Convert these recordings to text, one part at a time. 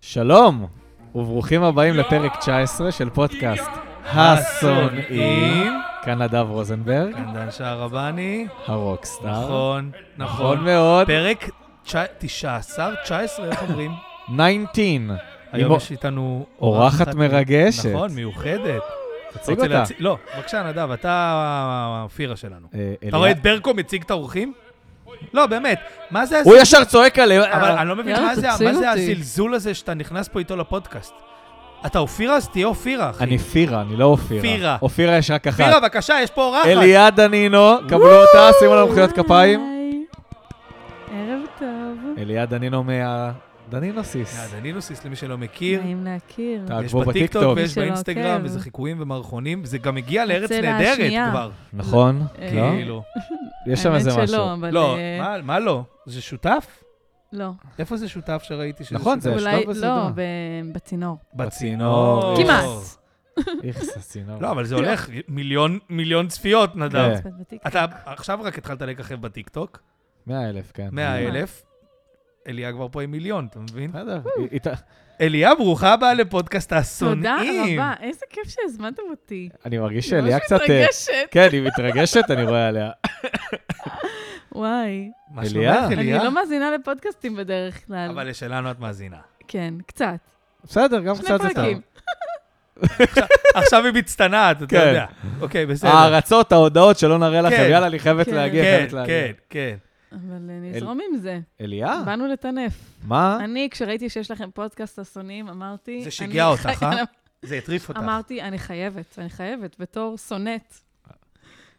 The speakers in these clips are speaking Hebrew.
שלום, וברוכים הבאים לפרק 19 של פודקאסט השונאים. כאן נדב רוזנברג, דן שערבני, הרוקסטאר. נכון, אה? נכון נכון. מאוד. פרק תשע- 19, 19, איך אומרים? 19. היום עם- יש איתנו אורחת מרגשת. נכון, מיוחדת. אתה תציג רוצה אותה. להציג- לא, בבקשה, נדב, אתה האופירה שלנו. אה, אתה אליה- רואה את ברקו מציג את האורחים? לא, באמת, מה זה הוא הזלזול? ישר צועק עליהם. אבל אני לא מבין, יאללה, מה זה- תציל מה זה אותי. הזלזול הזה שאתה נכנס פה איתו לפודקאסט? אתה אופירה? אז תהיה אופירה, אחי. אני פירה, אני לא אופירה. פירה. אופירה יש רק אחת. אופירה, בבקשה, יש פה אורחת. אליה דנינו, קבלו אותה, שימו לנו מחיאות כפיים. היי. ערב טוב. אליה דנינו מה... דנינו סיס. דנילוסיס, למי שלא מכיר. נעים להכיר. אתה- יש תעקבו בטיקטוק אה, בטיקטוק. ויש מי שלא באינסטגרם, עוקב. וזה חיקויים ומערכונים, זה גם הגיע לארץ הצלע נהדרת השנייה. כבר. נכון? אה, לא? כאילו. יש שם איזה האמת משהו. שלא, אבל... לא, אה, מה- מה לא? זה שותף? לא. איפה זה שותף שראיתי שזה נכון, שותף? זה אולי, שלב בסדרה. לא, ב- בצינור. בצינור. בצינור. אוי. כמעט. כאילו- איכס, הצינור. לא, אבל זה הולך, מיליון- מיליון צפיות, נדב. כן. צפת בטיקטוק. אתה עכשיו רק התחלת לככב בטיקטוק, 100 אלף, כן. 100 אלף. אליה כבר פה עם מיליון, אתה מבין? בסדר. היא- היא ת- אליה, ברוכה הבאה לפודקאסט השונאים. תודה רבה, איזה כיף שהזמנתם אותי. אני מרגיש ממש שאליה קצת... אה, מתרגשת. כן, היא מתרגשת, אני רואה עליה. וואי. מה אליה. שלומך, אני אליה? לא מאזינה לפודקאסטים בדרך כלל. אבל לשלנו את מאזינה. כן, קצת. בסדר, גם שני קצת זה פרקים. טוב. עכשיו היא מצטנעת, אתה כן. אה, יודע. אוקיי, בסדר. ההערצות, ההודעות שלא נראה לכם, כן. יאללה, אני חייבת כן. להגיע, כן, חייבת להגיע. כן, כן. אבל אה, נזרום עם זה. אליה? באנו לטנף. מה? אני, כשראיתי שיש לכם פודקאסט השונאים, אמרתי... זה אני שיגע אותך, אה? חי- זה הטריף אותך. אמרתי, אני חייבת, אני חייבת, בתור סונט,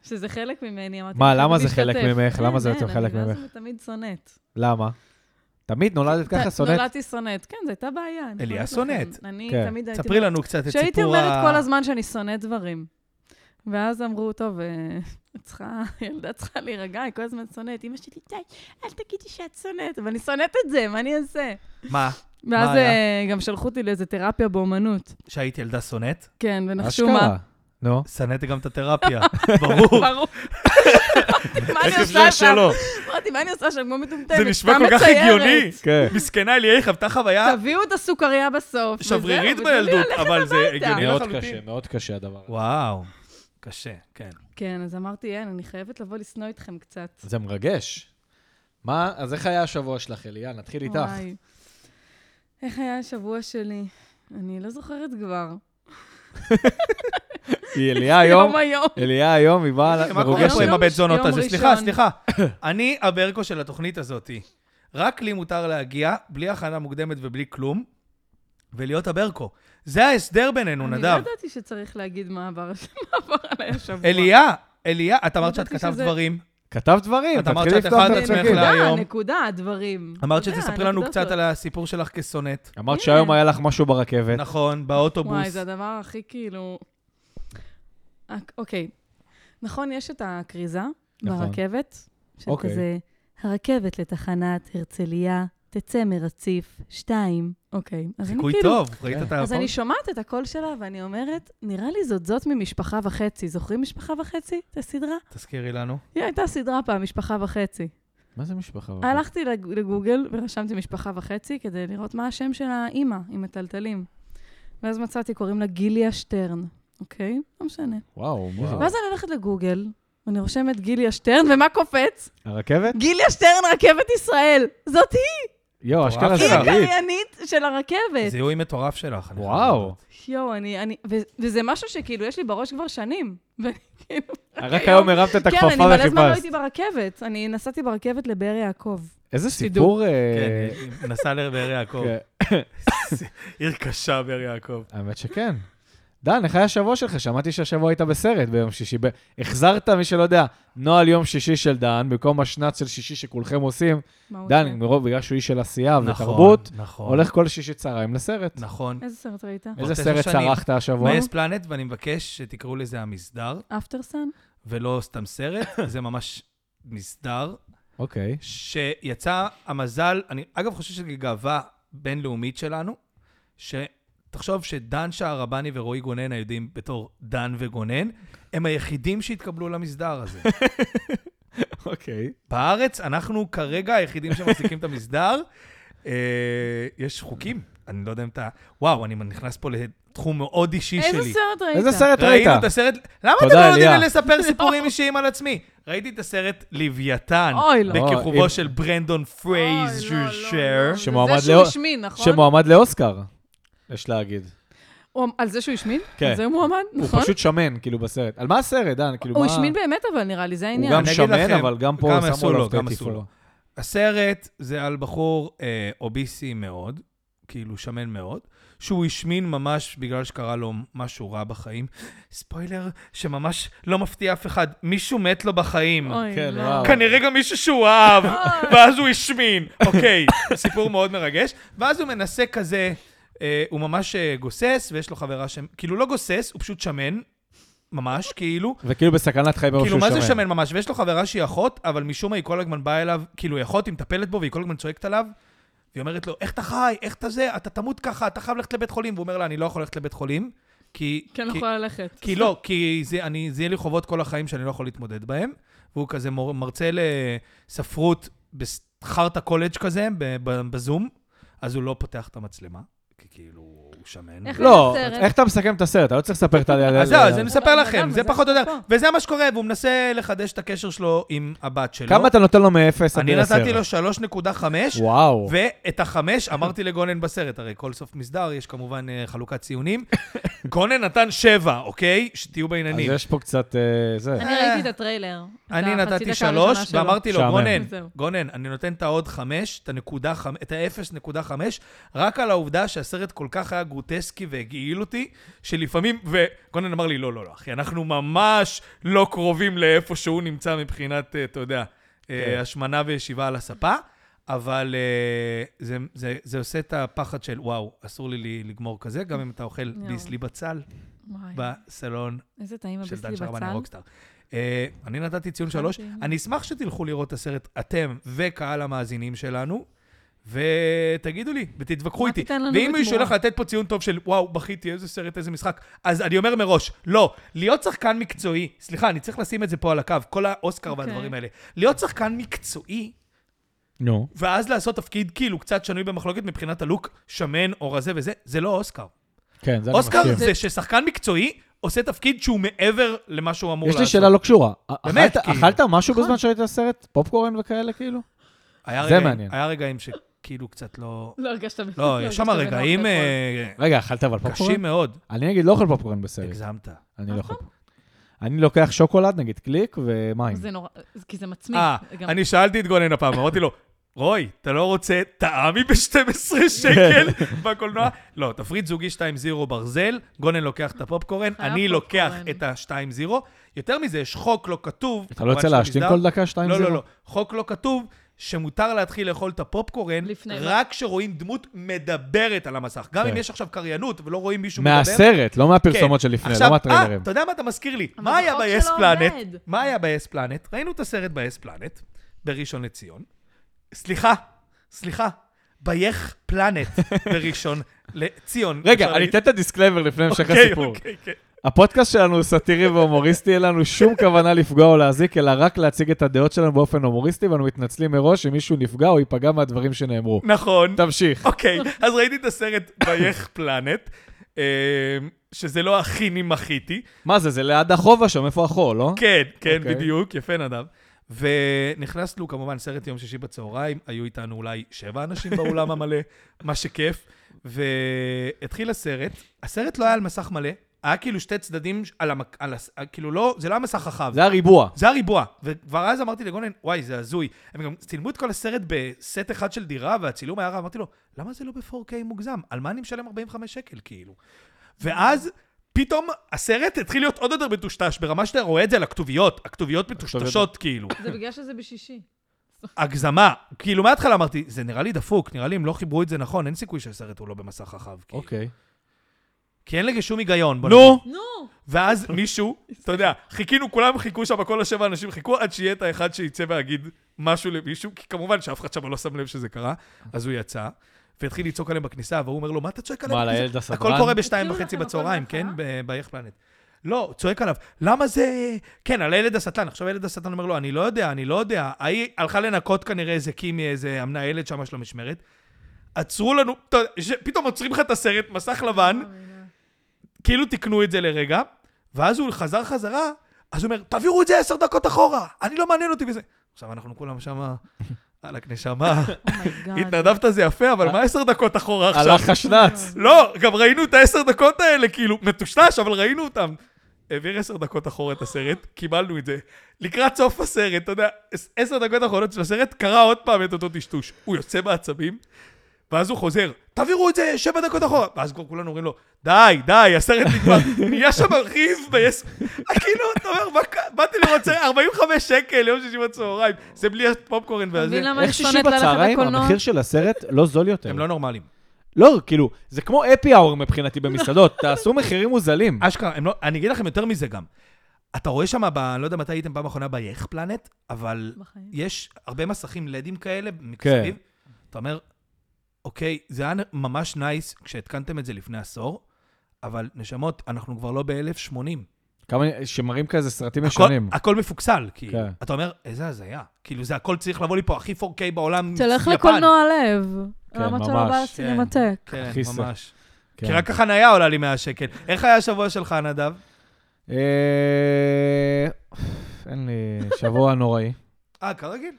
שזה חלק ממני, אמרתי, מה, אני חייבת למה זה להשתתף. חלק ממך? למה אין, זה בעצם אין, חלק אני לא ממך? זה תמיד סונט. למה? תמיד נולדת ככה ת- שונאת? נולדתי סונט, כן, זו הייתה בעיה. אני אליה אומרת סונט. לכם, אני כן. תמיד הייתי... ספרי לנו קצת את סיפור ה... שהייתי אומרת כל הזמן שאני שונאת דברים. ואז אמרו, טוב, אה, את צריכה, הילדה צריכה להירגע, היא כל הזמן שונאת. אמא שלי, די, אל תגידי שאת שונאת, אבל אני שונאת את זה, מה אני אעשה? מה? ואז היה? אה, גם שלחו אותי לאיזה תרפיה באמנות. שהיית ילדה שונאת? כן, ונחשו מה. אשכרה. נו. שנאת גם את התרפיה, ברור. ברור. אמרתי, מה אני עושה שם? אמרתי, מה אני עושה שם? כמו מטומטמת. זה נשמע סתם כל כך מציירת. הגיוני. כן. מסכנה אליה, היא חוותה חוויה תביאו את הסוכריה בסוף. וזהו, שברירית ותנו לי בילדות, ללכת. אבל זה הגיוני מאוד לחלוטין. קשה, מאוד קשה הדבר הזה. וואו, קשה, כן. כן, אז אמרתי, אין, אני חייבת לבוא לשנוא אתכם קצת. זה מרגש. מה, אז איך היה השבוע שלך, אליה? נתחיל איתך. וואי. איך היה השבוע שלי? אני לא זוכרת כבר. היא אליה היום, יום היום. אה, אליה היום, היא באה מה קורה פה לא, מרוגשת. עם הבית זונות יום הזה? ראשון. סליחה, סליחה. אני הברקו של התוכנית הזאתי. רק לי מותר להגיע, בלי הכנה מוקדמת ובלי כלום, ולהיות הברקו. זה ההסדר בינינו, אני לא נדב. ידעתי שצריך להגיד מה עבר מה עבר עליי השבוע. אליה, אליה, את אמרת ידעתי שאת כתבת שזה- דברים. כתבת דברים, את אמרת תתחילי שאת לפתוח את אכלת את עצמך הצ'קים. לה- כן, נקודה, להיום. נקודה, הדברים. אמרת אתה יודע, שתספרי לנו הנקודות קצת לא- על הסיפור שלך כסונט. אמרת כן. שהיום היה לך משהו ברכבת. נכון, באוטובוס. וואי, זה הדבר הכי כאילו... אה, אוקיי. נכון, יש את הכריזה נכון. ברכבת, של אוקיי. כזה, הרכבת לתחנת הרצליה, תצא מרציף, שתיים. אוקיי. אז אני חיקוי כאילו... טוב, ראית את אז אני הפוסט? שומעת את הקול שלה ואני אומרת, נראה לי זאת זאת ממשפחה וחצי. זוכרים משפחה וחצי? את הסדרה? תזכירי לנו. היא הייתה סדרה פעם, משפחה וחצי. מה זה משפחה? הלכתי לג- לגוגל ורשמתי משפחה וחצי כדי לראות מה השם של האימא עם הטלטלים. ואז מצאתי, קוראים לה גיליה שטרן, אוקיי? לא משנה. וואו, מי זה? ואז אני הולכת לגוגל, ואני רושמת גיליה שטרן, ומה קופץ? הרכבת? גיליה שטרן, רכבת ישראל! זאת היא! יואו, אשכרה מטורף זה היא שלך. ערבית. הקריינית של הרכבת! זיהוי מטורף שלך. אני כן, חייב וואו. להודות. יואו, אני... אני... ו- וזה משהו שכאילו יש לי בראש כבר שנים. ואני כאילו... רק היום הרמת את כן, אני הכפפה מלא זמן לא וחיפשת. הייתי ברכבת. אני נסעתי ברכבת לבאר יעקב. איזה סידור. סיפור... אה, כן, היא נסעה לבאר יעקב. כן. עיר קשה באר יעקב. האמת שכן. דן, איך היה השבוע שלך? שמעתי שהשבוע היית בסרט ביום שישי. ב- החזרת, מי שלא יודע, נוהל יום שישי של דן, במקום השנץ של שישי שכולכם עושים. מה הוא דן, עושה? מרוב, בגלל שהוא איש של עשייה נכון, ותרבות, נכון. הולך כל שישי צהריים לסרט. נכון. איזה סרט ראית? איזה תשע סרט שנים. צרחת השבוע? מייס פלנט, ואני מבקש שתקראו לזה המסדר, אפטרסן? ולא סתם סרט, זה ממש מסדר, אוקיי. שיצא המזל, אני אגב חושב שזו גאווה בינלאומית שלנו, שתחשוב שדן שערבני ורועי גונן היודעים בתור דן וגונן, הם היחידים שהתקבלו למסדר הזה. אוקיי. בארץ אנחנו כרגע היחידים שמחזיקים את המסדר. אה, יש חוקים. אני לא יודע אם אתה... וואו, אני נכנס פה לתחום מאוד אישי שלי. איזה סרט ראית? איזה סרט ראית? ראינו את הסרט... למה תודה, אתם לא נותנים אליה. לי לספר סיפורים אישיים על עצמי? ראיתי את הסרט לוויתן, אוי, לא. אוי, אם- בכיכובו של ברנדון אוי, לא, פרייזר לא, שר. לא. זה שמועמד זה שהוא לאו- השמין, נכון? שמועמד לאוסקר, יש להגיד. הוא- על זה שהוא השמין? כן. על זה הוא מועמד, הוא נכון? פשוט שמן, כאילו, בסרט. על מה הסרט, דן? כאילו, מה... הוא השמין באמת, אבל נראה לי, זה הוא העניין. גם אני אגיד שמן, לכם, אבל גם פה גם שמו עשו עליו לו, את גם הטיפול. עשו לו. הסרט זה על בחור אה, אוביסי מאוד, כאילו שמן מאוד, שהוא השמין ממש בגלל שקרה לו משהו רע בחיים. ספוילר שממש לא מפתיע אף אחד, מישהו מת לו בחיים. אוי, כן, לא. וואו. אה. כנראה גם מישהו שהוא אהב, ואז הוא השמין. אוקיי, סיפור מאוד מרגש. ואז הוא מנסה כזה, אה, הוא ממש אה, גוסס, ויש לו חברה ש... כאילו, לא גוסס, הוא פשוט שמן, ממש, כאילו. וכאילו בסכנת חיים ברור כאילו, לא שהוא מה זה שמן ממש? ויש לו חברה שהיא אחות, אבל משום מה היא כל הזמן באה אליו, כאילו, היא אחות, היא מטפלת בו, והיא כל הזמן צועקת עליו. והיא אומרת לו, איך אתה חי? איך אתה זה? אתה תמות ככה, אתה חייב ללכת לבית חולים. והוא אומר לה, אני לא יכול ללכת לבית חולים, כי... כן, כי- לא יכולה ללכת. כי לא, כי זה, אני, זה יהיה לי חובות כל החיים שאני לא יכול להתמודד בהם. והוא כזה מור, מרצה לספרות בחרטה קולג' כזה, ב- ב- בזום, אז הוא לא פותח את המצלמה, כי כאילו, הוא שמן. איך לא, זה הסרט. איך אתה מסכם את הסרט? אתה לא צריך לספר את ה... אז זהו, אז אני אבל מספר בן לכם, אדם, זה וזה פחות או יותר. הסיפור. וזה מה שקורה, והוא מנסה לחדש את הקשר שלו עם הבת שלו. כמה אתה נותן לו מאפס עד לא? אני עשר? נתתי לו 3.5, וואו. ואת החמש אמרתי לגונן בסרט, הרי כל סוף מסדר יש כמובן אה, חלוקת ציונים. גונן נתן שבע, אוקיי? שתהיו אז בעניינים. יש פה קצת... אה, זה. אני ראיתי את הטריילר. את אני החצי נתתי דקה הראשונה שלוש, שלו. ואמרתי לו, שעמם. גונן, זהו. גונן, אני נותן את העוד חמש, את הנקודה חמ- את ה-0.5, רק על העובדה שהסרט כל כך היה גרוטסקי והגעיל אותי, שלפעמים, וגונן אמר לי, לא, לא, לא, אחי, אנחנו ממש לא קרובים לאיפה שהוא נמצא מבחינת, אה, אתה יודע, אה, כן. השמנה וישיבה על הספה, אבל אה, זה- זה- זה עושה את הפחד של, וואו, אסור לי לי לגמור כזה, גם אם אתה אוכל יואו. כן. ביסלי בצל וואי, בסלון איזה טעים של הביסלי דן שרמן בצל. אוקיי. הרוקסטאר. אה, אני נתתי ציון שלוש. הבנתי. אני אשמח שתלכו לראות את הסרט, אתם וקהל המאזינים שלנו, ותגידו לי, ותתווכחו מה איתי. תיתן לנו ואם בתמורה? מישהו הולך לתת פה ציון טוב של, וואו, בכיתי, איזה סרט, איזה משחק, אז אני אומר מראש, לא, להיות שחקן מקצועי, סליחה, אני צריך לשים את זה פה על הקו, כל האוסקר אוקיי. והדברים האלה. להיות שחקן מקצועי, נו. ואז לעשות תפקיד כאילו קצת שנוי במחלוקת מבחינת הלוק, שמן או רזה וזה, זה לא אוסקר. כן, זה אני אוסקר מסכים. זה ששחקן מקצועי עושה תפקיד שהוא מעבר למה שהוא אמור יש לעשות. לי שאלה לא קשורה. באמת, אכלת- כאילו. אכלת משהו נכון. בזמן שראית את הסרט? פופקורן וכאלה, כאילו? היה זה רגעים, מעניין. היה רגעים שכאילו קצת לא... לא הרגשת בנוח. לא, יש שם הרגשת בנוח רגעים לאכול. אה, רגע, אכלת אבל קשים פופקורן? מאוד. אני נגיד לא אוכל פופקורן בסרט. הגזמת. אני לא נכון. יכול. אני לוקח שוקולד, נגיד קליק ומים. זה נורא, כי זה מצמיק. אה, גם- אני שאלתי את גונן הפעם, אמרתי לו, רוי, אתה לא רוצה טעמי ב-12 שקל כן. בקולנוע? לא, תפריט זוגי 2-0 ברזל, גונן לוקח את הפופקורן, חייב אני לוקח פופקורן. את ה-2-0. יותר מזה, יש חוק לא כתוב. אתה לא יוצא כמובן להשתין שבמסדר- כל דקה, שתיים לא, זירו? לא, לא. חוק לא כתוב שמותר להתחיל לאכול את הפופקורן לפני. רק כשרואים דמות מדברת על המסך. גם כן. אם יש עכשיו קריינות ולא רואים מישהו מדבר. מהסרט, לא כן. מהפרסומות שלפני, עכשיו, לא מהטריילרים. אה, אתה יודע מה אתה מזכיר לי? אבל מה היה בחוק ב-yes שלו planet? עובד. מה היה ב-yes planet? ראינו את הסרט ב-yes planet, בראשון לציון. סליחה, סליחה, בייך פלנט בראשון לציון. רגע, אפשר אני להגיד? אתן את הדיסקלייבר לפני המשך אוקיי, הסיפור. אוקיי, כן. הפודקאסט שלנו הוא סאטירי והומוריסטי, אין לנו שום כוונה לפגוע או להזיק, אלא רק להציג את הדעות שלנו באופן הומוריסטי, ואנו מתנצלים מראש אם מישהו נפגע או ייפגע מהדברים שנאמרו. נכון. תמשיך. אוקיי, אז ראיתי את הסרט בייך פלנט, אה, שזה לא הכי נימחיתי. מה זה, זה ליד החובה שם, איפה החור, לא? כן, כן, אוקיי. בדיוק, יפה נדב. ונכנסנו כמובן סרט יום שישי בצהריים, היו איתנו אולי שבע אנשים באולם המלא, מה שכיף. והתחיל הסרט, הסרט לא היה על מסך מלא, היה כאילו שתי צדדים על המק... על הס... כאילו לא, זה לא היה מסך רחב. זה הריבוע. זה הריבוע. וכבר אז אמרתי לגונן, וואי, זה הזוי. הם גם צילמו את כל הסרט בסט אחד של דירה, והצילום היה רע. אמרתי לו, למה זה לא ב-4K מוגזם? על מה אני משלם 45 שקל, כאילו? ואז... פתאום הסרט התחיל להיות עוד יותר מטושטש, ברמה שאתה רואה את זה על הכתוביות, הכתוביות מטושטשות כאילו, זה בגלל שזה בשישי. הגזמה. כאילו מההתחלה אמרתי, זה נראה לי דפוק, נראה לי אם לא חיברו את זה נכון, אין סיכוי שהסרט הוא לא במסך רחב. כאילו. אוקיי. כי אין לזה שום היגיון. בוא נגיד. נו! נו! ואז מישהו, אתה יודע, חיכינו, כולם חיכו שם, כל השבע אנשים חיכו עד שיהיה את האחד שיצא ויגיד משהו למישהו, כי כמובן שאף אחד שם לא שם לב שזה קרה, אז הוא יצא, והתחיל לצעוק עליהם בכניסה, והוא אומר לו, מה אתה צועק עליהם מה, בכניסה?" לילד הסדרן? הכל קורה בשתיים הציעו וחצי לכם הכל בצהריים, כן? בהתחלה? ב- ביך פלנט. לא, צועק עליו, למה זה... כן, על הילד הסטן. עכשיו הילד הסטן אומר לו, אני לא יודע, אני לא יודע. ההיא הלכה לנקות כנראה איזה קימי, איזה המנהלת שם יש לו משמרת. עצרו לנו, אתה יודע, ש- פתאום עוצרים לך את הסרט, מסך לבן, Oh כאילו תיקנו את זה לרגע, ואז הוא חזר חזרה, אז הוא אומר, תעבירו את זה עשר דקות אחורה, אני לא מעניין אותי וזה. עכשיו אנחנו כולם שמה, וואלכ, נשמה, אומייגאד. התנדבת זה יפה, אבל מה עשר דקות אחורה עכשיו? הלך השנץ. לא, גם ראינו את העשר דקות האלה, כאילו, מטושטש, אבל ראינו אותם. העביר עשר דקות אחורה את הסרט, קיבלנו את זה. לקראת סוף הסרט, אתה יודע, עש- עשר דקות האחרונות של הסרט, קרא עוד פעם את אותו טשטוש. הוא יוצא מעצבים, ואז הוא חוזר, תעבירו את זה שבע דקות אחורה. ואז כבר כולנו אומרים לו, די, די, הסרט נגמר. נהיה שם ריב ביס... כאילו, אתה אומר, "מה ק- באתי לראות סרט, 45 שקל, יום שישי בצהריים. זה בלי הפופקורן אתה והזה. מבין למה איך אני שישי שונאת ללכת בצהריים, לקולנוע? המחיר של הסרט לא זול יותר. הם לא נורמלים. לא, כאילו, זה כמו אפי האור מבחינתי במסעדות, תעשו מחירים מוזלים. אשכרה, הם לא, אני אגיד לכם יותר מזה גם. אתה רואה שם, ב- אני לא יודע מתי הייתם פעם אחרונה ביח פלנט, אבל בחיים. יש הרבה מסכים לדים כאלה מסביב. אתה אומר, אוקיי, זה היה ממש נייס כשהתקנתם את זה לפני עשור, אבל נשמות, אנחנו כבר לא ב-1080. כמה שמראים כזה סרטים ישנים. הכל, הכל מפוקסל, כאילו. כן. אתה אומר, איזה הזיה. כאילו, זה הכל צריך לבוא לי פה הכי 4K בעולם. תלך יפן. לקולנוע לב. כן, למה אתה לא בא ממש. לסינמטק? כן, הכי סך. ממש. כן. כי רק החנייה עולה לי 100 שקל. איך היה השבוע שלך, נדב? אה, אין לי שבוע נוראי. אה, כרגיל.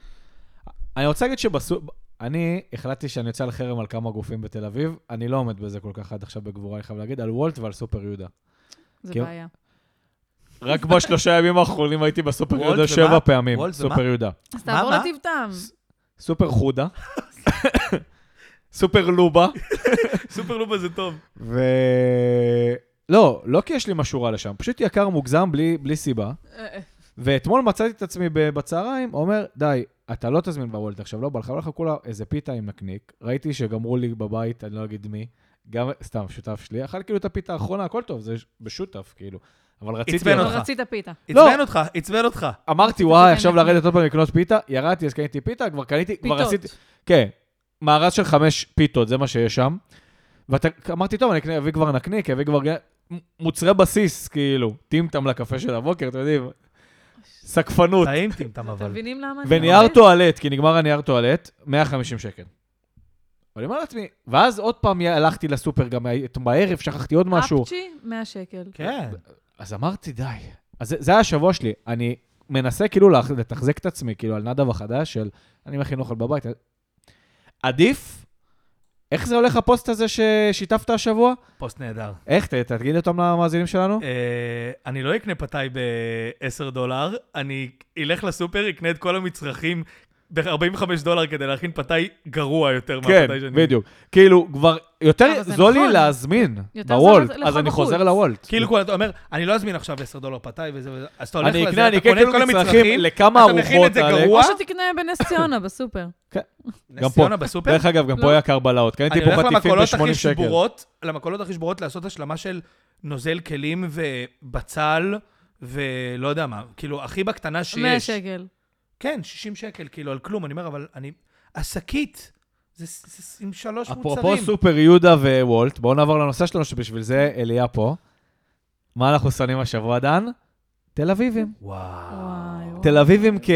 אני רוצה להגיד שבסו... אני החלטתי שאני יוצא על חרם על כמה גופים בתל אביב, אני לא עומד בזה כל כך עד עכשיו בגבורה, אני חייב להגיד, על וולט ועל סופר יהודה. זה כן. בעיה. רק בשלושה ימים האחרונים הייתי בסופר וולט יהודה ומה? שבע פעמים. וולט ומה? סופר יהודה. אז תעבור מה? לטבטם. סופר חודה. סופר לובה. סופרלובה זה טוב. ו... לא, לא כי יש לי משהו רע לשם, פשוט יקר מוגזם בלי, בלי סיבה. אה, אה. ואתמול מצאתי את עצמי ב- בצהריים, אומר, די, אתה לא תזמין בוולט עכשיו, לא בא לך, בא לך כולה איזה פיתה עם נקניק. ראיתי שגמרו לי בבית, אני לא אגיד מי, גם, סתם, שותף שלי, אכל כאילו את הפיתה האחרונה, הכל טוב, זה ש- בשותף, כאילו. אבל רציתי... עצבן אבל כן, אותך. רצית פיתה. לא. עצבן אותך, עצבן אותך. אמרתי, וואי, פיתה עכשיו עם לרדת עוד פעם לקנות פיתה, ירדתי, אז קניתי פיתה, כבר קניתי, כבר עשיתי... פיתות. כן, מארז של חמש פיתות, זה מה שיש שם. ואמרתי, טוב, אני אקנה- אביא כבר נקניק, אביא כבר גן- מ- מוצרי בסיס, כאילו, טימטם לקפה של הבוקר, אתם יודעים, סקפנות, טעים טמטם אבל. אתם מבינים למה? אני ונייר אומרת? טואלט, כי נגמר הנייר טואלט, 150 שקל. ואני אומר לעצמי, ואז עוד פעם הלכתי לסופר, גם בערב שכחתי אה, עוד משהו. אפצ'י, 100 שקל. כן. אז אמרתי, די. אז זה, זה היה השבוע שלי. אני מנסה כאילו לח- לתחזק את עצמי, כאילו, על נדב החדש של אני מכין אוכל בבית. עדיף, איך זה הולך הפוסט הזה ששיתפת השבוע? פוסט נהדר. איך? ת, תגיד אותם למאזינים שלנו. אה, אני לא אקנה פתאי ב-10 דולר, אני אלך לסופר, אקנה את כל המצרכים ב-45 דולר כדי להכין פתאי גרוע יותר כן, מהפתאי שאני... בדיוק. כאילו, כבר יותר אבל זה זול לי נכון. להזמין יותר זול בוולט, לאכול אז אני בחוץ. חוזר לוולט. כאילו, כל- אתה אומר, אני לא אזמין עכשיו 10 דולר פתאי וזה וזה, אז אתה הולך אני לזה, אקנה, אני אתה אקנה קונה את כל כאילו מצרכים המצרכים, לכמה אתה מכין את ארוחות, זה אלכס. גרוע, או שתקנה בנס ציונה בסופר. גם נס פה. ציונה בסופר, דרך אגב, גם לא. פה יקר בלהות. אני קניתי פה הולך פטיפים למכולות ב-80 הכי שקל. שבורות, למכולות הכי שבורות לעשות השלמה של נוזל כלים ובצל ולא יודע מה, כאילו, הכי בקטנה שיש. 100 שקל. כן, 60 שקל, כאילו, על כלום. אני אומר, אבל אני... השקית, זה, זה, זה עם שלוש אפרופו מוצרים. סופר יהודה ווולט, בואו נעבור לנושא שלנו, שבשביל זה אליה פה. מה אנחנו שונאים השבוע, דן? תל אביבים. וואו. וואי, וואי. תל אביבים כ...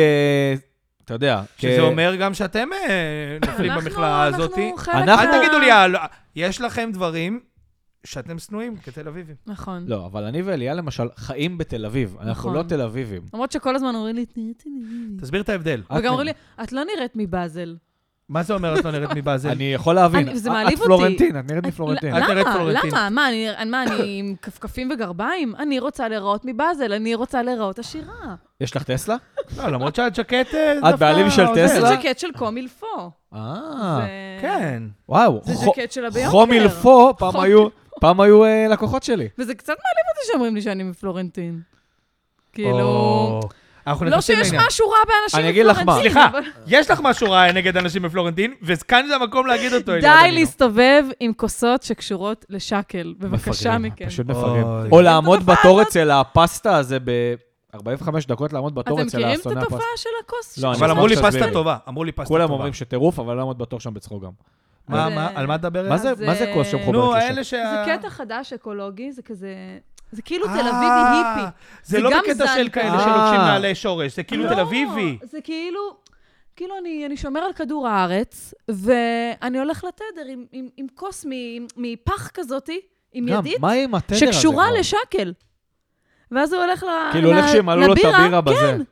אתה יודע, כ... שזה אומר גם שאתם אה, נופלים אנחנו- במכלאה הזאת. אנחנו חלק אנחנו- אל מה- תגידו לי, אה, לא, יש לכם דברים שאתם שנואים כתל אביבים. נכון. לא, אבל אני ואליה למשל חיים בתל אביב, אנחנו נכון. לא תל אביבים. למרות שכל הזמן אומרים לי, תראי תל אביב. תסביר את ההבדל. וגם את- אומרים לי, אוקיי. את לא נראית מבאזל. מה זה אומר את לא נראית מבאזל? אני יכול להבין. אני- זה את- מעליב את אותי. פלורנטין, את נראית את- מפלורנטין. את נראית למה? פלורנטין. למה? מה, אני נרא- מה, אני עם כפכפים וגרביים? אני רוצה להיראות מבאזל, אני רוצה להיראות עשירה. יש לך טסלה? לא, למרות שהג'קט אה, דווקא... את בעלים של עוזר. טסלה? זה לא. ז'קט של קומילפו. אה, זה- כן. וואו. זה חו- ז'קט שלה ביוקר. חום מלפו, פעם חום- היו- פעם היו אה, לקוחות שלי. וזה קצת מעליב אותי שאומרים לי שאני מפלורנטין. כאילו... או. אנחנו לא נכנסים שיש לעניין. משהו רע באנשים אני אגיד לך מה. מפלורנטין. סליחה, אבל- יש לך משהו רע נגד אנשים בפלורנטין, וכאן זה המקום להגיד אותו. לא לא- אליה די דנינו. להסתובב עם כוסות שקשורות לשקל, בבקשה מפגרים, אה, מכם. פשוט אוי. מפגרים. אוי. או לעמוד בתור אצל הפסטה הזה ב... 45 דקות לעמוד בתור אתם אצל מכירים את האסוני הפסטה. התופעה של הכוס? לא, אני אבל אשמח אמרו לי שתסביר פסטה לי. טובה, אמרו לי פסטה טובה. כולם אומרים שטירוף, אבל לא לעמוד בתור שם בצחוק גם. מה, זה- מה, על מה את מדברת? מה זה זה- מה זה כוס שמחוברת נו, לשם? האלה שה... זה קטע חדש אקולוגי, זה כזה... זה כאילו אה, תל אביבי היפי. זה לא גם בקטע של זן כאלה כזה. שלובשים אה. נעלי שורש, זה כאילו לא, תל אביבי. זה כאילו... כאילו, אני, אני שומר על כדור הארץ, ואני הולך לתדר עם, עם, עם כוס מ- מפח כזאתי, עם גם, ידית, מה עם התדר הזה? שקשורה כבר? לשקל. ואז הוא הולך ל... כאילו, ל- הולך שימלאו לו את לבירה, הבירה בזה. כן,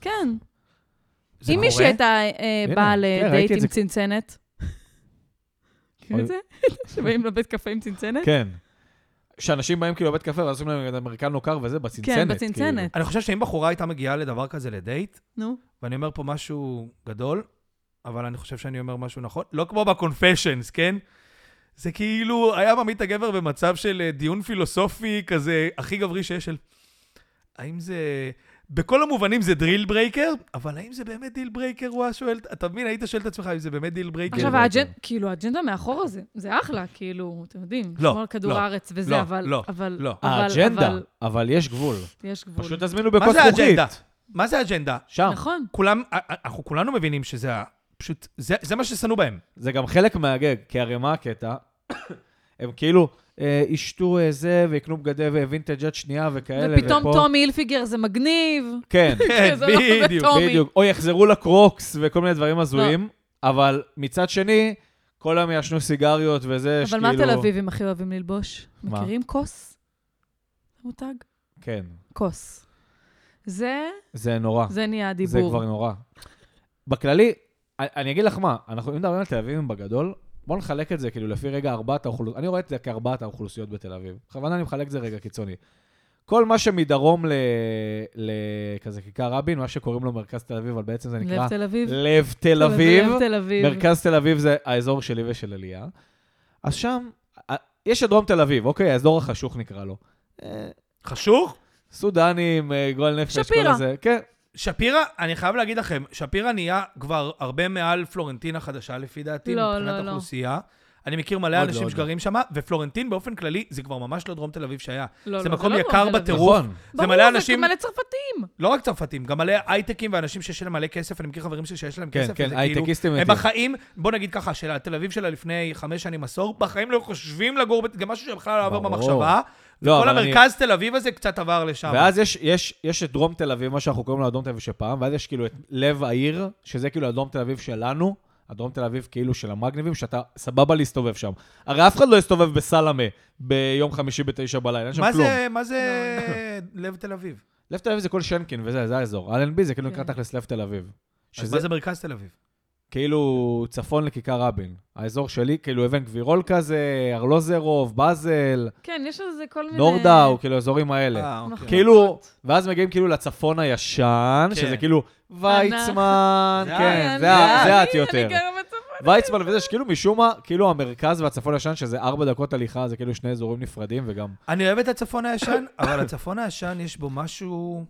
כן. זה אם מישהי קורה? הייתה אה, הנה, באה כן, לדייט ראיתי את עם זה. צנצנת. כאילו אוי. את זה? שבאים לבית קפה עם צנצנת? כן. שאנשים באים כאילו לבית קפה ואז עושים להם את המרקן לא קר וזה, בצנצנת. כן, בצנצנת. אני חושב שאם בחורה הייתה מגיעה לדבר כזה לדייט, כאילו. נו. כן, ואני אומר פה משהו גדול, אבל אני חושב שאני אומר משהו נכון. לא כמו בקונפשיונס, כן? זה כאילו, היה מעמיד את הגבר במצב של אה, דיון פילוסופי כזה הכי גברי שיש של... האם זה... בכל המובנים זה דריל ברייקר, אבל האם זה באמת דיל ברייקר? הוא היה שואל, אתה מבין, היית שואל את עצמך אם זה באמת דיל ברייקר. עכשיו, כן, האג'נ... כן. כאילו, האג'נדה מאחור הזה, זה אחלה, כאילו, אתם יודעים, לא, לשמור על כדור לא, הארץ וזה, לא, אבל... לא, אבל, לא. אבל, האג'נדה, אבל אבל יש גבול. יש גבול. פשוט תזמינו מה בכוס זה זכוכית. האג'נדה? מה זה האג'נדה? שם. נכון. כולם, א- א- אנחנו כולנו מבינים שזה ה- פשוט, זה, זה מה ששנוא בהם. זה גם חלק מהגג, כי הרי מה הקטע? הם כאילו אה, ישתו אה, זה ויקנו בגדי ווינטג' יד שנייה וכאלה. ופתאום ופה- טומי הילפיגר זה מגניב. כן, כן, זה לא עובד בדיוק. טוב. טומי. בדיוק. או יחזרו לקרוקס וכל מיני דברים הזויים, לא. אבל מצד שני, כל היום יעשנו סיגריות וזה, אבל שכאילו... מה תל אביבים הכי אוהבים ללבוש? כאילו- מה? מכירים כוס? מותג? כן, כוס. זה, זה נורא. זה נהיה זה הדיבור. כבר נורא. בכללי, אני- אני אגיד לך מה, אנחנו אם מדברים על תל אביבים בגדול, בוא נחלק את זה כאילו לפי רגע ארבעת האוכלוסיות, אני רואה את זה כארבעת האוכלוסיות בתל אביב. בכוונה אני מחלק את זה רגע קיצוני. כל מה שמדרום ל... לכזה כיכר רבין, מה שקוראים לו מרכז תל אביב, אבל בעצם זה נקרא לב תל אביב. לב תל אביב. לב תל אביב. לא, מרכז תל אביב זה האזור שלי ושל אליה. אז שם, אה, יש את דרום תל אביב, אוקיי? האזור החשוך נקרא לו. אה, חשוך? סודנים, אה, גועל נפש, כל שפירא. הזה. כן, שפירא, אני חייב להגיד לכם, שפירא נהיה כבר הרבה מעל פלורנטין החדשה, לפי דעתי, לא, מבחינת לא, לא. אוכלוסייה. אני מכיר מלא עוד לא, אנשים עוד שגרים שם, ופלורנטין באופן כללי, זה כבר ממש לא דרום תל אביב שהיה. לא, זה לא, מקום לא יקר דרום תל אביב. בטירוף. נכון. זה ברור, מלא אנשים, זה מלא צרפתים. לא רק צרפתים, גם מלא הייטקים ואנשים שיש להם מלא כסף, אני מכיר חברים שלי שיש להם כן, כסף, כן, וזה כאילו- הייטקיסטים הם מתים. בחיים, בוא נגיד ככה, של תל אביב שלה לפני חמש שנים עשור, בחיים לא חושבים לגור, בת- זה משהו שבכלל לא עבר ברור. במחשבה. לא, כל אבל אני- המרכז תל אביב הזה קצת עבר לשם. ואז יש, יש, יש את דרום תל אביב, מה שאנחנו קוראים לו הדרום תל אביב של פעם, ואז יש כאילו את לב העיר, שזה כאילו הדרום תל אביב שלנו, הדרום תל אביב כאילו של המגניבים, שאתה סבבה להסתובב שם. הרי אף אחד לא יסתובב בסלמה ביום חמישי בתשע בלילה, אין שם מה כלום. זה, מה זה לא, לב תל אביב? לב תל אביב זה כל שנקין וזה, זה האזור. אלנבי זה כאילו נקרא כן. תכלס לב תל אביב. אז שזה מה זה מרכז תל אביב? כאילו צפון לכיכר רבין. האזור שלי, כאילו אבן גבירול כזה, ארלוזרוב, באזל, כן, יש לזה כל מיני... נורדאו, כאילו האזורים האלה. אה, אנחנו- אוקיי. כאילו, נכון. ואז מגיעים כאילו לצפון הישן, כן. שזה כאילו ויצמן, אנחנו- כן, זה זה את, ה- אני- זה את יותר. אה, אני גרה בצפון. ויצמן וזה שכאילו משום מה, כאילו המרכז והצפון הישן, שזה ארבע דקות הליכה, זה כאילו שני אזורים נפרדים וגם... אני אוהב את הצפון הישן, אבל הצפון הישן יש בו משהו...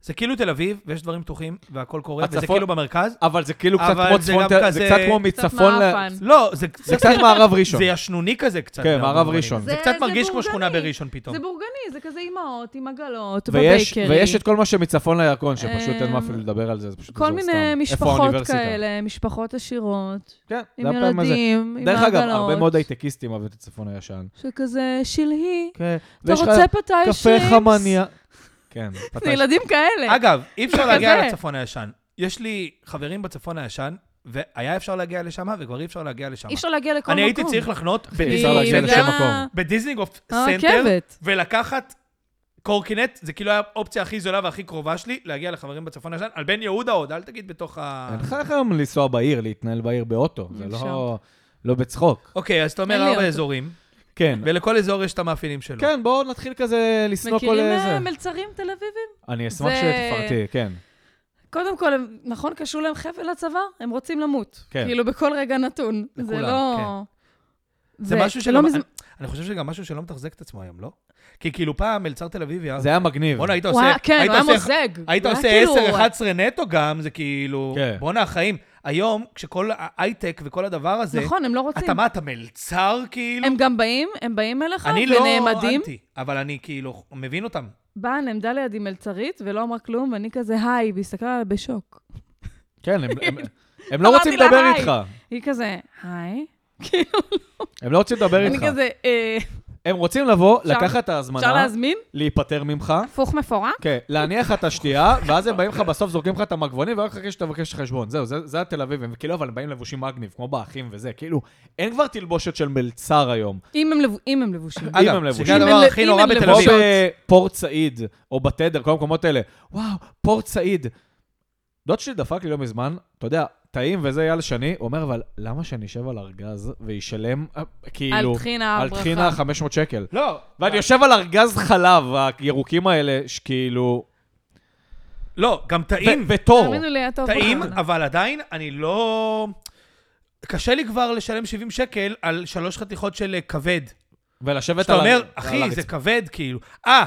זה כאילו תל אביב, ויש דברים פתוחים, והכל קורה, וזה הצפון- כאילו במרכז. אבל זה כאילו קצת אבל כמו זה צפון, גם תל- כזה- זה קצת כמו קצת מצפון ל... מעפן. לא, זה זה קצת מערב ראשון. זה ישנוני כזה כן, קצת. בהרבה מערב מובנים. ראשון. זה זה- קצת זה מרגיש כמו שכונה בורגני. בראשון פתאום. זה בורגני, זה כזה אימהות עם עגלות, ויש, בבייקרי. ויש את כל מה שמצפון לירקון, שפשוט אין מה אמ, אפילו לדבר על זה, זה פשוט כל אזור מיני סתם. איפה משפחות האוניברסיטה? כאלה, משפחות עשירות, כן, עם זה הפעם הזה. ילדים, עם דרך עגלות. אגב, הרבה מאוד הייטקיסטים אוהבים את הצפון הישן. שכזה שלהי, כן. אתה ויש לך רוצה פתאי שרימפס? קפה חמניה. כן, זה פתאי ילדים כאלה. אגב, אי אפשר כזה. להגיע לצפון הישן. יש לי חברים בצפון הישן, והיה אפשר להגיע לשם, וכבר אי אפשר להגיע לשם. אי אפשר להגיע לכל מקום. אה, כן, אני הייתי צריך לחנות אי אפשר כי להגיע לשום בגלל מקום. ה- בדיסנינגוף סנטר, הרכבת. ולקחת קורקינט, זה כאילו היה האופציה הכי זולה והכי קרובה שלי, להגיע לחברים בצפון הישן, על בן יהודה עוד, אל תגיד בתוך ה... אין לך לך אה, היום לנסוע בעיר, להתנהל בעיר באוטו, זה אי לא, אפשר. לא בצחוק. אוקיי, אז אתה אומר אין לי ארבע אוטו. אזורים, כן, ולכל אזור יש את המאפיינים שלו. כן, בואו נתחיל כזה לשנוא כל מכירים איזה. אה, מלצרים תל אביבים? אני אשמח זה- שתפרטי, כן. קודם כל, הם- נכון, קשור להם חבל לצוואר? הם רוצים למות. כן. כאילו, בכל רגע נתון. זה לכולם, כן. לא... זה משהו לא שגם... מזמן- אני חושב שגם משהו שלא מתחזק את עצמו היום, לא? כי כאילו פעם מלצר תל אביב, זה היה מגניב. בואנה, היית הוא עושה... היה, כן, היית הוא היה עושה- מוזג. היית הוא היה עושה כאילו- 10-11 נטו גם, זה כאילו... כן. בואנה, החיים. היום, כשכל ההייטק וכל הדבר הזה... נכון, הם לא רוצים. אתה מה, אתה מלצר כאילו? הם גם באים, הם באים אליך אני לא ונעמדים. אנטי, אבל אני כאילו מבין אותם. באה, נעמדה לידי מלצרית ולא אמרה כלום, ואני כזה, היי, והסתכלה עליה בשוק. כן, הם- הם- הם לא אמרתי רוצים לה, לדבר "היי". איתך. היא כזה, היי? הם לא רוצים לדבר אני איתך. כזה, "אה, הם רוצים לבוא, אפשר- לקחת את אפשר ההזמנה, להזמין? להיפטר ממך, הפוך מפורק? כן, להניח לך את השתייה, ואז הם באים לך, בסוף זורקים לך את המגבונים, ורק חכה שתבקש חשבון. זהו, זה, זה התל אביב, הם כאילו, אבל הם באים לבושים מגניב, כמו באחים וזה, כאילו, אין כבר תלבושת של מלצר היום. אם הם לבו- אם הם לבושים. אם הם אגב, לבושים. שזה אם הדבר הם- הכי אם נורא הם בתל כמו אביב. לבושים. בפורט סעיד, או בתדר, כל המקומות האלה. וואו, פורט סעיד. דוד שלי דפק לי לא מזמן, אתה יודע, טעים וזה אייל שני, הוא אומר, אבל למה שאני אשב על ארגז וישלם, אה, כאילו, על טחינה על ברכה. טחינה 500 שקל? לא. ואני יושב על ארגז חלב, הירוקים האלה, כאילו, שכאילו... לא, גם טעים. ו- ותור. תאמינו לי, היה טוב. טעים, בקורונה. אבל עדיין אני לא... קשה לי כבר לשלם 70 שקל על שלוש חתיכות של אה, כבד. ולשבת שאתה על... אומר, הר- על אחי, זה הרצפה." כבד, כאילו. אה,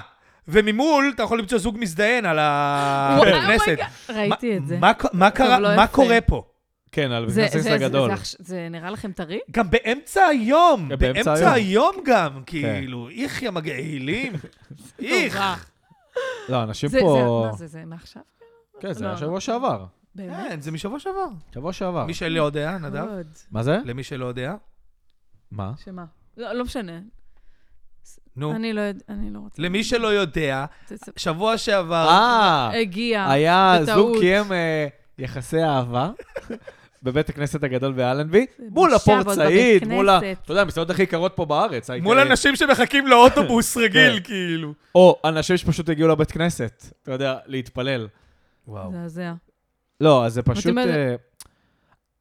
וממול אתה יכול למצוא זוג מזדיין על וואי, הבית כנסת. אה, אומייגאד, oh ראיתי את זה. מה- מה קרה- לא מה יפה. קורה פה? כן, על זה- בגלל זה- סקס זה- הגדול. זה עכש- זה נראה לכם טרי? גם באמצע היום, כן, באמצע באמצע היום. כן. היום גם, כאילו, איך יא מגעילים, איך. נורא. לא, אנשים אה. זה- זה- פה... מה זה, זה מעכשיו? כן, זה לא, היה לא. שבוע שעבר. באמת? כן, זה משבוע שעבר. שבוע שעבר. מי שלא יודע, אה, נדב, עוד. מה זה? למי שלא יודע, מה? שמה? לא לא משנה. נו, אני לא יודע, אני לא רוצה. למי שלא יודע, זה- זה- שבוע שעבר, אה, הגיע. היה בטעות. זוג קיים אה, יחסי אהבה בבית הכנסת הגדול באלנבי, מול בושה, הפורט אבל סעיד, בבית מול ה... כנסת. אתה יודע, המסעדות הכי יקרות פה בארץ. מול העיקרי. אנשים שמחכים כן. לאוטובוס רגיל, כאילו. או אנשים שפשוט הגיעו לבית כנסת, אתה יודע, להתפלל. וואו. מזעזע. לא, אז זה פשוט... אומרת- אה,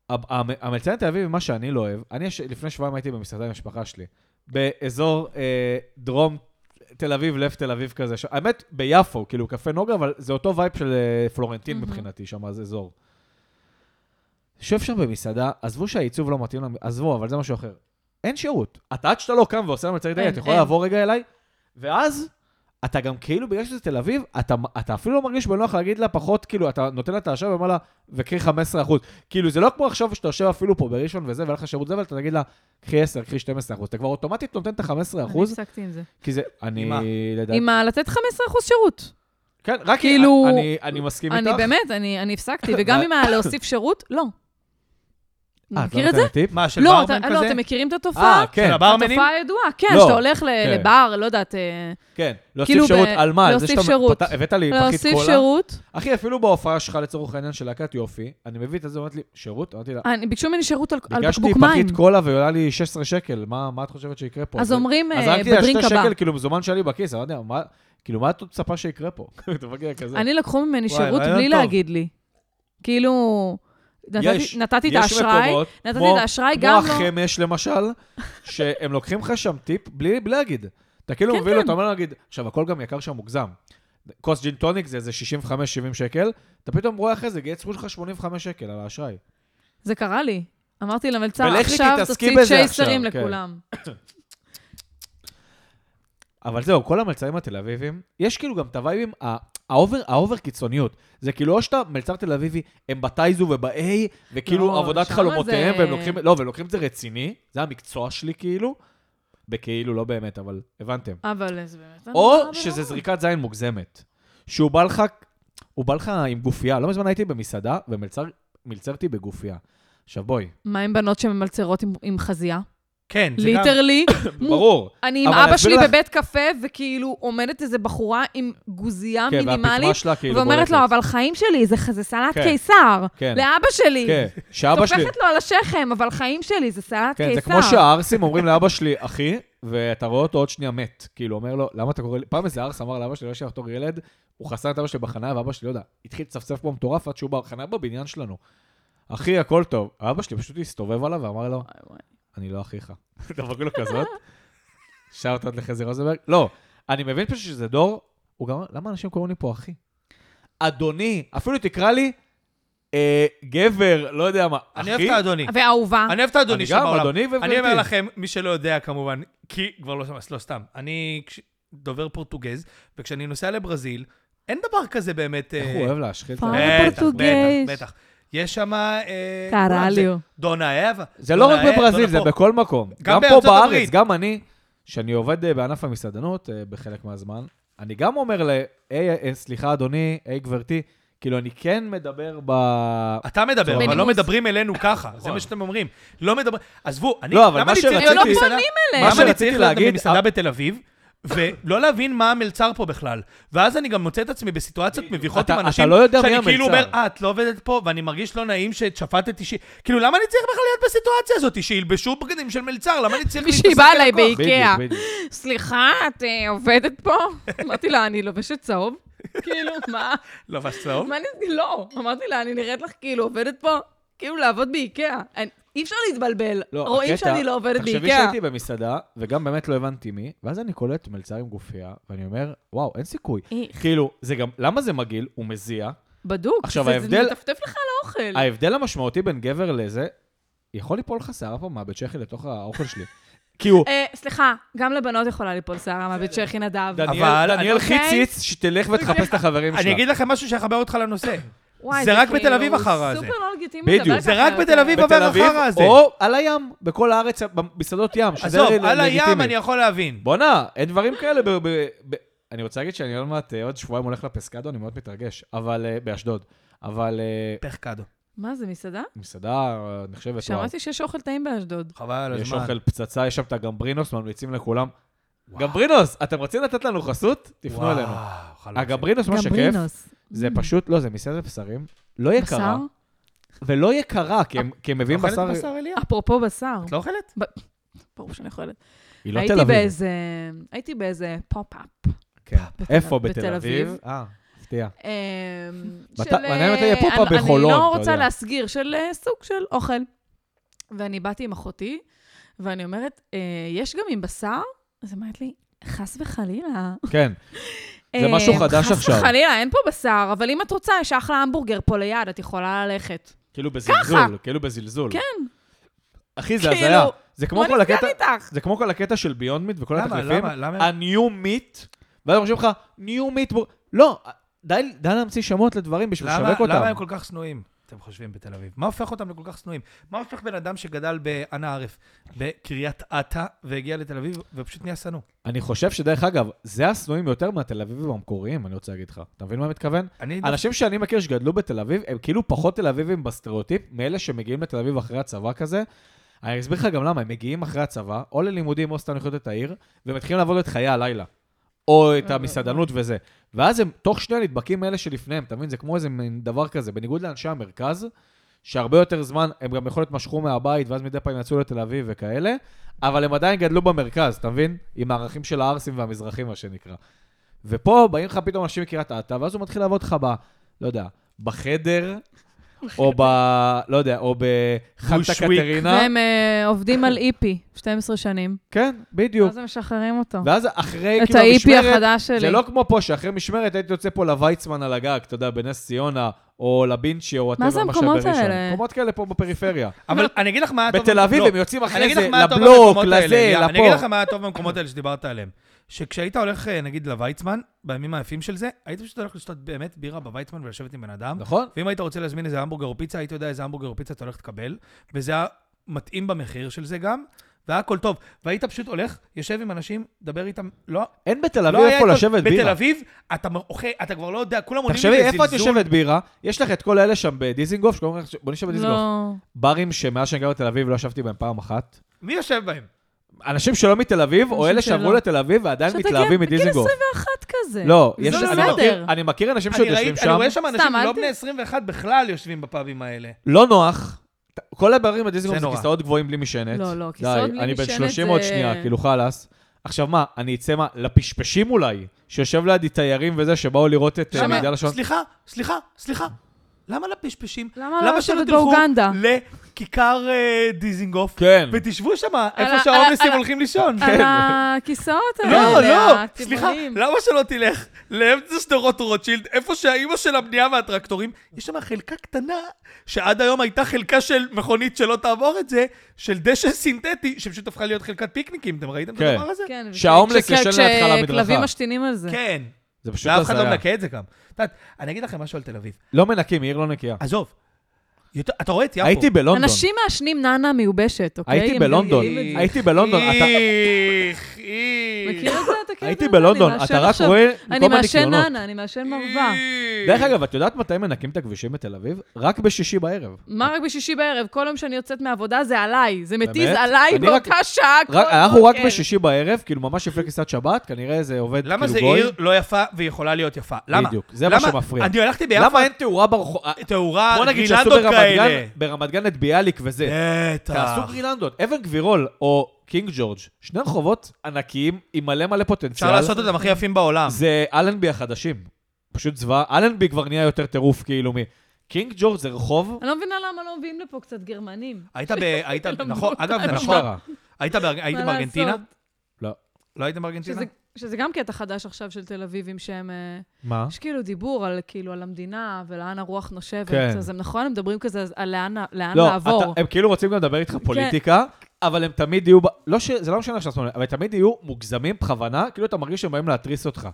המ- המ- המלצרית תל אביב, מה שאני לא אוהב, אני יש- לפני שבועיים הייתי במסעדה עם המשפחה שלי, באזור אה, דרום תל אביב, לב תל אביב כזה. ש- האמת, ביפו, כאילו קפה נוגה, אבל זה אותו וייב של אה, פלורנטין מהמם. מבחינתי, שם אז אזור. יושב שם במסעדה, עזבו שהעיצוב לא מתאים לנו, עזבו, אבל זה משהו אחר. אין שירות. אתה עד שאתה לא קם ועושה למלצרית, רגע, אין, אתה יכול אין. לעבור רגע אליי? ואז אתה גם כאילו, בגלל שזה תל אביב, אתה, אתה אפילו לא מרגיש בנוח להגיד לה פחות, כאילו, אתה נותן לה את האשראי ואומר לה, וקחי 15 אחוז. כאילו, זה לא כמו עכשיו שאתה יושב אפילו פה בראשון וזה, ואין לך שירות זה, ואתה תגיד לה, קחי 10, קחי 12 אחוז. אתה כבר אוטומטית נותן את ה-15 אני אחוז, הפסקתי עם זה. כי זה, אני, מה? לדעתי, עם ה- לתת 15% שירות. כן, רק כאילו, אני- אני, אני מסכים אני איתך. באמת, אני אני הפסקתי. וגם מה- עם ה- להוסיף שירות, לא. אה, את לא מכיר את זה? נותנת טיפ? מה, של לא, ברמן אתה- כזה? לא, אתם מכירים את התופעה? אה, כן, של הברמנים? התופעה הידועה, כן, לא, שאתה הולך ל- כן. לבר, לא יודעת, אה, כן. כאילו להוסיף ב- שירות, על מה? על זה להוסיף שאתה שירות. פת- הבאת לי פחית להוסיף קולה. שירות. אחי, אפילו בהופעה שלך, לצורך העניין, של להקת יופי, אני מביא את זה, אומרת לי, שירות? אמרתי לה, אני- ביקשו ממני שירות על על ביקשתי בקבוק מים. פחית קולה ועולה לי 16 שקל, מה מה את חושבת שיקרה פה? אז זה- אומרים אז אה, הרגתי לה בדרינק 2 הבא. שקל, כאילו, מזומן שהיה לי בכיס, אני לא יודע, מה... כאילו, מה את עוד מצפה שיקרה פה? אתה מגיע כזה. אני לקחו ממני וואי, שירות רעיון בלי טוב. להגיד לי. כאילו, נתתי- יש- נתתי את יש האשראי, מקומות, נתתי כמו- את האשראי, גם כמו לא... החמש, למשל, שהם לוקחים לך שם טיפ בלי בלי להגיד. אתה כאילו כן, מביא לו, כן. אתה אומר לו, נגיד, עכשיו, הכל גם יקר שם מוגזם. כוס ג'ין טוניק זה איזה 65-70 שקל, אתה פתאום רואה אחרי זה, יצרו לך 85 שקל על האשראי. זה קרה לי. אמרתי למלצר, ולכי עכשיו תתעסקי תוציא בזה צ'ייסרים עכשיו", כן. לכולם. אבל זהו, כל המלצרים התל אביבים, יש כאילו גם את הווייבים, ה- האובר, האובר קיצוניות. זה כאילו או שאתה מלצר תל אביבי, הם בטייזו וב-A, וכאילו לא, עבודת שמה חלומותיהם, זה- והם לוקחים, לא, והם לוקחים את זה רציני, זה המקצוע שלי כאילו, בכאילו, לא באמת, אבל הבנתם. אבל זה באמת... כן. לא או שזה זריקת זין מוגזמת. שהוא בא לך, הוא בא לך עם גופייה. לא מזמן הייתי במסעדה, ומלצרתי בגופייה. עכשיו בואי, מה עם בנות שממלצרות עם- עם חזייה? כן, זה גם... ליטרלי. מו- ברור. אני עם אבל אני אבא אסביר שלי לך- בבית קפה, וכאילו עומדת איזו בחורה עם גוזייה כן, והפטמה מינימלית, שלה כאילו ואומרת לו, בולטת. אבל חיים שלי, זה- זה סלט כן. קיסר. כן. לאבא שלי. כן, שאבא שלי... טופחת לו על השכם, אבל חיים שלי, זה סלט קיסר. כן, זה כמו שהערסים אומרים לאבא שלי, אחי, ואתה רואה אותו עוד שנייה מת. כאילו, אומר לו, למה אתה קורא לי... פעם איזה ערס אמר לאבא שלי, לא ישב בתור ילד, הוא חסר את אבא שלי בחניה, ואבא שלי, לא יודע, התחיל לצפצף פה מטורף עד שהוא בחניה בבניין שלנו. אחי, הכל טוב. אבא שלי פשוט הסתובב עליו ואמר לו, וואי, וואי. אני לא אחיך. דפק לו כזאת. שאוטות לחזי רוזנברג. לא, אני מבין פשוט שזה דור, הוא גם אומר, למה אנשים קוראים לי פה אחי? אדוני, אפילו תקרא לי אה, גבר, לא יודע מה. אני אחי? אוהב את האדוני. ואהובה. אני אוהב את האדוני אני גם, שבעולם. אדוני וגברתי. אני אומר לכם, מי שלא יודע כמובן, כי כבר לא, לא סתם, אני כש- דובר פורטוגז, וכשאני נוסע לברזיל, אין דבר כזה באמת... איך אה, הוא אוהב להשחיל את פעם. ה... בטח, פורטוגז. בטח, בטח. יש שם... קרליו. דונה אב. זה לא רק אה, בברזיל, זה בכל מקום. גם פה בארצות בארץ, הברית. גם אני, שאני עובד אה, בענף המסעדנות אה, בחלק מהזמן, אני גם אומר ל... היי, אה, סליחה, אדוני, היי, גברתי, כאילו, אני כן מדבר ב... אתה מדבר, אבל לא בנימוס. מדברים אלינו ככה, נכון. זה מה שאתם אומרים. לא מדברים, עזבו, אני... לא, אבל למה מה אני צריך שרציתי- להיות הם לא במסעדה- פונים אליהם. למה מה אני שרציתי צריך להיות להגיד- במסעדה בתל אביב? ולא להבין מה המלצר פה בכלל. ואז אני גם מוצא את עצמי בסיטואציות מביכות אתה- עם אתה אנשים, לא יודע מי שאני כאילו המלצר. אומר, אה, את לא עובדת פה, ואני מרגיש לא נעים ששפטת אישי. כאילו, למה אני צריך בכלל להיות בסיטואציה הזאת? שילבשו בגדים של מלצר, למה אני צריך להתעסק מישהי באה אליי כלקוח? באיקאה. בדיוק, בדיוק. סליחה, את אה, עובדת פה? אמרתי לה, אני לובשת צהוב. כאילו, מה? לא, בסוף. מה אני... לא. אמרתי לה, אני נראית לך כאילו עובדת פה? כאילו, לעבוד באיקאה. אני- אי אפשר להתבלבל. לא, רואים הקטע- שאני לא עובדת תחשבי באיקאה. שהייתי במסעדה, וגם באמת לא הבנתי מי, ואז אני קולט מלצר עם גופייה, ואני אומר, וואו, אין סיכוי. איך. כאילו, זה גם, למה זה מגעיל? הוא מזיע. בדוק. עכשיו, זה- ההבדל- זה מטפטף לך על האוכל. ההבדל המשמעותי בין גבר לזה, יכול ליפול לך שערה פה מהבית צ'כי לתוך האוכל שלי. כאילו, אה, סליחה, גם לבנות יכולה ליפול שערה מהבית צ'כי נדב. דניאל אבל אני- דניאל אוקיי. חיציץ, שתלך ותחפש את החברים שלה. אני אגיד לכם משהו שיחבר אותך לנושא. וואי, זה רק כאילו בתל אביב אחר הזה. סופר לא לגיטימי לדבר בדיוק. ככה. זה רק יותר. בתל אביב. עובר בתל אביב, אחר הזה. או על הים, בכל הארץ, במסעדות ים, שזה עזוב, ל- על הים אני לגיטימי. יכול להבין. בואנה, אין דברים כאלה. ב- ב- ב- אני רוצה להגיד שאני עוד מעט, אה, עוד שבועיים הולך לפסקדו, אני מאוד מתרגש, אבל אה, באשדוד. אבל אה, פחקדו. מה, זה מסעדה? מסעדה אה, נחשבת, וואו. שמעתי שיש אוכל טעים באשדוד. חבל על יש הזמן. אוכל פצצה, יש שם את הגמברינוס, ממליצים לכולם. גמברינוס, אתם רוצים לתת לנו חסות? תפנו אלינו. הגמברינוס, מה שכיף, גמברינוס. זה Mm. פשוט, לא, זה מסעדת בשרים, לא יקרה, ולא יקרה, כי אה, הם- כי הם מביאים בשר... אוכלת בשר אליה? אפרופו בשר, את לא אוכלת? ברור שאני אוכלת. היא לא תל הייתי אביב. באיזה, הייתי באיזה פופ-אפ. כן. אה, בתל- איפה? בתל בתל אביב. אביב? אה, הפתיע. אמ, בת- של, מעניין מתי אה, יהיה פופ-אפ אני- בחולון, אני אתה לא יודע. רוצה להסגיר, של אה, סוג של אוכל. ואני באתי עם אחותי, ואני אומרת, אה, יש גם עם בשר? אז היא אומרת לי, חס וחלילה. כן. זה אה, משהו חדש עכשיו. חס וחלילה, אין פה בשר, אבל אם את רוצה, יש אחלה המבורגר פה ליד, את יכולה ללכת. כאילו בזלזול, כאילו בזלזול. כן. אחי, זה כאילו, הזיה. זה כמו בוא כל נסגר הקטע... איתך. זה כמו כל הקטע של ביונד מיט וכל למה? התחליפים. למה? למה? ה-new meat, ואז אומרים לך, new meat... בור-" לא, די די להמציא שמות לדברים בשביל למה- לשווק אותם. למה הם כל כך שנואים, אתם חושבים, בתל אביב? מה הופך אותם לכל כך שנואים? מה הופך בן אדם שגדל באנה ערף, בקריית אתא, והגיע לתל אביב, ופשוט נהיה שנוא? אני חושב שדרך אגב, זה השנואים יותר מהתל אביבים המקוריים, אני רוצה להגיד לך. אתה מבין מה אני מתכוון? אני... אנשים שאני מכיר שגדלו בתל אביב, הם כאילו פחות תל אביבים בסטריאוטיפ מאלה שמגיעים לתל אביב אחרי הצבא כזה. אני אסביר לך גם למה, הם מגיעים אחרי הצבא, או ללימודים, או סתם לחיות את העיר, ומתחילים לעבוד את חיי הלילה. או את המסעדנות וזה. ואז הם תוך שניה נדבקים מאלה שלפניהם, אתה מבין? זה כמו איזה מין דבר כזה. בניגוד לאנשי המרכז, שהרבה יותר זמן, הם גם יכול להיות משכו מהבית, ואז מדי פעם יצאו לתל אביב וכאלה, אבל הם עדיין גדלו במרכז, אתה מבין? עם הערכים של הערסים והמזרחים, מה שנקרא. ופה באים לך פתאום אנשים מקריית אתא, ואז הוא מתחיל לעבוד לך ב... לא יודע, בחדר, או ב... לא יודע, או בחנטה בושוויק. קטרינה. והם אה, עובדים על איפי 12 שנים, כן, בדיוק. אז הם משחררים אותו. ואז אחרי, את כאילו, האיפי המשמרת, החדש שלי. זה לא כמו פה, שאחרי משמרת הייתי יוצא פה לוויצמן על הגג, אתה יודע, בנס ציונה, או לבינצ'י, או מה זה whatever, המקומות שבראשון. האלה? מקומות כאלה פה בפריפריה. אבל אני אגיד לך מה הטוב... בתל אביב לא. הם יוצאים אני אחרי אגיד לך זה מה הטוב לבלוק, במקומות האלה, לזה, יא. אני אגיד לך לפה. מה הטוב במקומות האלה שדיברת עליהם. שכשהיית הולך, אה, נגיד, לוויצמן, בימים היפים של זה, היית פשוט הולך לשתות באמת בירה בוויצמן ולשבת עם בן אדם. נכון? ואם היית רוצה להזמין איזה המבורגר או פיצה, היית יודע איזה המבורגר או פיצה אתה הולך לקבל, וזה היה מתאים במחיר של זה גם, והיה הכל טוב. והיית פשוט הולך, יושב עם אנשים, דבר איתם, לא, אין בתל אביב לא היה... איפה את- לשבת בתל בירה. אביב, אתה מ- אוכל, אתה כבר לא יודע, כולם עולים תחשבי, איפה את בזלזול. יושבת בירה? יש לך את כל אלה שם בדיזינגוף, שקוראים לך, בוא נשב בדיזינגוף. לא. ברים שמאז שאני גר בתל אביב לא ישבתי בהם פעם אחת. מי יושב בהם? אנשים שלא מתל אביב, או אנשים אלה שעברו שלא. לתל אביב ועדיין שאתה מתלהבים כן- בגיל מדיזינגוף. 21 כזה. לא, יש- זה אני מכיר- בסדר. אני מכיר אנשים שעוד אני יושבים ראיתי, אני שם, רואה שם אנשים סתם, אל לא ת- בני 21 בכלל יושבים בפאבים האלה. לא נוח. ת- כל הברים בדיזינגוף זה זה נורא. כיסאות גבוהים בלי משענת. לא, לא, די, כיסאות בלי אני בן משענת 30 עוד זה- שנייה, כאילו חלאס. עכשיו מה, אני אצא מה, לפשפשים אולי, שיושב לידי תיירים וזה, שבאו לראות את אה, למה- מגדל השעון. סליחה, סליחה, סליחה. למה לפשפשים? למה לא שלא לשבת תלכו באוגנדה? לכיכר אה, דיזינגוף? כן. ותשבו שם, איפה על- שההומלסים על- הולכים לישון. על הכיסאות לא, האלה, לא, הצבעוניים. סליחה, למה שלא תלך לאמצע שדרות רוטשילד, איפה שהאימא של הבנייה והטרקטורים, יש שם חלקה קטנה, שעד היום הייתה חלקה של מכונית שלא תעבור את זה, של דשא סינתטי, שפשוט הפכה להיות חלקת פיקניקים, אתם ראיתם את כן. הדבר הזה? כן, שההומלס כש- ישן לידך על המדרכה. כשכלבים משתינים על זה. כן, זה פשוט ואף אחד לא הזיה. מנקה את זה גם. את יודעת, אני אגיד לכם משהו על תל אביב. לא מנקים, היא עיר לא נקייה. עזוב, יותר- אתה רואה את יפו. הייתי בלונדון. אנשים מעשנים נאנה מיובשת, אוקיי? הייתי הם בלונדון. יודעים את הייתי בלונדון, אתה- איך, זה. איך. מכיר את זה? אתה מכיר את הייתי זה? בלונדון, אני מעשן אתה רק עכשיו- רואה אני כל מיני מעשן קיונות. נאנה, אני מעשן מרווה. דרך אגב, את יודעת מתי מנקים את הכבישים בתל אביב? רק בשישי בערב. מה רק בשישי בערב? כל יום שאני יוצאת מהעבודה זה עליי. זה מתיז באמת? עליי אני רק- באותה שעה כל רק- אנחנו רק בוקר. בשישי בערב, כאילו ממש לפני כניסת שבת, כנראה זה עובד כאילו גוי. למה זה עיר לא יפה ויכולה להיות יפה? למה? בדיוק, זה מה למה? שמפריע. אני הלכתי ביפו, למה אין תאורה ברחוב? אה, תאורה, בוא נגיד שעשו גרילנדות ברמת גן, כן, כאלה. ברמת גן את ביאליק וזה. בטח. תעשו גרילנדות. אבן גבירול או קינג ג'ורג', שני רחובות ענקיים עם מלא מלא פוטנציאל. אפשר לעשות אותם הכי יפים בעולם. זה אלנבי החדשים. פשוט זוועה. אלנבי כבר נהיה יותר טירוף כאילו מ... קינג ג'ורג' זה נכון. רחוב... אני לא מבינה למה לא מביאים לפה קצת גרמנים. היית ב... היית... למדו נכון, אגב, זה מה נכון. שקרה. היית בארג- היית מה בארגנטינה? לעשות? לא הייתם בארגנטינה? שזה- שזה גם קטע חדש עכשיו של תל אביבים, שהם... אה, מה? יש כאילו דיבור על כאילו על המדינה ולאן הרוח נושבת. כן. אז הם נכון, הם מדברים כזה אז על לאן ה- לאן לא, לעבור. כן. אתה- הם כאילו רוצים גם לדבר איתך פוליטיקה, אבל הם תמיד יהיו, ב- לא ש... זה לא משנה עכשיו, אבל הם תמיד יהיו מוגזמים בכוונה, כאילו אתה מרגיש שהם באים להתריס אותך.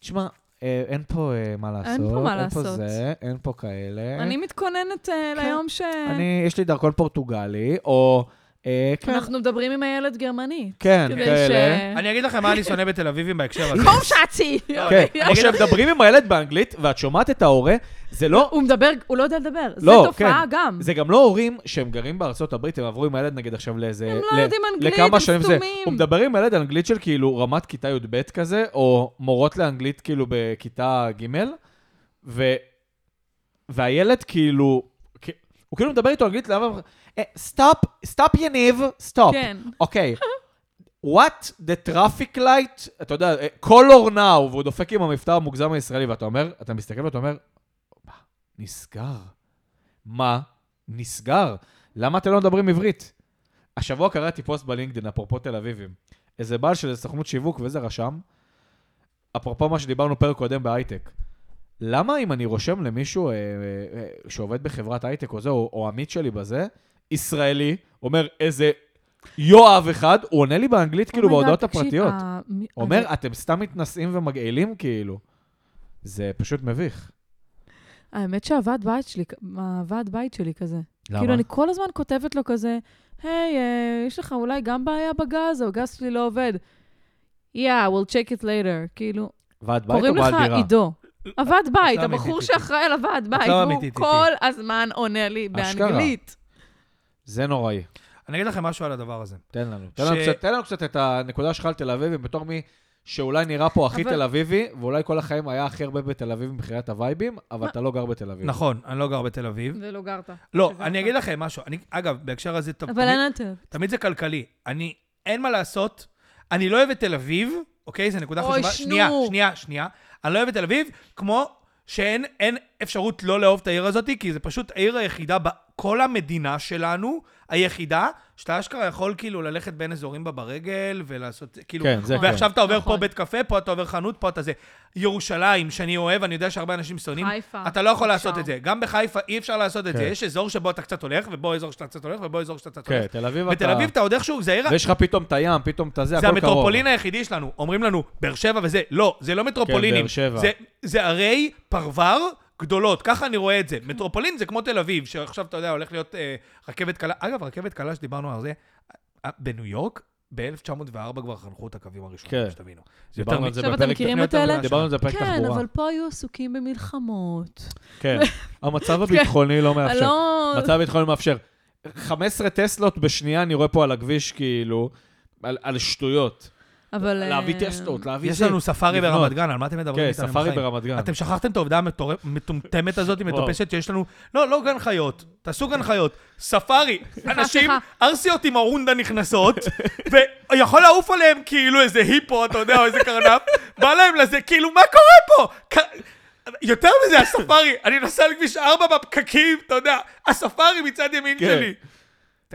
תשמע, אה, אין פה אה, מה לעשות, פה מה אין פה לעשות. זה, אין פה כאלה. אני מתכוננת אה, ליום ש... כן. אני, יש לי דרכון פורטוגלי, או... אה, כן, אנחנו מדברים עם הילד גרמני. כן, כדי כאלה. ש- אני אגיד לכם מה אני שונא בתל אביבים בהקשר הזה. קום שעצי! כן, אוקיי. או שהם מדברים עם הילד באנגלית, ואת שומעת את ההורה, זה לא... הוא מדבר, הוא לא יודע לדבר. זה לא, תופעה כן. גם. זה גם לא הורים שהם גרים בארצות הברית, הם עברו עם הילד נגיד עכשיו לאיזה... הם לא יודעים אנגלית, לכמה הם שנים זה. סתומים. הוא מדבר עם הילד אנגלית של כאילו רמת כיתה י"ב כזה, או מורות לאנגלית כאילו בכיתה ג', ו... והילד כאילו... כ- הוא כאילו מדבר איתו אנגלית, למה... אה, סטופ, סטופ יניב, סטופ. כן. אוקיי. What the traffic light, אתה יודע, אה, color now, והוא דופק עם המבטא המוגזם הישראלי, ואתה אומר, אתה מסתכל ואתה אומר, מה נסגר? מה נסגר? למה אתם לא מדברים עברית? השבוע קראתי פוסט בלינקדאין, אפרופו תל אביבים. איזה בעל של סוכנות שיווק ואיזה רשם, אפרופו מה שדיברנו פרק קודם בהייטק. למה אם אני רושם למישהו אה, אה, אה, שעובד בחברת הייטק או זה, או, או עמית שלי בזה, ישראלי, אומר איזה יואב אחד, הוא עונה לי באנגלית כאילו Oh my God, בהודעות תקשיב, הפרטיות. ה- מי- אומר, אני- אתם סתם מתנשאים ומגעילים כאילו. זה פשוט מביך. האמת שהוועד בית שלי, הוועד בית שלי כזה. כאילו, אני כל הזמן כותבת לו כזה, היי, אה, יש לך אולי גם בעיה בגז, או הגז שלי לא עובד. Yeah, we'll check it later. כאילו, ועד בית או קוראים בעל לך דירה? עידו. הוועד בית, לא הבחור אמיתית איתי. שאחראי על הוועד בית, לא הוא אמיתית איתי. כל הזמן עונה לי אשכרה. באנגלית. זה נוראי. אני אגיד לכם משהו על הדבר הזה. תן לנו. ש- תן לנו קצת- תן לנו קצת את הנקודה שלך על תל אביבים, בתור מי שאולי נראה פה הכי אבל- תל אביבי, ואולי כל החיים היה הכי הרבה בתל אביב מבחינת הווייבים, אבל אתה לא גר בתל אביב. נכון, אני לא גר בתל אביב. ולא גרת. לא, שזה אני אתה. אגיד לכם משהו. אני, אגב, בהקשר הזה, טוב, אבל תמיד- אין יותר. תמיד זה כלכלי. אני, אין מה לעשות, אני לא אוהב את תל אביב, אוקיי? זו נקודה אוי, חשובה. שנו. שנייה, שנייה, שנייה. אני לא אוהב את תל אביב, כמו שאין אין אפשרות לא לאהוב את העיר הזאת, כי זה פשוט העיר היחידה בכל המדינה שלנו, היחידה, שאתה אשכרה יכול כאילו ללכת בין אזורים בה ברגל ולעשות, כאילו... כן, זה נכון. כן. ועכשיו אתה עובר נכון. פה בית קפה, פה אתה עובר חנות, פה אתה זה. ירושלים, שאני אוהב, אני יודע שהרבה אנשים שונאים, חיפה. אתה לא יכול אפשר. לעשות את זה. גם בחיפה אי אפשר לעשות את כן. זה. יש אזור שבו אתה קצת הולך, ובו אזור שאתה קצת הולך, ובו אזור שאתה קצת כן, הולך. תל אביב אתה... בתל אביב אתה עוד איכשהו, זה העיר... ויש לך פתאום את הים, פתאום את הזה, הכל זה קרוב. המטרופולין היחידי שלנו. אומרים לנו, באר שבע וזה. לא, זה לא מטרופולינים. כן, באר שבע. זה- זה ערי פרבר גדולות, ככה אני רואה את זה. מטרופולין זה כמו תל אביב, שעכשיו, אתה יודע, הולך להיות אה, רכבת קלה. אגב, רכבת קלה שדיברנו על זה, אה, בניו יורק, ב-1904 כבר חנכו את הקווים הראשונים, כן. שתבינו. זה יותר דיברנו מ- על זה עכשיו אתם בפרק- מכירים את אלה? דיברנו על זה בפרק כן, תחבורה. אבל פה היו עסוקים במלחמות. כן, המצב הביטחוני לא מאפשר. לא... מצב הביטחוני מאפשר. 15 טסלות בשנייה אני רואה פה על הכביש, כאילו, על על שטויות. אבל... אה, להביא טסלות, להביא יש זה. לנו ספארי לבנות. ברמת גן, על מה אתם מדברים כן, איתנו? ספארי בחיים? ברמת גן. אתם שכחתם את העובדה המטור- המטומטמת הזאת, המטופשת שיש לנו? לא, לא גן חיות. תעשו כן. גן חיות. ספארי, אנשים, סליחה. ארסיות עם ארונדה נכנסות, ויכול לעוף עליהם כאילו איזה היפו, אתה יודע, או איזה קרנף, בא להם לזה, כאילו, מה קורה פה? ק- יותר מזה, הספארי, אני נוסע על כביש 4 בפקקים, אתה יודע, הספארי מצד ימין כן. שלי.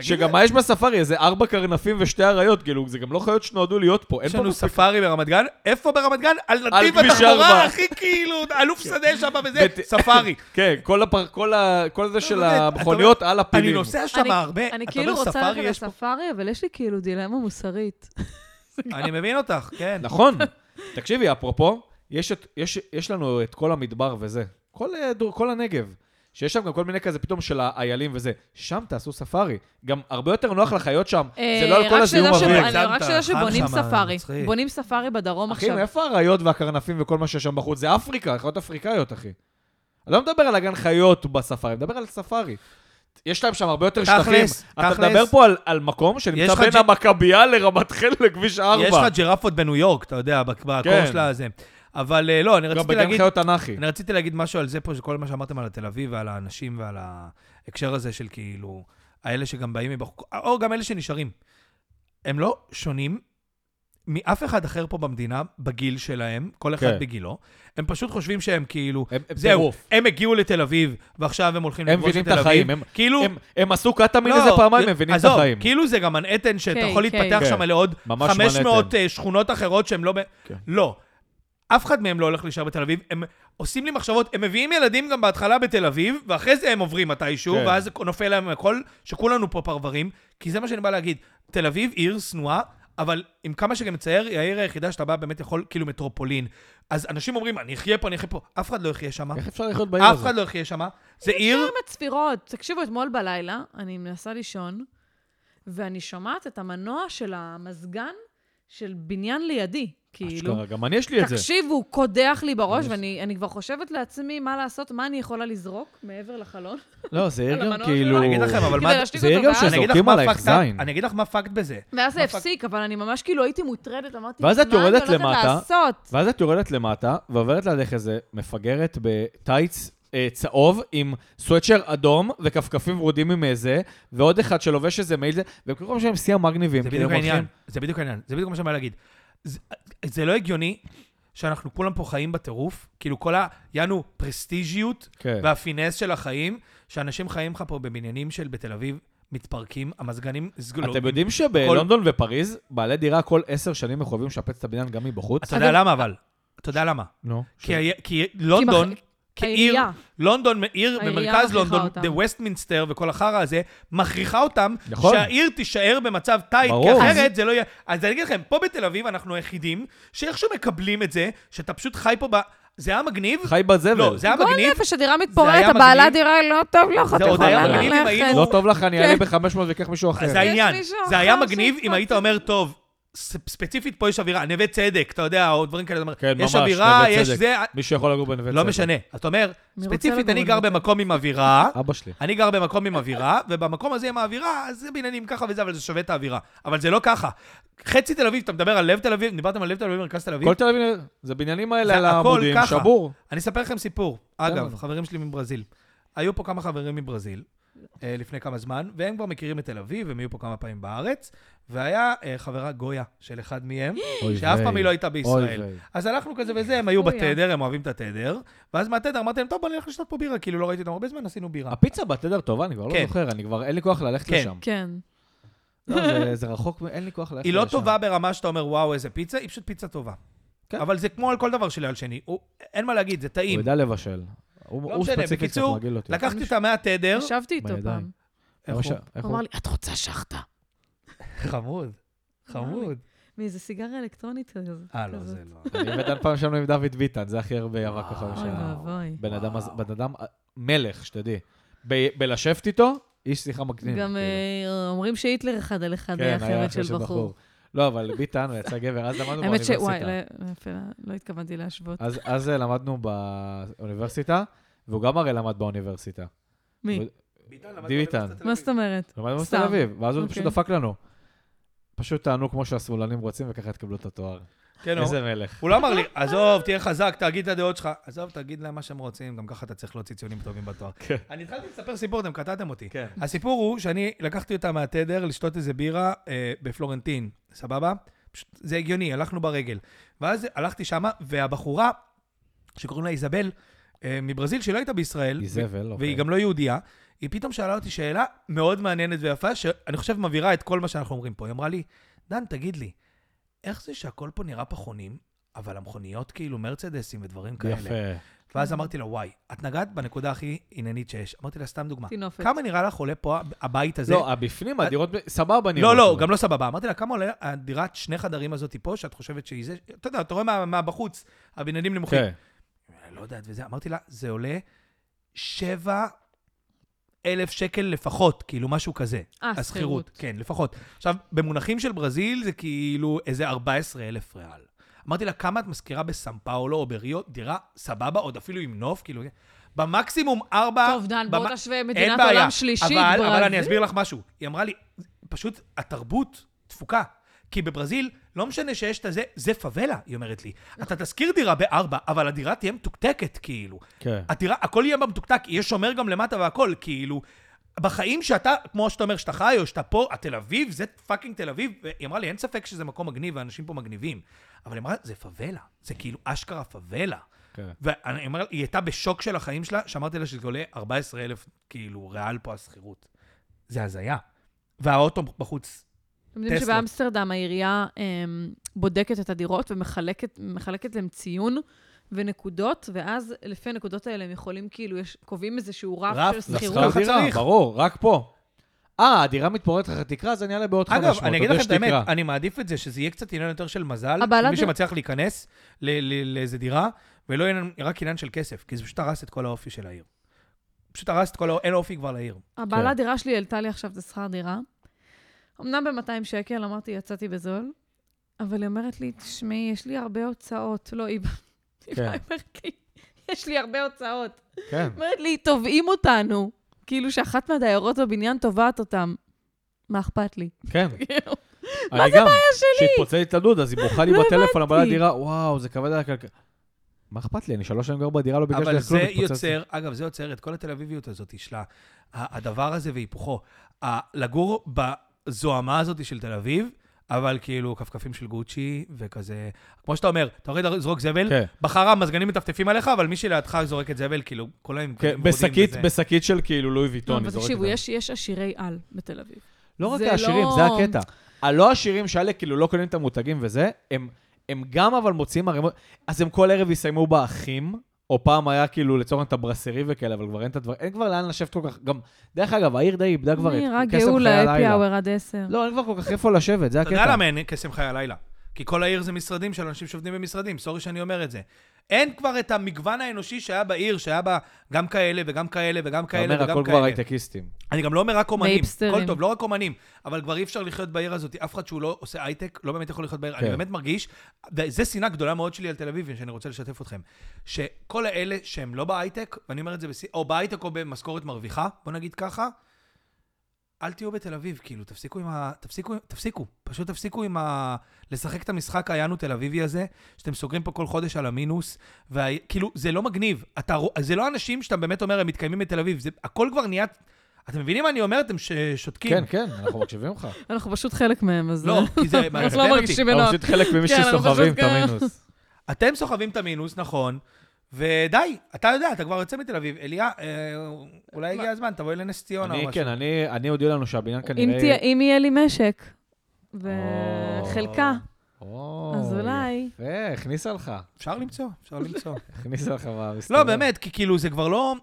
שגם מה יש בספארי? איזה ארבע קרנפים ושתי אריות, כאילו, זה גם לא חיות שנועדו להיות פה. אין יש פה לנו מספיק- ספארי ברמת גן, איפה ברמת גן? על על נתיב כביש התחבורה ארבע. הכי כאילו, אלוף שדה שם וזה, בת- ספארי. כן, כל הפר- כל ה- כל זה של לא, אתה יודע, המכוניות אתה על אומר, אני הפילים. נוסע שם אני- הרבה, אני אתה כאילו אומר רוצה ספארי ללכת יש פה. לספארי, אבל יש לי כאילו דילמה מוסרית. אני מבין אותך, כן. נכון. תקשיבי, אפרופו, יש, את, יש, יש לנו את כל המדבר וזה. כל, אה, דור- כל הנגב. שיש שם גם כל מיני כזה פתאום של האיילים וזה. שם תעשו ספארי. גם הרבה יותר נוב לחיות שם, זה לא על אה, כל רק הזיהום שתדע אוויר. שבו- הגזמת, אני רק שתדע חם שבונים שם, ספארי. מצחיק. בונים ספארי בדרום אחי, עכשיו. מאיפה האריות והקרנפים וכל מה שיש שם בחוץ? זה אפריקה, חיות אפריקאיות, אחי. אני לא מדבר על הגן חיות בספארי, אני מדבר על ספארי. יש להם שם הרבה יותר תכלס, שטחים. אתה תכלס. מדבר פה על, על מקום שנמצא לך בין ג'- המכבייה לרמת חן לכביש 4. יש לך ג'ירפות בניו יורק, אתה יודע, בק- בקור כן. של הזה. אבל אה, לא, אני גם רציתי בגן להגיד... חיות תנ"כי. אני רציתי להגיד משהו על זה פה, שכל מה שאמרתם על התל אביב ועל האנשים ועל ההקשר הזה של כאילו, האלה שגם באים מבחוץ, או גם אלה שנשארים. הם לא שונים מאף אחד אחר פה במדינה, בגיל שלהם, כל אחד כן. בגילו. הם פשוט חושבים שהם כאילו, הם- הם זהו, טירוף. הם הגיעו לתל אביב, ועכשיו הם הולכים הם לכבוש מבינים את את תל אביב. החיים, הם- כאילו... הם- הם עשו קטאמין לא, איזה פעמיים, זה- הם מבינים את עזוב, החיים. כאילו זה גם מנהטן, שאתה כן, יכול כן. להתפתח כן. שם לעוד ממש 500 מנהטן. אה, שכונות אחרות שהם לא... ב- כן. לא. אף אחד מהם לא הולך להישאר בתל אביב. הם עושים לי מחשבות, הם מביאים ילדים גם בהתחלה בתל אביב, ואחרי זה הם עוברים מתישהו, כן. ואז נופל להם הכל, שכולנו פה פרברים, כי זה מה שאני בא להגיד. תל אביב עיר שנואה, אבל עם כמה שגם מצייר, היא העיר היחידה שאתה בא באמת יכול, כאילו מטרופולין. אז אנשים אומרים, אני אחיה פה, אני אחיה פה. אף אחד לא יחיה שם. איך אפשר לחיות כן, בעיר אף הזאת? אחד לא יחיה שם. זה עיר... עם הצפירות. תקשיבו, אתמול בלילה, אני מנסה לישון, ואני שומעת את המנוע של המזגן של בניין לידי, לא- כאילו. אשכרה, גם אני יש לי את זה. תקשיבו, קודח לי בראש, ואני אני כבר חושבת לעצמי מה לעשות, מה אני יכולה לזרוק מעבר לחלון. לא, זה עיר על גם המנוע כאילו... שלו. אני אגיד לכם, אבל מה... כדי להשתיק זה עיר אותו, גם ואז- שזה- אה, אני אגיד לך זורקים מה עלייך הפקט- זין. אני אגיד לך מה הפקט בזה. ואז זה מה הפק- הפסיק, אבל אני ממש כאילו הייתי מוטרדת, אמרתי, ואז את מה אני יורדת הולכת למטה, לעשות? ואז את יורדת למטה, ועוברת לידך איזה מפגרת בטייץ אה, צהוב, עם סוואצ'ר אדום, וכפכפים ורודים עם איזה, ועוד אחד שלובש איזה מעיל, זה, והם כל פעם שהם שיא המגניבים. זה כאילו, בדיוק הם הולכים- העניין, זה בדיוק העניין, זה בדיוק מה שאני בא להגיד. זה- זה לא הגיוני שאנחנו כולם פה חיים בטירוף, כאילו כל ה... יענו, פרסטיג'יות כן. והפינס של החיים, שאנשים חיים לך פה בבניינים של בתל אביב, מתפרקים, המזגנים סגולות. אתם יודעים שבלונדון ופריז, בעלי דירה כל עשר שנים מחויבים לשפץ את הבניין גם מבחוץ? אתה יודע למה אבל? אתה יודע למה? נו. כי ה- כי לא לונדון, כי כעיר, העירייה. לונדון, עיר העירייה במרכז מכריחה לונדון, אותם. דה ווסטמינסטר וכל החרא הזה, מכריחה אותם נכון. שהעיר תישאר במצב טייט, כי ברור. אחרת זה לא יהיה... אז אני אגיד לכם, פה בתל אביב אנחנו היחידים שאיכשהו מקבלים את זה, שאתה פשוט חי פה ב... זה היה מגניב? חי בזבל. לא, זה היה כל מגניב? נפש הדירה היה מתפוררת, מגניב. הבעלה דירה לא טוב לך, אתה עוד יכול היה מגניב אם היינו- ללכת. לא טוב לך, אני אעלה כן. ב-500 ואקח מישהו אחר. זה העניין. מישהו זה היה אחר מגניב אם שהתפוצץ. היית אומר, טוב, ס- ספציפית פה יש אווירה, נווה צדק, אתה יודע, או דברים כאלה, אתה אומר, כן, ממש, יש אווירה, נווה יש צדק. זה... מישהו יכול לגור בנווה צדק. לא משנה. אתה אומר, מי רוצה ספציפית, לגור אני בנווה גר צדק? במקום עם אווירה, אבא שלי. אני גר במקום עם אווירה, ובמקום הזה עם האווירה, אז זה בניינים ככה וזה, אבל זה שווה את האווירה. אבל זה לא ככה. חצי תל אביב, אתה מדבר על לב תל אביב, דיברתם על לב תל אביב, מרכז תל אביב? כל תל אביב, זה בניינים האלה זה על הכל העמודים, ככה. שבור. אני אספר לכם סיפור. כן. אגב, חברים שלי מברזיל. היו פה כמה חברים מברזיל אה, לפני כמה זמן, והם כבר מכירים את תל אביב, הם היו פה כמה פעמים בארץ, והיה אה, חברה גויה של אחד מהם, אוי שאף ויי. פעם היא לא הייתה בישראל. אוי ויי. אז הלכנו כזה וזה, הם היו גויה. בתדר, הם אוהבים את התדר, ואז מהתדר אמרתי להם, טוב, בוא נלך לשתות פה בירה, כאילו לא ראיתי אותם הרבה זמן, עשינו בירה. הפיצה בתדר טובה, אני כבר לא כן. זוכר, אני כבר, אין לי כוח ללכת כן. לשם. כן. לא, זה- זה רחוק, אין לי כוח ללכת לשם. היא לא טובה ברמה שאתה אומר, וואו, איזה פיצה, היא פשוט פיצה טובה. כן. אבל זה כמו על כל דבר שלי על שני, הוא- אין מה להגיד, זה הוא טעים. יודע לבשל. הוא לא הוא משנה, ספציפית קצת בקיצור, מרגיל אותי. לקחתי אותה מהתדר, ישבתי איתו בידיים. פעם. לא- איך איך הוא? הוא- איך הוא הוא- אמר לי, את רוצה שחטה? חמוד, חמוד. מאיזה סיגריה אלקטרונית כזאת. אה, לא, זה לא. אני ודן פעם ישבנו עם דוד ביטן, זה הכי הרבה אבק וואו. החיים אוי שלנו. ואבוי. בן אדם, וואו. בן אדם מלך, שתדעי. ב- בלשבת איתו, איש שיחה מקדים. גם כאילו. כן, אה, אומרים שהיטלר אחד על כן, אחד היה חברת של בחור. לא, אבל ביטן, הוא יצא גבר, אז למדנו האמת ש... וואי, באוניברסיטה. לא- יפה, לא התכוונתי להשוות. אז- אז אה, למדנו באוניברסיטה, והוא גם הרי למד באוניברסיטה. מי? לא. ביטן. מה זאת אומרת? למד באוניברסיטת סתם. תל אביב, ואז הוא פשוט אוקיי. דפק לנו. פשוט טענו כמו שהשמאלנים רוצים, וככה תקבלו את התואר. כן, הוא- איזה מלך. הוא לא אמר לי, עזוב, תהיה חזק, תגיד את הדעות שלך. עזוב, תגיד להם מה שהם רוצים, גם ככה אתה צריך להוציא ציונים טובים בתואר. כן. אני התחלתי לספר סיפור, אתם קטעתם אותי. כן. הסיפור הוא שאני לקחתי אותה מהתדר לשתות איזה בירה אה, בפלורנטין, סבבה? פשוט, זה הגיוני, הלכנו ברגל. ואז הלכתי שמה, והבחורה, שקוראים לה איזבל, אה, מברזיל, שלא הייתה בישראל, איזבל, אוקיי. והיא גם לא יהודייה, היא פתאום שאלה אותי שאלה מאוד מעניינת ויפה, שאני חושב מבהירה את כל מה שאנחנו אומרים פה. היא אמרה לי, דן, תגיד לי, איך זה שהכל פה נראה פחונים, אבל המכוניות כאילו מרצדסים ודברים לא כאלה? יפה. ואז אמרתי לה, וואי, את נגעת בנקודה הכי עניינית שיש. אמרתי לה, סתם דוגמה. טינופת. כמה נראה לך עולה פה הבית הזה? לא, הבפנים, הדירות, ב- סבבה נראות. לא, לא, אבל. גם לא סבבה. אמרתי לה, כמה עולה הדירת שני חדרים הזאת פה, שאת חושבת שהיא זה... אתה יודע, אתה רואה מה- מהבחוץ, לא אוקיי. הבניינים נמוכים. כן. לא יודעת וזה. אמרתי לה, זה עולה שבע אלף שקל לפחות, כאילו, משהו כזה. אה, השכירות. שכירות. כן, לפחות. עכשיו, במונחים של ברזיל זה כאילו איזה 14,000 ריאל. אמרתי לה, כמה את משכירה בסאם פאולו או בריו? דירה סבבה, עוד אפילו עם נוף, כאילו... במקסימום ארבע... טוב, דן, במ- בוא תשווה אין מדינת בעיה. עולם שלישית. אבל, אבל אני ברזיל. אסביר לך משהו. היא אמרה לי, פשוט התרבות תפוקה. כי בברזיל, לא משנה שיש את הזה, זה פאבלה, היא אומרת לי. אתה תשכיר דירה בארבע, אבל הדירה תהיה מתוקתקת, כאילו. כן. הדירה, הכל יהיה במתוקתק, יהיה שומר גם למטה והכל, כאילו... בחיים שאתה, כמו שאתה אומר שאתה חי, או שאתה פה, התל אביב, זה פאקינג תל אביב. והיא אמרה לי, אין ספק שזה מקום מגניב, ואנשים פה מגניבים. אבל היא אמרה, זה פאבלה. זה כאילו אשכרה פאבלה. כן. ואני אומר, היא הייתה בשוק של החיים שלה, שאמרתי לה שזה עולה 14,000, כאילו, ריאל פה השכירות. זה הזיה. והאוטו בחוץ, אתם יודעים טסלה. שבאמסטרדם העירייה אמ, בודקת את הדירות ומחלקת מחלקת להם ציון ונקודות, ואז לפי הנקודות האלה הם יכולים, כאילו, יש, קובעים איזשהו רף, רף, של לשכר שכירות. לשכר ככה דירה, צריך. ברור, רק פה. אה, הדירה מתפוררת לך תקרה, אז אני אעלה בעוד 500. אגב, אני עוד אגיד לא לכם יש את האמת, תקרה. אני מעדיף את זה, שזה יהיה קצת עניין יותר של מזל, הבעלת מי דירה- שמצליח להיכנס ל- ל- לאיזה דירה, ולא יהיה לנו- רק עניין של כסף, כי זה פשוט הרס את כל האופי של העיר. פשוט הרס את כל האופי, אין אופי כבר לעיר. כן. הבעלת דירה שלי העלתה לי עכשיו את השכר דירה. אמנם ב-200 שקל, אמרתי, יצאתי בזול, אבל היא אומרת לי, תשמעי, יש לי הרבה הוצאות. לא, היא היא כן. באה, היא אומרת לי, יש לי הרבה הוצאות. כן. אומרת לי, תובעים אותנו. כאילו שאחת מהדיירות בבניין תובעת אותם. מה אכפת לי? כן. כאילו, מה זה הבעיה שלי? שהתפוצץ את הדוד, אז היא בוכה לי לא בטלפון, הבעלת הבנתי. דירה, וואו, זה כבד על הכלכלה. מה אכפת לי? אני שלוש שנים גר בדירה, לא ביקשתי אבל לך כלום, זה התפוצץ. יוצר, אגב, זה יוצר את כל התל אביביות הזאת, יש לה, ה- הדבר הזה והיפוכו. ה- לגור בזוהמה הזאת של תל אביב, אבל כאילו כפכפים של גוצ'י וכזה, כמו שאתה אומר, אתה יורד לזרוק זבל, כן. בחר המזגנים מטפטפים עליך, אבל מי שלידך זורק את זבל, כאילו, כל היום... כן, בשקית, בשקית של כאילו לואי ויטון. לא, היא אבל זורקת תקשיבו, עליו. יש יש עשירי על בתל אביב. לא רק זה העשירים, לא- זה הקטע. הלא עשירים שאלה כאילו לא קונים את המותגים וזה, הם, הם גם אבל מוציאים ערימות, אז הם כל ערב יסיימו באחים, או פעם היה כאילו לצורך העניין את הברסרי וכאלה, אבל כבר אין את הדבר, אין כבר לאן לשבת כל כך, גם, דרך אגב, העיר די איבדה כבר את אני רק קסם חיי גאולה, אפי הלילה. האוור עד עשר. לא, אין כבר כל כך איפה לשבת, זה אתה יודע הקטע. למה אין קסם חיי הלילה? כי כל העיר זה משרדים של אנשים שעובדים במשרדים, סורי שאני אומר את זה. אין כבר את המגוון האנושי שהיה בעיר, שהיה בה גם כאלה וגם כאלה וגם אתה כאלה אומר, וגם הכל כבר כאלה. הייטקיסטים. אני גם לא אומר רק אומנים, ואיפסטרים. הכל טוב, לא רק אומנים, אבל כבר אי אפשר לחיות בעיר הזאת, אף אחד שהוא לא עושה הייטק, לא באמת יכול לחיות בעיר, אני כן. באמת מרגיש, וזו שנאה גדולה מאוד שלי על תל אביב, שאני רוצה לשתף אתכם, שכל האלה שהם לא בהייטק, ואני אומר את זה, בשיא- או בהייטק או במשכורת מרוויחה, בוא נגיד ככה, אל תהיו בתל אביב, כאילו, תפסיקו עם ה... תפסיקו, תפסיקו, פשוט תפסיקו עם ה... לשחק את המשחק היענו תל אביבי הזה, שאתם סוגרים פה כל חודש על המינוס, וכאילו, זה לא מגניב. אתה... רוא- זה לא אנשים שאתה באמת אומר, הם מתקיימים בתל אביב, זה הכל כבר נהיה... אתם מבינים מה אני אומר? אתם ש... שותקים. כן, כן, אנחנו מקשיבים לך. אנחנו פשוט חלק מהם, אז... לא, כי זה אנחנו מעצבן לא אותי. מרגישים אנחנו בנוח. פשוט חלק ממי כן, אנחנו שסוחבים את פשוט ככה. המינוס. אתם סוחבים את המינוס, נכון, ודי, אתה יודע, אתה כבר יוצא מתל אביב. אליה, אה, אולי הגיע הזמן, תבואי לנס ציונה או אני, משהו. כן, אני, אני הודיעו לנו שהבניין אם כנראה... תהיה- אם יהיה לי משק או. וחלקה, או, אז אולי. יפה, הכניסה לך. אפשר למצוא, אפשר למצוא. הכניסה לך לא, מהמסתובב. באמת, כי כאילו, זה כבר לא...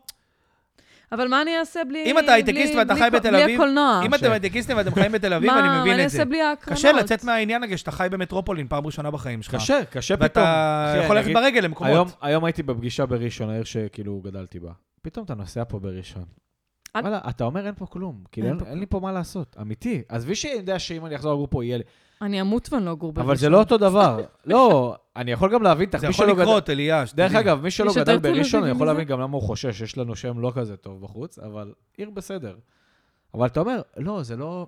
אבל מה אני אעשה בלי... אם אתה הייטקיסט בלי- ואתה בלי חי קו- בתל בלי אביב, הקולנוע. אם אתם הייטקיסטים ואתם חיים בתל אביב, אני אה, מה, מה מבין אני את זה. אעשה בלי ההקרנות? קשה לצאת מהעניין הזה שאתה חי במטרופולין פעם ראשונה בחיים שלך. קשה, קשה פתאום. ואתה אחי, יכול אני ללכת אגיד, ברגל היום, למקומות. היום הייתי בפגישה בראשון, העיר שכאילו גדלתי בה. פתאום אתה נוסע פה בראשון. אל- וואלה, אתה אומר אין פה כלום. כאילו, אין אין, פה אין לי פה מה לעשות, אמיתי. עזבי שאני יודע שאם אני אחזור לגור פה יהיה לי. אני אמות ואני לא אגור בראשון. אבל זה לא אותו דבר. לא, אני יכול גם להבין, תח- זה מי יכול שלא גדל- לקרות, אליה. שתדעי. דרך אגב, מי שלא יש יותר גדל תל בראשון, הוא אביבים יכול מזה? להבין גם למה הוא חושש, יש לנו שם לא כזה טוב בחוץ, אבל עיר בסדר. אבל אתה אומר, לא, זה לא...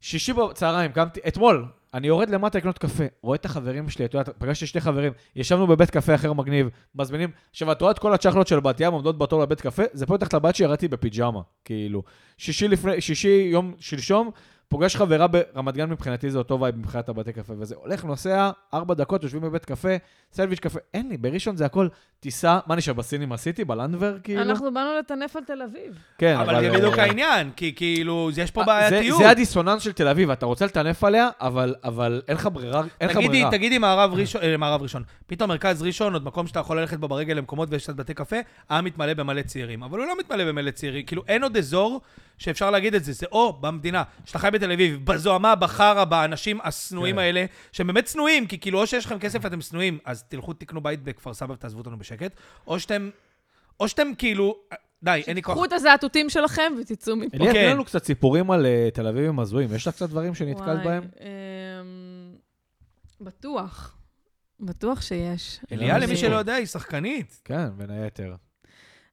שישי בצהריים, קמתי, אתמול, אני יורד למטה לקנות קפה, רואה את החברים שלי, אתה יודע, פגשתי שני חברים, ישבנו בבית קפה אחר מגניב, מזמינים, עכשיו, את רואה את כל הצ'חלות של בת ים עומדות בתור לבית קפה, זה פה מתחת לבת שירדתי בפיג'מה, כאילו. שישי לפני, שישי, יום שלשום, פוגש חברה ברמת גן, מבחינתי זה אותו וייב מבחינת הבתי קפה וזה. הולך, נוסע, ארבע דקות, יושבים בבית קפה, סלוויץ' קפה, אין לי, בראשון זה הכל טיסה, מה נשאר בסינימה סיטי, בלנדבר, כאילו? אנחנו באנו לטנף על תל אביב. כן, אבל זה אה, בדיוק העניין, כי כאילו, יש פה זה, בעייתיות. זה הדיסוננס של תל אביב, אתה רוצה לטנף עליה, אבל, אבל אין לך ברירה, אין לך תגידי, ברירה. תגידי מערב ראשון, אה, מערב ראשון, פתאום מרכז ראשון, עוד מקום שאתה יכול ללכת בו ברגל למקומות ויש קצת בתי קפה, העם מתמלא במלא צעירים. אבל הוא לא מתמלא במלא צעירים, כאילו אין עוד אזור שאפשר להגיד את זה, זה או במדינה, שאתה חי בתל אביב, בזוהמה, בחרא, באנשים השנואים כן. האלה, שהם באמת שנואים, כי כאילו או שיש לכם כסף ואתם שנואים, אז תלכו תקנו בית בכפר סבא ותעזבו אותנו בשקט, או שאתם... או שאתם כאילו, די, אין לי כוח. קחו את הזעתותים שלכם ותצאו מפה. אליה, אוקיי. תן לנו קצת סיפורים על אה, תל אביבים הזויים. יש לך קצת דברים שנתקלת וואי, בהם? אמ, בטוח. בטוח שיש. אליה, אני- לא למי שלא יודע, היא שחקנית. כן, בין היתר.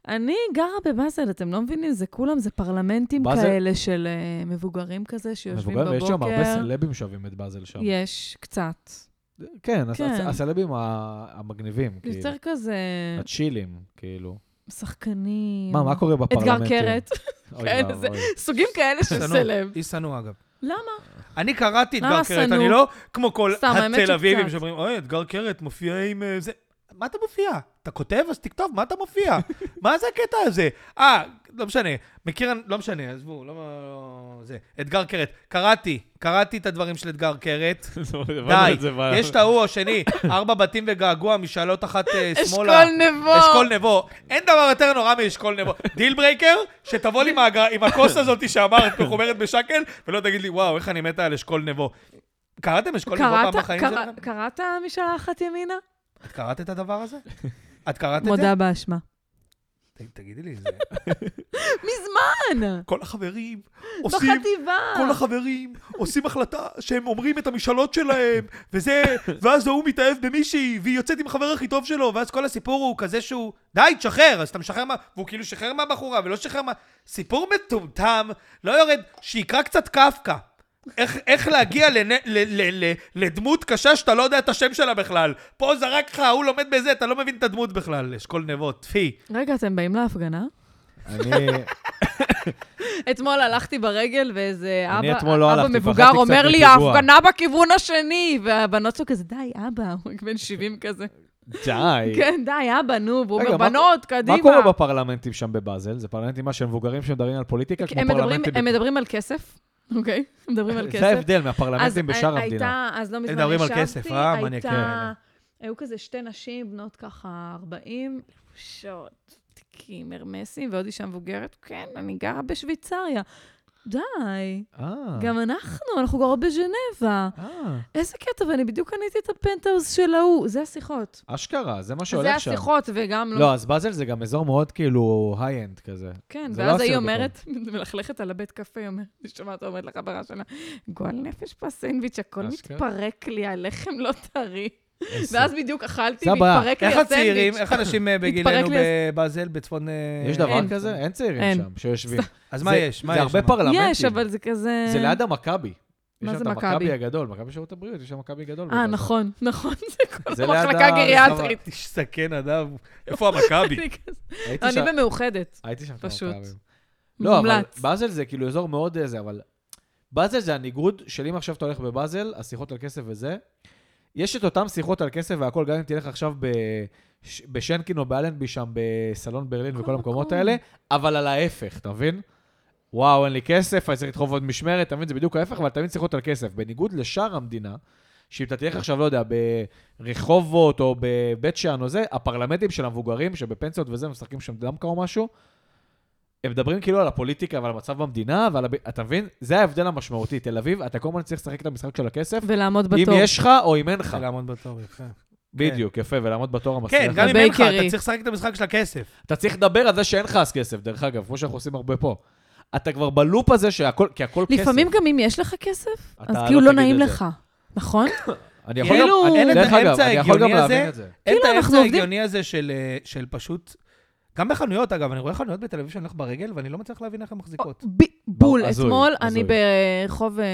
אני גרה בבאזל, אתם לא מבינים, זה כולם, זה פרלמנטים באזל? כאלה של אה, מבוגרים כזה שיושבים מבוגר, ויש בבוקר. שם הרבה סלבים שאוהבים את באזל שם. יש, קצת. כן, הס- כן. הס- הסלבים ה- המגניבים, כאילו. יותר כזה הצ'ילים, כאילו. שחקנים. מה, מה קורה אתגר בפרלמנטים? קרת, אוי כן, ואבוי. זה- סוגים כאלה של שנוא. סלב. היא שנוא, אגב. למה? אני קראתי למה אתגר קרת, שנוא? אני לא כמו כל סתם, האמת התל אביבים שקצת. שאומרים, אוי, אתגר קרת מופיע עם אה, זה. מה אתה מופיע? אתה כותב, אז תכתוב, מה אתה מופיע? מה זה הקטע הזה? אה, לא משנה. מכיר, לא משנה, עזבו, לא... לא- זה. אתגר קרת. קראתי, קראתי את הדברים של אתגר קרת. די, יש את ההוא השני, ארבע בתים וגעגוע, משאלות אחת אה, שמאלה. אשכול נבו. אשכול נבו. אין דבר יותר נורא מאשכול נבו. דיל ברייקר, שתבוא לי עם הגר- עם הכוס הזאת שאמרת, מחוברת בשקל, ולא תגיד לי, וואו, איך אני מתה על אשכול נבו. קראתם אשכול נבו פעם קראת- בחיים קרא- שלכם? קראת משלחת ימינה? את קראת את הדבר הזה? את קראת את זה? מודה באשמה. ת- תגידי לי, זה... מזמן! כל החברים עושים... בחטיבה! כל החברים עושים החלטה שהם אומרים את המשאלות שלהם, וזה, ואז ההוא מתאהב במישהי, והיא יוצאת עם החבר הכי טוב שלו, ואז כל הסיפור הוא כזה שהוא, די, תשחרר, אז אתה משחרר מה... והוא כאילו שחרר מהבחורה, ולא שחרר מה... סיפור מטומטם, לא יורד, שיקרא קצת קפקא. איך, איך להגיע לנ... ל, ל, ל, לדמות קשה שאתה לא יודע את השם שלה בכלל. פה זרק לך, ההוא לומד בזה, אתה לא מבין את הדמות בכלל. אשכול נבות, טפי. רגע, אתם באים להפגנה? אני... אתמול הלכתי ברגל, ואיזה אני אבא, אתמול לא אבא הלכתי, מבוגר פחדתי אומר קצת לי, מפיגוע. ההפגנה בכיוון השני! והבנות שלו כזה, די, אבא, הוא בן 70 כזה. די. כן, די, אבא, נו, והוא אוקיי. רגע, אומר, מה- בנות, קדימה. מה קורה בפרלמנטים שם בבאזל? זה פרלמנטים מה שהם מבוגרים שמדברים על פוליטיקה כמו "כן, הם מדברים- פרלמנטים... הם מדברים על כסף, אוקיי? הם מדברים על כסף. זה ההבדל אז מהפרלמנטים בשאר הי- המדינה. הייתה, אז לא מזמן מדברים על ישבתי, כסף, אה? מניאקים הייתה, האלה. היו כזה שתי נשים, בנות ככה 40, לבושות, תיקים הרמסים, ועוד אישה מבוגרת, כן, אני גרה בשוויצריה. די, אה, גם אנחנו, אנחנו גרות בז'נבה. אה, איזה קטע, ואני בדיוק קניתי את הפנטהאוז של ההוא, זה השיחות. אשכרה, זה מה זה שהולך שם. השיחות, וגם לא... לא, אז באזל זה גם אזור מאוד כאילו היי-אנד כזה. כן, זה לא ואז היא השיחות אומרת, מלכלכת על הבית קפה, היא אומרת, אני שומעת, אומרת לחברה שלה, גועל נפש פה הסנדוויץ', הכל אשכרה. מתפרק לי, הלחם לא טרי. איזה- ואז בדיוק אכלתי, כן. זה הבעיה. והתפרק לי איך הצעירים, הסנדוויץ'. איך אנשים אה, מתפרק בגילנו לי הס- בבאזל, בצפון... אה, יש אין. דבר כזה? אין צעירים אין. שם שיושבים. אז מה זה- יש? מה זה יש? הרבה שם? פרלמנטים. יש, אבל זה כזה... זה ליד המכבי. יש מה שם זה את מכבי? המכבי הגדול, מכבי שירות הבריאות, יש שם מכבי גדול. אה, בבאזל. נכון, נכון, זה כל זה לא- ליד המחלקה הרחבה. הגריאטרית. תסתכן, אדם. איפה המכבי? אני כזה- הייתי אני שם- במאוחדת, הייתי שם כמה פשוט. פעמים. לא, אבל מומלץ. באזל זה כאילו אזור מאוד אה, זה, אבל... באזל זה הניגוד של אם עכשיו אתה הולך בבאזל, השיחות על כסף וזה. יש את אותן שיחות על כסף והכל, גם אם תלך עכשיו ב... ש- בשנקין או באלנבי שם, בסלון ברלין כל וכל המקומות מקום. האלה, אבל על ההפך, אתה מבין? וואו, אין לי כסף, אני צריך לדחוף עוד משמרת, אתה מבין? זה בדיוק ההפך, אבל תמיד שיחות על כסף. בניגוד לשאר המדינה, שאם אתה כן. תלך עכשיו, לא יודע, ברחובות או בבית שאן או זה, הפרלמנטים של המבוגרים שבפנסיות וזה, משחקים שם דמקה או משהו, הם מדברים כאילו על הפוליטיקה ועל המצב במדינה ועל... הב- אתה מבין? זה ההבדל המשמעותי. תל אביב, אתה כל הזמן צריך לשחק את המשחק של הכסף, ולעמוד אם בתור. יש לך או אם אין לך. לעמוד בתור, יפה. בדיוק, יפה, ולעמוד בתור המסריח. כן, גם אם אין לך, אתה בבייקרי. צריך לשחק את המשחק של הכסף. אתה צריך לדבר על זה שאין לך אז כסף, דרך אגב, כמו שאנחנו עושים הרבה פה. אתה כבר בלופ הזה שהכל, כי הכל כסף. לפעמים גם אם יש לך כסף, אתה אז כאילו לא תגיד נעים את זה. לך, נכון? אני יכול כאילו- גם, אין אני- את דרך אגב, האמצע אני יכול גם ההגיוני הזה. להבין את זה. אין את כאילו אנחנו האמצע עובדים- ההגיוני הזה של אה, של פשוט... גם בחנויות, אגב, אני רואה חנויות בתל אביב שאני הולך ברגל, ואני לא מצליח להבין איך הן מחזיקות. ב- בול. הזוי, אתמול הזוי. אני ברחוב אה,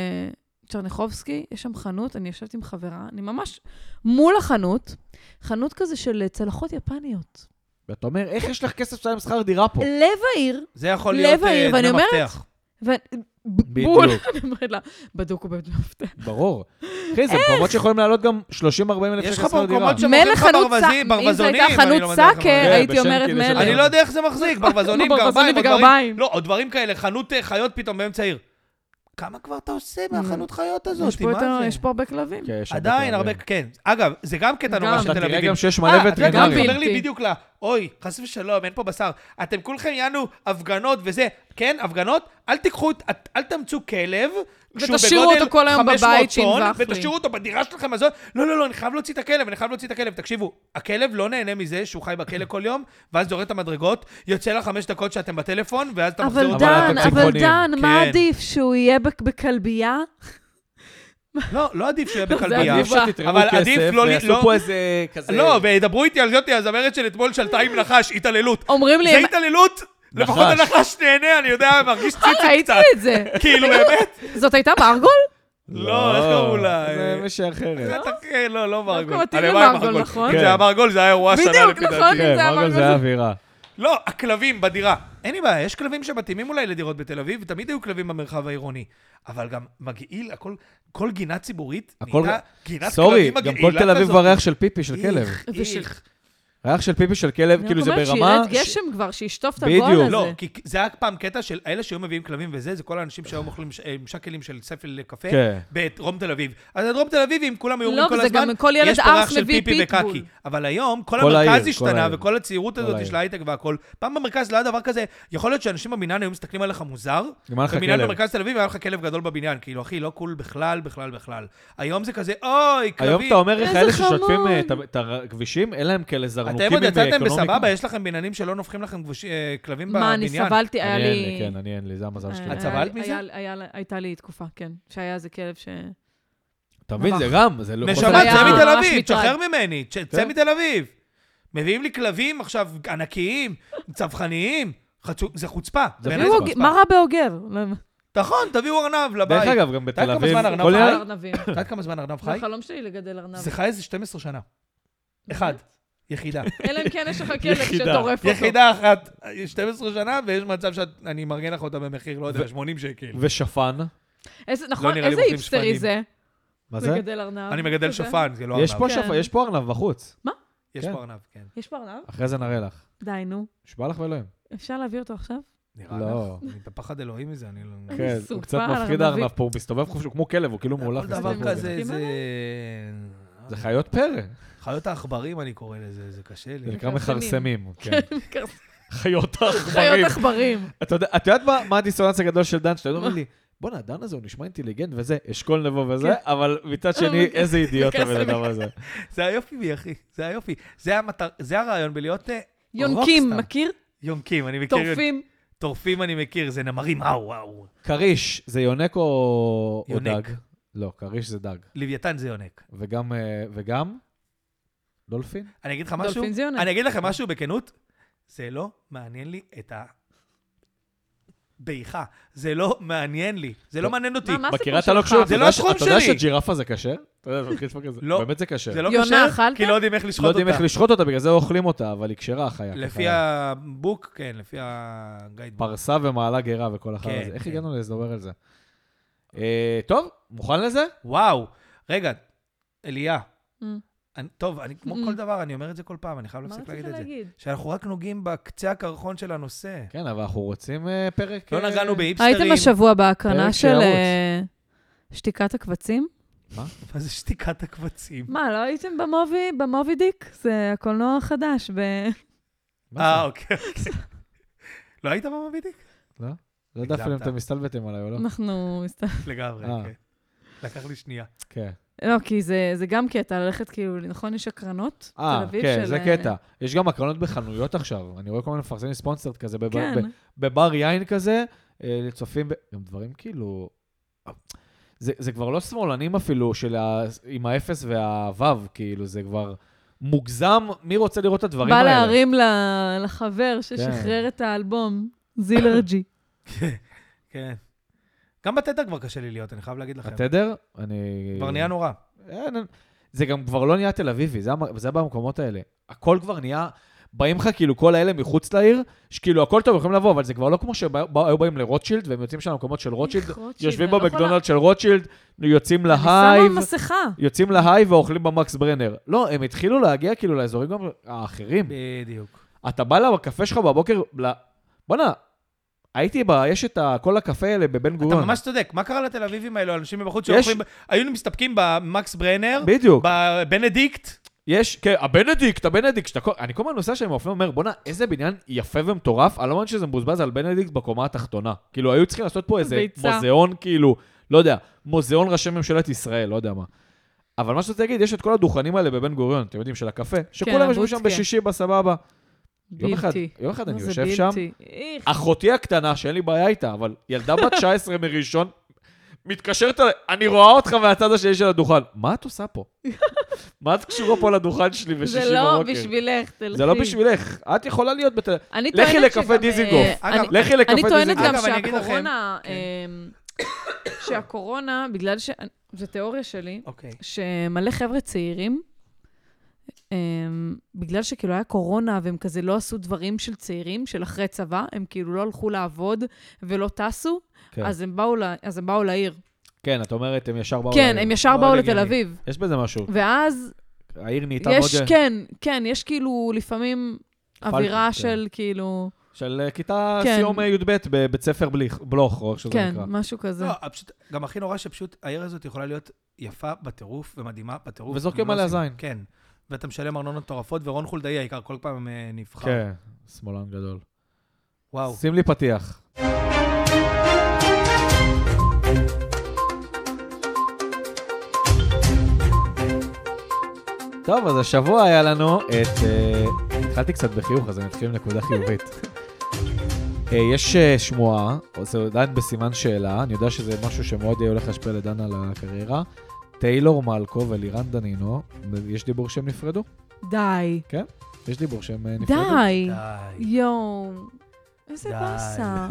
צ'רניחובסקי, יש שם חנות, אני יושבת עם חברה, אני ממש מול החנות, חנות כזה של אה, צלחות יפניות. ואתה אומר, איך יש לך כסף לשלם שכר דירה פה? לב העיר, זה יכול לב להיות אה, העיר, דמי ואני אומרת- מפתח. ו- בדיוק. בול, אני אומרת לה, בדוק ובדוק. ברור. אחי, זה מקומות שיכולים לעלות גם 30-40 אלף יש שקל לך שכר דירה. במקומות ש- שמוכרים מילא לך חנות ברווזים, סאקר, אם זו הייתה ברווזונים, אני חנות לא יודע איך סאקר, אומרים. הייתי כן, בשם אומרת כאילו של- מילא. אני לא יודע איך זה מחזיק, ברווזונים, כמו גרביים, ברווזונים או דברים- וגרביים. לא, או דברים כאלה, חנות אה, חיות פתאום באמצע העיר. כמה כבר אתה עושה מהחנות חיות Mm. יש הזאת? פה יותר- מה יש זה? פה הרבה כלבים. כן, יש עדיין הרבה, כן. אגב, זה גם קטע נורא גם. של אתה תל תראה אביבים. גם שיש מלא אה, אתה יודע, גם וטרינרים. מתחבר לי בלתי. בדיוק ל... אוי, חס ושלום, אין פה בשר. אתם כולכם יענו הפגנות וזה. כן, הפגנות, אל תיקחו, את- אל תאמצו כלב כשהוא ותשאירו בגודל אותו כל היום 500 בבית עם טון, ופלים. ותשאירו אותו בדירה שלכם, אז לא, לא, לא, לא, אני חייב להוציא את הכלב, אני חייב להוציא את הכלב. תקשיבו, הכלב לא נהנה מזה שהוא חי בכלא כל יום, ואז דורק את המדרגות, יוצא לך חמש דקות שאתם בטלפון, ואז אתה מחזיר אבל אותו. אבל דן, אתם אבל צמחונים. דן, מה כן. עדיף, שהוא יהיה בק- בכלבייה? לא, לא עדיף שיהיה בכלבייה. עדיף. עדיף שתתרמו אבל כסף, עדיף לא- ויעשו לא- פה איזה כזה... לא, וידברו איתי על זאתי, הזמרת של אתמול שלטה עם נחש, התעללות. אומרים לי, זה "הם- התעללות? נכון. לפחות נחש. הנחש נהנה, אני יודע, מרגיש ציצי אה, ראיתי לא קצת. את זה. כאילו, באמת? זאת הייתה מרגול? לא, איך קראו לה? זה מישהי אחרת. בטח, אה, לא, לא מרגול. דווקא מתאים הלוואי למרגול, נכון? אם זה היה מרגול, זה היה אירוע שנה בדיוק, לפי דעתי. נכון. כן, זה מרגול המרגול זה זה- האווירה. לא, הכלבים בדירה. אין לי בעיה, יש כלבים שמתאימים אולי לדירות בתל אביב, ותמיד היו כלבים במרחב העירוני. אבל גם מגעיל, הכל, כל גינה ציבורית הכל- נהייתה גינת סורי, כלבים גם מגעילה כל תל אביב כזאת. בריח של פיפי של כלב. איך, ושל- איך. ריח של פיפי של כלב, כאילו זה אני רק אומרת ברמה... שירד גשם כבר, שישטוף את בדיוק. הגול הזה. לא, כי זה היה פעם קטע של אלה שהיו מביאים כלבים וזה, זה כל האנשים שהיו אוכלים ש- אה, עם שקלים של ספל קפה כן. בדרום תל אביב. אז הדרום תל אביבים, כולם היו לא, אומרים כל וזה הזמן, גם כל ילד יש פה ריח ארס של מביא פיפי פיטבול." וקקי. אבל היום, כל כל המרכז העיר, כל השתנה, העיר. וכל הצעירות הזאת העיר. של ההייטק והכל. פעם במרכז לא היה דבר כזה, יכול להיות שאנשים בבניין היו מסתכלים עליך מוזר, גם היה לך בבניין כלב. במרכז תל אביב היה לך כלב גדול בבניין, כאילו, אחי, לא קול בכלל, בכלל, בכלל. היום זה כזה, אוי, היום כלבים. אתה אומר איך איזה אלה ששוטפים חמוד. אה, את ה- את הכבישים, אין להם כאלה זרנוקים אתם עם עוד אה, יצאתם אקונומיקה. בסבבה, יש לכם בניינים שלא נופחים לכם כבוש- אה, כלבים בבניין. מה, אני סבלתי, היה אני אין לי, לי... אה, כן, אני אין לי, זה המזל שלי. היה- את סבלת היה- מזה? היה- היה- הייתה לי תקופה, כן. שהיה איזה כלב ש... אתה מבין, ממש. זה גם, זה לא... נשמה, היה חוסר צא יציבות. מתל ממש אביב, מטרד. תשחרר ממני, צא- צא כן. מתל אביב. מביאים לי כלבים עכשיו ענקיים, צווחניים, חצו- זה חוצפה. זה בעיניי בדיוק. זה הוא- חוצפה. מה רע באוגר? לא- נכון, תביאו ארנב דרך לבית. אגב, גם בתל כמה אביב... זמן ארנב כל חי? ילד- היה- ארנבים. את יודעת כמה זמן ארנב זה חי? החלום שלי לגדל ארנב. זה חי איזה 12 שנה. אחד, יחידה. אלא אם כן יש לך כלב יחידה. שטורף אותו. יחידה אחת, 12 שנה, ויש מצב שאני מארגן לך אותה במחיר, לא יודע, 80 שקל. ושפן. איזה- נכון, נראה לי איזה אוכלים היפסטרי שפנים. זה? מה זה? לגדל ארנב. אני מגדל כזה. שפן, זה לא יש ארנב. פה כן. שפן, יש פה ארנב בחוץ. יש כן. פה ארנב, כן. יש פה ארנב? אחרי זה נראה לך. די, נו. נשבע לך באלוהים. אפשר להביא אותו עכשיו? נראה לך? לא. אני בפחד אלוהים מזה, אני לא... כן, הוא שרופה קצת על מפחיד ארנבית. הארנב פה, הוא מסתובב חופשי, הוא כמו כלב, הוא כאילו מאולף. כל מסתובב דבר כמו כלב. כזה, מסתובב. זה... זה חיות פרא. חיות העכברים אני קורא לזה, זה קשה זה לי. נקרא מכרסמים. מכרסמים. כן. חיות חיות עכברים. עכברים. אתה יודע- את יודעת מה- מה הדיסוננס הגדול של דן? שאתה אומר לי, בואנה, הדן הזה הוא נשמע אינטליגנט וזה, אשכול נבו וזה, כן. אבל אה, מצד שני, מכרסמים. איזה אידיוט הבן אדם הזה. זה היופי בי, אחי, זה היופי. זה המטר, זה הרעיון בלהיות אה, יונקים, רוקסטאר. מכיר? יונקים, אני מכיר. טורפים. טורפים אני מכיר, זה נמרים, וואו, וואו. כריש, זה יונק או או יונק. דג? לא, כריש זה דג. לוויתן זה יונק. וגם, אה, וגם? דולפין? אני אגיד לך משהו, דולפין זה יונק. אני אגיד לכם משהו בכנות, זה לא מעניין לי את ה... בעיכה. זה לא מעניין לי, זה לא לא. מעניין אותי. מה, מה הסיפור מכירה את שלך? הלוק שלו? זה אתה לא יודע ש- התחום אתה שלי. יודע שג'ירפה זה כשר? אתה יודע, אתה מתחיל לשמוע כזה. לא. באמת זה כשר. זה לא יונה כשר, אכלת? כי לא יודעים איך לא לשחוט יודעים אותה. איך לשחוט אותה, בגלל זה אוכלים אותה, כן. אבל היא כשרה החיה. לפי כחיה. הבוק, כן, לפי הגיידבוק. פרסה ומעלה גרה וכל אחר כן, הזה. איך כן. הגענו לדבר על זה? אה, טוב, מוכן לזה? וואו, רגע, אליה. Mm. אני, טוב, אני, כמו Mm. כל דבר, אני אומר את זה כל פעם, אני לא חייב מה להפסיק רצית להגיד את זה. להגיד? שאנחנו רק נוגעים בקצה הקרחון של הנושא. כן, אבל אנחנו רוצים אה, פרק... לא אה, נגענו בהיפסטרים. הייתם השבוע בהקרנה פרק של שיערוץ. אה, שתיקת הקבצים? מה זה שתיקת הקבצים? מה, לא הייתם במובי, במובי דיק? זה הקולנוע החדש. ב- מה אה, זה? אוקיי, אוקיי. לא היית במבידיק? לא יודע אפילו אם הגזמת. אתם מסתלבטים עליי או לא. אנחנו... מסת- לגמרי, אה. כן. לקח לי שנייה. כן. לא, כי זה זה גם קטע, ללכת כאילו, נכון, יש הקרנות? אה, תל אביב כן, של, זה אה, קטע. יש גם הקרנות בחנויות עכשיו. אני רואה כל מיני מפרסמים ספונסרד כזה בב- כן. ב- בבר יין כזה, אה, צופים ב... גם דברים כאילו... זה, זה כבר לא שמאלנים אפילו של ה... עם האפס והוו, כאילו, זה כבר מוגזם, מי רוצה לראות את הדברים בא האלה? כן. להרים ל- לחבר ששחרר את האלבום, זילרג'י. כן. גם בתדר כבר קשה לי להיות, אני חייב להגיד לכם. התדר? אני... כבר נהיה נורא. אין, אין. זה גם כבר לא נהיה תל אביבי, זה, המ- זה במקומות האלה. הכל כבר נהיה... באים לך כאילו כל האלה מחוץ לעיר, שכאילו הכל טוב, יכולים לבוא, אבל זה כבר לא כמו שהיו באים לרוטשילד, והם יוצאים שם למקומות של רוטשילד, רוטשילד, יושבים אני לא יכולה- במקדונלד של רוטשילד, יוצאים אני להייב, שמה מסכה. יוצאים להייב ואוכלים במקס ברנר. לא, הם התחילו להגיע כאילו לאזורים גם האחרים. בדיוק. אתה בא לקפה שלך בבוקר, ל- בואנה, הייתי ב... יש את ה- כל הקפה האלה בבן אתה גוריון. ממש צודק, מה קרה לתל אביבים האלו, אנשים מבחוץ יש- שאוכלים, היו מסתפקים במקס ברנר, בדיוק. בבנדיקט, יש, כן, הבנדיקט, הבנדיקט, שאתה כל... אני כל הזמן נוסע שם עם האופנוע, אומר, בואנה, איזה בניין יפה ומטורף, אני לא מאמין שזה מבוזבז על בנדיקט בקומה התחתונה. כאילו, היו צריכים לעשות פה איזה ביצה. מוזיאון, כאילו, לא יודע, מוזיאון ראשי ממשלת ישראל, לא יודע מה. אבל מה שרציתי להגיד, יש את כל הדוכנים האלה בבן גוריון, אתם יודעים, של הקפה, כן, שכולם יושבים שם הבודקה. בשישי בסבבה. יום אחד, בלתי. לא, יום אחד אני זה יושב בלתי. שם, אה, איך. אחותי הקטנה, שאין לי בעיה איתה, אבל ילדה בת 19 מראשון, מתקשרת אליי, אני רואה אותך מהצד השני של הדוכן. מה את עושה פה? מה את קשורה פה לדוכן שלי בשישי זה בבוקר? לא בשבילך, תלכי. זה לא בשבילך. את יכולה להיות בתל... אני לכי טוענת לקפה שגם, אה, דיזינגוף. אני- אגב, לכי לקפה אני טוענת דיזינגוף. גם אגב, אני אגיד לכם- שהקורונה, כן. אמ, שהקורונה, בגלל ש... זו תיאוריה שלי, אוקיי. שמלא חבר'ה צעירים, אמ, בגלל שכאילו היה קורונה והם כזה לא עשו דברים של צעירים, של אחרי צבא, הם כאילו לא הלכו לעבוד ולא טסו, כן. אז הם באו ל- אז הם באו לעיר. כן, את אומרת, הם ישר באו... כן, לעיר. הם ישר מאוד באו הגיוני. לתל אביב. יש בזה משהו. ואז העיר נהייתה מאוד... יש, כן, כן, יש כאילו לפעמים פלקל, אווירה כן. של כאילו, של אה, כיתה כן. סיום י"ב בבית ספר בליך- בלוך, או איך שזה כן, נקרא. משהו כזה. לא, פשוט, גם הכי נורא שפשוט העיר הזאת יכולה להיות יפה בטירוף ומדהימה בטירוף. וזורקים הם לא עליה עושים- זין. כן. ואתה משלם ארנונות מטורפות, ורון חולדאי העיקר כל פעם אה, נבחר. כן, שמאלן גדול. וואו. שים לי פתיח. טוב, אז השבוע היה לנו את... אה, התחלתי קצת בחיוך, אז אני אתחיל עם נקודה חיובית. אה, יש אה, שמועה, או זה עדיין בסימן שאלה, אני יודע שזה משהו שמאוד הולך להשפיע לדן על הקריירה. טיילור מלקו ולירן דנינו, יש דיבור שהם נפרדו? לא. די. יש דיבור שהם אה, נפרדו? די. די. יואו. איזה די. באסה.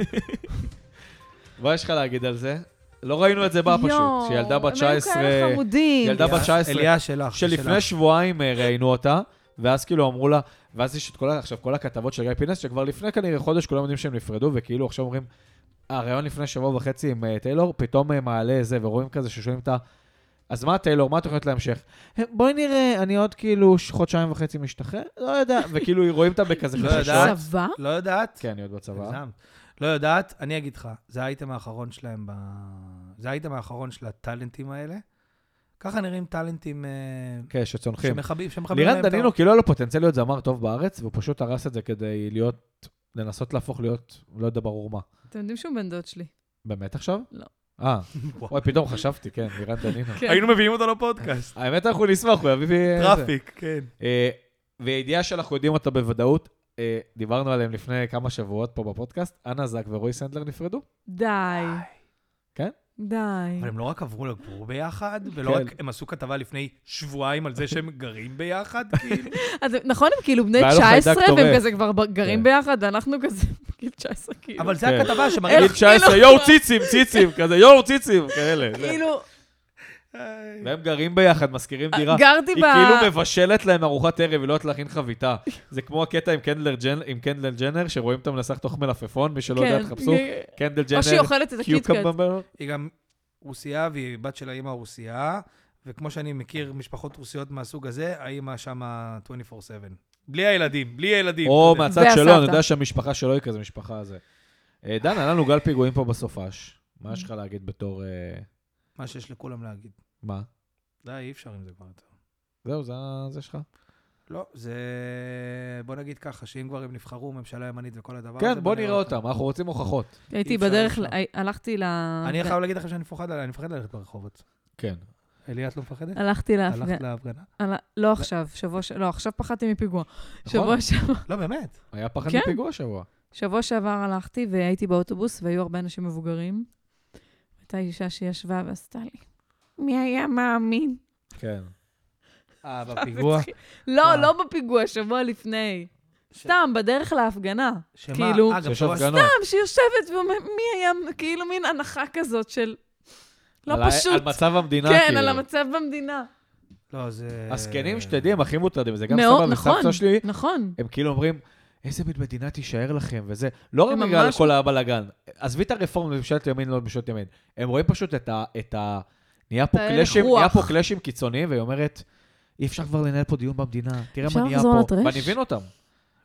מה יש לך להגיד על זה? לא ראינו את זה בא פשוט, יואו, שילדה בת הם 19, היו כאלה חמודים. ילדה בת 19. אליה שלך. זה שלפני שלך. שבועיים אה, ראינו אותה, ואז כאילו אמרו לה, ואז יש את כל, ה- עכשיו כל הכתבות של גיא פינס, שכבר לפני כנראה חודש כולם יודעים שהם נפרדו, וכאילו עכשיו אומרים, הרעיון לפני שבוע וחצי עם אה, טיילור, פתאום אה, מעלה זה, ורואים כזה ששואלים אותה, אז מה טיילור, מה התוכנית להמשך? בואי נראה, אני עוד כאילו ש- חודשיים וחצי משתחרר? לא יודע, וכאילו רואים אותה בכזה לא חששות. יודעת. צבא? לא יודעת? כן, היא עוד בצבא. הגזמת. לא יודעת, אני אגיד לך, זה האייטם האחרון שלהם ב... זה האייטם האחרון של הטאלנטים האלה. ככה נראים טאלנטים אה, כן, שצונחים. שמחבים, שמחבים לירן להם את דנינו, כאילו היה לו פוטנציאל להיות זמר טוב בארץ, והוא פשוט הרס את זה כדי להיות, לנסות להפוך להיות, לא יודע ברור מה. אתם יודעים שהוא בן דוד שלי. באמת עכשיו? לא. אה, האור. וואי, פתאום חשבתי, כן, לירן דנינו. כן. היינו מביאים אותו לפודקאסט. האמת, אנחנו נשמח, הוא יביא... אה, זה. טראפיק, כן. אה, וידיעה שאנחנו יודעים אותה בוודאות, אה, דיברנו עליהם לפני כמה שבועות פה בפודקאסט, אנה זק ורועי סנדלר נפרדו. די. כן? די. אבל הם לא רק עברו לגור ביחד, ולא כן. רק, הם עשו כתבה לפני שבועיים על זה שהם גרים ביחד, כאילו. אז נכון, הם כאילו בני והיה לו חיידק 19, תומך. והם כזה כבר ב- גרים כן. ביחד, ואנחנו כזה בגיל 19, כאילו. אבל זה כן. הכתבה שמראה... גיל איך 19, כאילו- יואו ציצים, ציצים, כזה יואו ציצים, כאלה. זה. כאילו, והם גרים ביחד, משכירים דירה. גרתי היא ב... כאילו מבשלת להם ארוחת ערב, היא לא יודעת להכין חביתה. זה כמו הקטע עם קנדלר ג'נ- עם קנדל ג'נר, שרואים אותה מנסח תוך מלפפון, מי שלא יודע, כן. תחפשו. קנדל או שהיא ג'נר, אוכלת את הקיטקאט. קיוקמבר. היא גם רוסייה, והיא בת של האימא הרוסייה, וכמו שאני מכיר משפחות רוסיות מהסוג הזה, האימא שמה 24/7. בלי הילדים, בלי הילדים. או אתה יודע. מהצד והסבתא. שלו, אני יודע שהמשפחה שלו היא כזה משפחה זה. אה, דן, היה לנו גל פיגועים פה בסופש. מה יש לך להגיד בתור... אה, מה שיש לכולם להגיד. מה? די, אי אפשר עם זה כבר יותר. זהו, זה ה- זה שלך. לא, זה... בוא נגיד ככה, שאם כבר הם נבחרו, ממשלה ימנית וכל הדבר הזה... כן, בוא נראה אותם, אנחנו רוצים הוכחות. הייתי אי אפשר, בדרך, אי אפשר. ל- הלכתי ל... אני חייב להגיד לכם שאני מפוחד, עליה, אני מפחד ללכת ברחובות. כן. אלי, את לא מפחדת? הלכתי להפגנה. הלכת להפגנה? הלכ- לא עכשיו, שבוע ש... לא, עכשיו פחדתי מפיגוע. שבוע ש... לא, באמת. נכון? היה פחד כן. מפיגוע השבוע. שבוע שעבר הלכתי והייתי באוטובוס, והיו הרבה אנשים מבוגרים. הייתה אישה שישבה ועשתה לי, מי היה מאמין? כן. אה, בפיגוע. לא, וואו. לא בפיגוע, שבוע לפני. סתם, בדרך להפגנה. שמה? כאילו- אה, גם יש שבוע- הפגנות. סתם, שיושבת ואומרת, מי היה, כאילו מין הנחה כזאת של... לא על ה- פשוט. על מצב המדינה, כן, כאילו. על המצב במדינה. לא, זה... הזקנים, שתדעי, הם הכי מוטרדים. זה גם מאוד, סבא נכון, וסבתא שלי, נכון. הם כאילו אומרים, איזה מין מדינה תישאר לכם, וזה, לא רק הם בגלל ממש- כל הבלאגן. עזבי את הרפורמה בממשלת ימין, לא בממשלת ימין. הם רואים פשוט את ה... את ה... נהיה פה את ההלך קלאשים, רוח. נהיה פה קלאשים קיצוניים, והיא אומרת, אי אפשר כבר לנהל פה דיון במדינה, תראה אפשר מה נהיה לחזור פה. לטרש? ואני מבין אותם.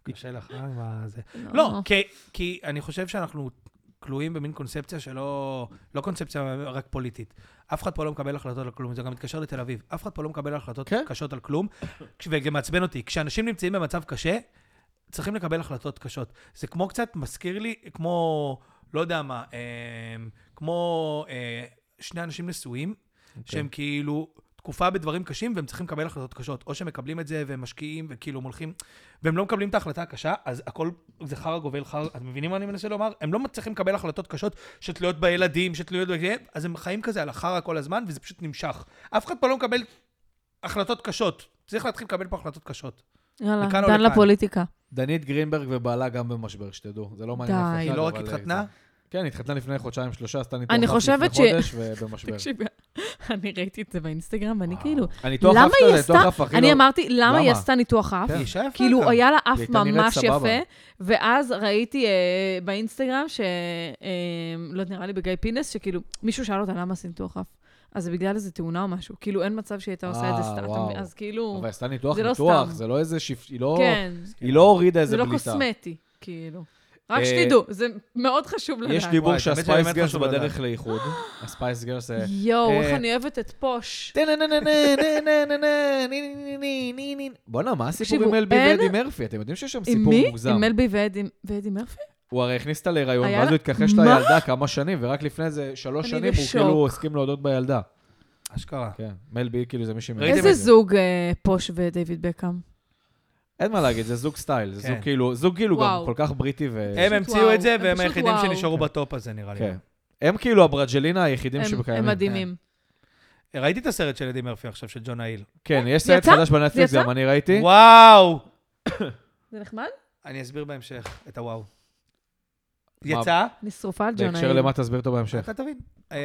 קשה לך, אה, עם ה- זה. לא, כי- כי אני חושב שאנחנו כלואים במין קונספציה שלא... לא קונספציה רק פוליטית. אף אחד פה לא מקבל החלטות על כלום, זה גם מתקשר לתל אביב. אף אחד פה לא מקבל החלטות כן. קשות על כלום, כש- וזה מעצבן אותי. כשאנשים נמצאים במצב קשה, צריכים לקבל החלטות קשות. זה כמו קצת מזכיר לי, אמ, כמו, לא יודע מה, אה, כמו אה, שני אנשים נשואים, שהם כאילו תקופה בדברים קשים והם צריכים לקבל החלטות קשות. או שהם מקבלים את זה והם משקיעים וכאילו הם הולכים, והם לא מקבלים את ההחלטה הקשה, אז הכל זה חרא גובל חרא. אתם מבינים מה אני מנסה לומר? הם לא מצליחים לקבל החלטות קשות שתלויות בילדים, שתלויות בזה, אז הם חיים כזה על החרא כל הזמן וזה פשוט נמשך. אף אחד פה לא מקבל החלטות קשות. צריך להתחיל לקבל פה החלטות קשות. יאללה, לכאן או דן לכאן. לפוליטיקה. דנית גרינברג ובעלה גם במשבר, שתדעו. זה לא מעניין אף די. אחד. היא לא רק אבל, אה, התחתנה? זה- כן, התחתנה לפני חודשיים, שלושה, עשתה ניתוח אני אף חושבת לפני ש- חודש ובמשבר. תקשיב, אני ראיתי את זה באינסטגרם, ואני כן. וואו. כאילו... הניתוח למה אף היא כזה, ניתוח אף עשתה... הכי אני לא- אמרתי, למה היא למה? עשתה ניתוח אף? כן. היא אישה יפה גם. כאילו, היה לה אף הייתה נראית ממש סבבה. יפה, ואז ראיתי אה, באינסטגרם, ש... אה, לא נראה לי בגיא פינס, שכאילו, מישהו שאל אותה למה עשית ניתוח אף. אז זה בגלל איזה תאונה או משהו. כאילו, אין מצב שהיא הייתה עושה את זה אה, סתם. אתה וואו. מבין? אז כאילו, אבל עשתה ניתוח, זה לא ניתוח, סתם. זה לא איזה שיפ... היא לא... כן, היא לא הורידה איזה זה לא בליטה. קוסמטי, כאילו. רק אה, שתדעו, זה מאוד חשוב לדעת. יש דיבור וואי, האמת שהספייס שבאמת גרס חשוב לדעת. בדרך לאיחוד. הספייס גרס זה... יואו, איך אה, אני אוהבת את פוש. בואנה, מה הסיפור תקשיבו, עם אלבי אין- ואדי מרפי? אתם יודעים שיש שם עם סיפור מי? מוגזם. עם אלבי ואדי- ואדי מרפי? הוא הרי הכניס אותה להיריון, היה ואז לה- הוא התכחש מה? לילדה כמה שנים, ורק לפני איזה שלוש אני שנים הוא בשוק. כאילו הסכים להודות בילדה. אשכרה. כן, מלבי כאילו זה מישהי... ראיתם איזה את זה? זוג אה, פוש ודייוויד בקאם? אין מה להגיד, זה זוג סטייל, זה כן. זוג כאילו, זוג כאילו גם וואו. כל כך בריטי ו... הם פשוט המציאו וואו, את זה, הם והם פשוט היחידים וואו. שנשארו בטופ הזה, נראה לי. כן. הם כאילו הברג'לינה היחידים הם- שבקיימים. כן. הם מדהימים. אה, ראיתי את הסרט של אדי מרפי עכשיו, של ג'ון האיל. כן, יש סרט יצא? חדש בנטפליקס, זה יצא? גם אני ראיתי. וואו! זה נחמד? אני אסביר בהמשך את הוואו. מה? יצא? אני שרופה על ג'ון בהקשר האיל. למה תסביר אותו בהמשך. אתה תבין. אה,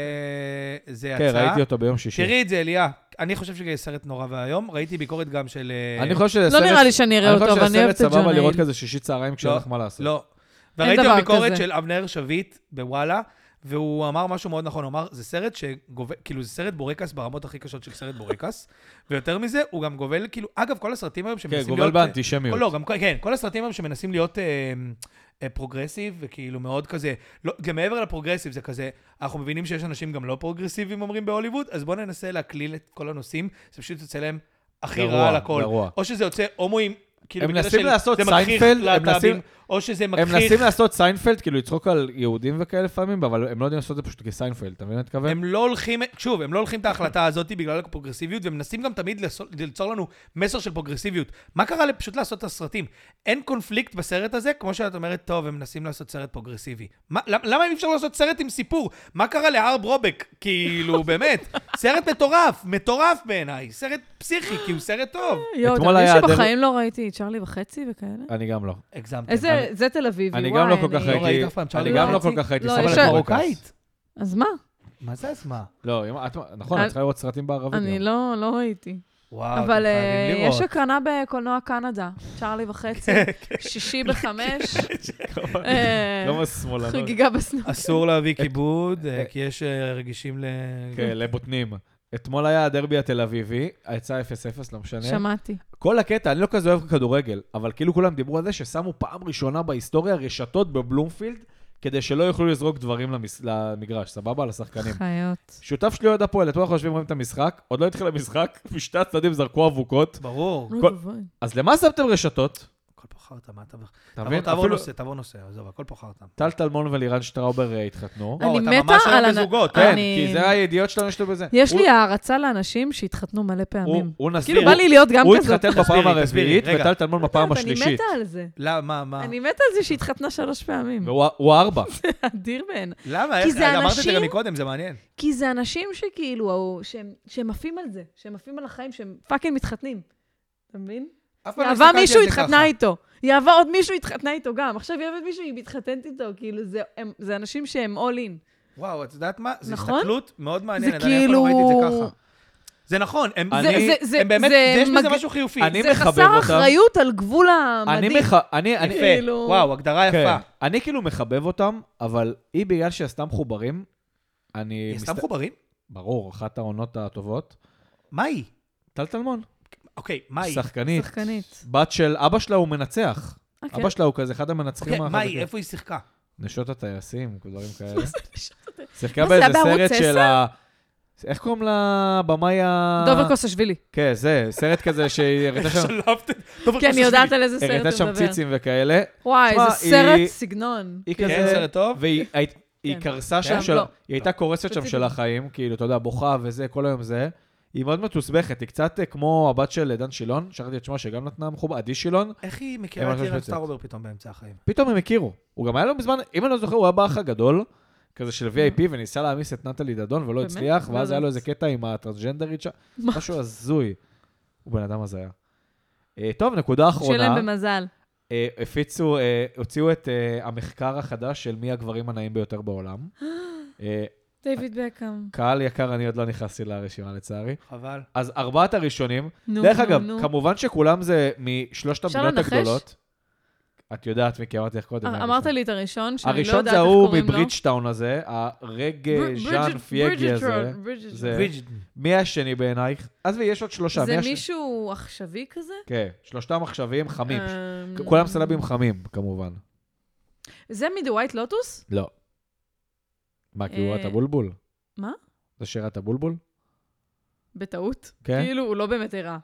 זה יצא. כן, ראיתי אותו ביום שישי. תראי את זה, אליה. אני חושב שזה סרט נורא ואיום. ראיתי ביקורת גם של... אה, אני חושב שזה לא סרט... נראה לי שאני אראה אני אותו, חושב אבל אני שזה אוהבת את סרט ג'ון סבבה לראות האיל. כזה שישי צהריים כשאין לא, לך מה לעשות. לא. וראיתי דבר גם ביקורת כזה. של אבנר שביט בוואלה, והוא אמר משהו מאוד נכון, הוא אמר, זה סרט שגובל, כאילו זה סרט בורקס ברמות הכי קשות של סרט בורקס, ויותר מזה, הוא גם גובל, כאילו, אגב, כל הסרטים היום כן, שמנסים גובל להיות... באנטישמיות. לא, גם, כן, כל הסרטים היום שמנסים להיות אה, אה, פרוגרסיב, וכאילו מאוד כזה, לא, גם מעבר לפרוגרסיב זה כזה, אנחנו מבינים שיש אנשים גם לא פרוגרסיביים אומרים בהוליווד, אז בואו ננסה להקליל את כל הנושאים, זה פשוט יוצא להם הכי רע גרוע, על הכל. גרוע. או שזה יוצא הומואים, כאילו, הם בקטע מנסים של לעשות זה מכריך סיינפלד, הם להט"בים, מנסים- או שזה הם מכריח... מנסים לעשות סיינפלד, כאילו לצחוק על יהודים וכאלה לפעמים, אבל הם לא יודעים לעשות את זה פשוט כסיינפלד, אתה מבין מה אני מתכוון? הם לא הולכים, שוב, הם לא הולכים את ההחלטה הזאת בגלל הפרוגרסיביות, והם מנסים גם תמיד לעשות- ליצור לנו מסר של פרוגרסיביות. מה קרה לי פשוט לעשות את הסרטים? אין קונפליקט בסרט הזה, כמו שאת אומרת, טוב, הם מנסים לעשות סרט פרוגרסיבי. מה, למ- למה אי אפשר לעשות סרט עם סיפור? מה קרה להר ברובק? כאילו, באמת, סרט מטורף, מטורף בעיניי, סרט פסיכי, כי הוא סרט טוב. יואו, אתה אתמול מבין היה הדרך- שבחיים לא ראיתי את צ'רלי וחצי וכאלה? אני גם לא. הגזמתם. איזה, זה תל אביבי, וואי. אני גם לא כל כך אני- לא ראית ראיתי, אף פעם אני צ'ארלי גם לא וחצי? כל כך ראיתי לא, סרט יש- בורקס. מרוקאית. אז מה? מה זה אז מה? לא, אם- את- נכון, אני- את צריכה לראות סרטים בערבית. אה, אני גם. לא, לא ראיתי. וואו, אתם אבל אה, חייבים יש לראות. הקרנה בקולנוע קנדה, צ'רלי וחצי, שישי בחמש, אה, כן. לא שמאלנות. חגיגה בסנוקר. אסור להביא כיבוד, אה, כי יש אה, רגישים ל... כן, לבוטנים. אתמול היה הדרבי התל אביבי, יצא 0-0, לא משנה. שמעתי. כל הקטע, אני לא כזה אוהב כדורגל, אבל כאילו כולם דיברו על זה ששמו פעם ראשונה בהיסטוריה רשתות בבלומפילד, כדי שלא יוכלו לזרוק דברים למס... למגרש, סבבה? לשחקנים. חיות. שותף שלי אוהד הפועל, אתמול אנחנו יושבים רואים את המשחק, עוד לא התחיל המשחק, משתי הצדדים זרקו אבוקות, ברור. אוי כל- ואבוי. אז למה שמתם רשתות? הכל פה חרטא, מה אתה... אתה תעבור- מבין? תעבור אפילו נושא, תעבור נושא, עזוב, הכל פה חרטא. טל טלמון ולירן שטראובר אה, התחתנו. וואו, אני אתה מתה ממש היום על הנ- בזוגות, כן, אני- כי זה הידיעות שלנו יש לו בזה. יש הוא- לי הערצה לאנשים שהתחתנו מלא הוא- פעמים. הוא נסביר, כאילו, בא לי להיות גם הוא כזאת. התחתן בפעם תסבירי, הרביעית, תסבירי, רגע. וטל טלמון בפעם אני השלישית. אה. מתה על זה. למה, מה, מה? אני מתה על זה שהתחתנה שלוש פעמים. והוא הוא ארבע. אדיר בעיניי. למה? איך? כי זה אמרת את זה גם אנשים- מקודם, זה מעניין. כי זה אנשים שכאילו, ההוא- שהם- שהם עפים על זה, שהם עפים על החיים, שהם פאקינג מתחתנים. אתה מבין? אף פעם לא יעבה הסתכלתי מישהו על זה התחתנה ככה. איתו. יעבה עוד מישהו התחתנה איתו גם. עכשיו יעבה מישהו, היא מתחתנת איתו. כאילו, זה- הם- זה אנשים שהם all in. וואו, את יודעת מה? זו נכון? הסתכלות מאוד מעניינת, אני זה אף פעם לא ראיתי את זה כאילו- ככה. זה נכון, הם אני- זה- זה- זה- הם באמת, זה יש בזה מג- משהו חיובי. אני זה מחבב חסר אותם. אחריות על גבול המדהים. אני מח... אני... אני... יפה, כאילו- וואו, הגדרה כן. יפה. אני כאילו מחבב אותם, אבל היא בגלל שהיא עשתה מחוברים, אני... היא סתם מסת- חוברים? ברור, אחת העונות הטובות. מה היא? טל טלמון, אוקיי, מה היא? שחקנית. שחקנית. בת של אבא שלה הוא מנצח. אה, כן? אבא שלה הוא כזה אחד המנצחים אוקיי, מה היא? החזקים. איפה היא שיחקה? נשות הטייסים, דברים כאלה. שיחקה מה זה, באיזה היה בערוץ סרט של עשר? ה... איך קוראים לבמאי ה... דובר קוסשווילי. כן, זה, סרט כזה שהיא הראתה שם- שלפת? טוב, כי אני חשבתי. כן, יודעת על איזה סרט הראתה אתה שם מדבר. ציצים וכאלה. וואי, תשמע, זה סרט היא- סגנון. היא כן, כזה... סרט טוב. והיא היית- היא היא כן. קרסה שם כן? של... לא. היא הייתה קורסת שם ספציפית. של החיים, כאילו, אתה יודע, בוכה וזה, כל היום זה. היא מאוד מתוסבכת, היא קצת אה, כמו הבת של אה, דן שילון, שכחתי את שמה שגם נתנה מחובה, עדי שילון. איך היא הם מכירה את ממש אירן מצוינים. סטארובר פתאום באמצע החיים? פתאום הם הכירו. הוא גם היה לו בזמן, אם אני לא זוכר, הוא היה באח הגדול, כזה של VIP, וניסה להעמיס את נטלי דדון ולא אה. באמת? הצליח, ואז לא היה לו יודעת. איזה קטע עם הטרנסג'נדרית שם, מה? משהו הזוי. הוא בן אדם הזיה. אה, טוב, נקודה שיהיה להם אחרונה, במזל. אה, הפיצו, אה, הוציאו את אה, המחקר החדש של מי הגברים הנאים ביותר בעולם. אה, דיוויד בקאם. קהל יקר, אני עוד לא נכנסתי לרשימה לצערי. חבל. אז ארבעת הראשונים, נו, דרך נו, אגב, נו. כמובן שכולם זה משלושת אפשר המדינות לנחש? הגדולות. את יודעת מי כי אמרתי לך קודם. אמ- מה אמרת הראשון. לי את הראשון, שאני לא הראשון יודעת איך זה ההוא קוראים לו. מברידג'טאון הזה, הרג בר- ברידג'- ז'אן פייגי הזה. ברידג'טון, ברידג'טון. זה- לא ברידג'טון. מי השני בעינייך? עזבי, יש עוד שלושה. זה מי הש- מישהו עכשווי כזה? כן, שלושתם עכשוויים חמים. אמ, כולם סלבים חמים, כמובן. זה מ"דה ווייט לוטוס"? לא. מה, כי הוא ראה את אה, הבולבול? מה? זה שראה את הבולבול? בטעות. כן. כאילו, הוא לא באמת הראה.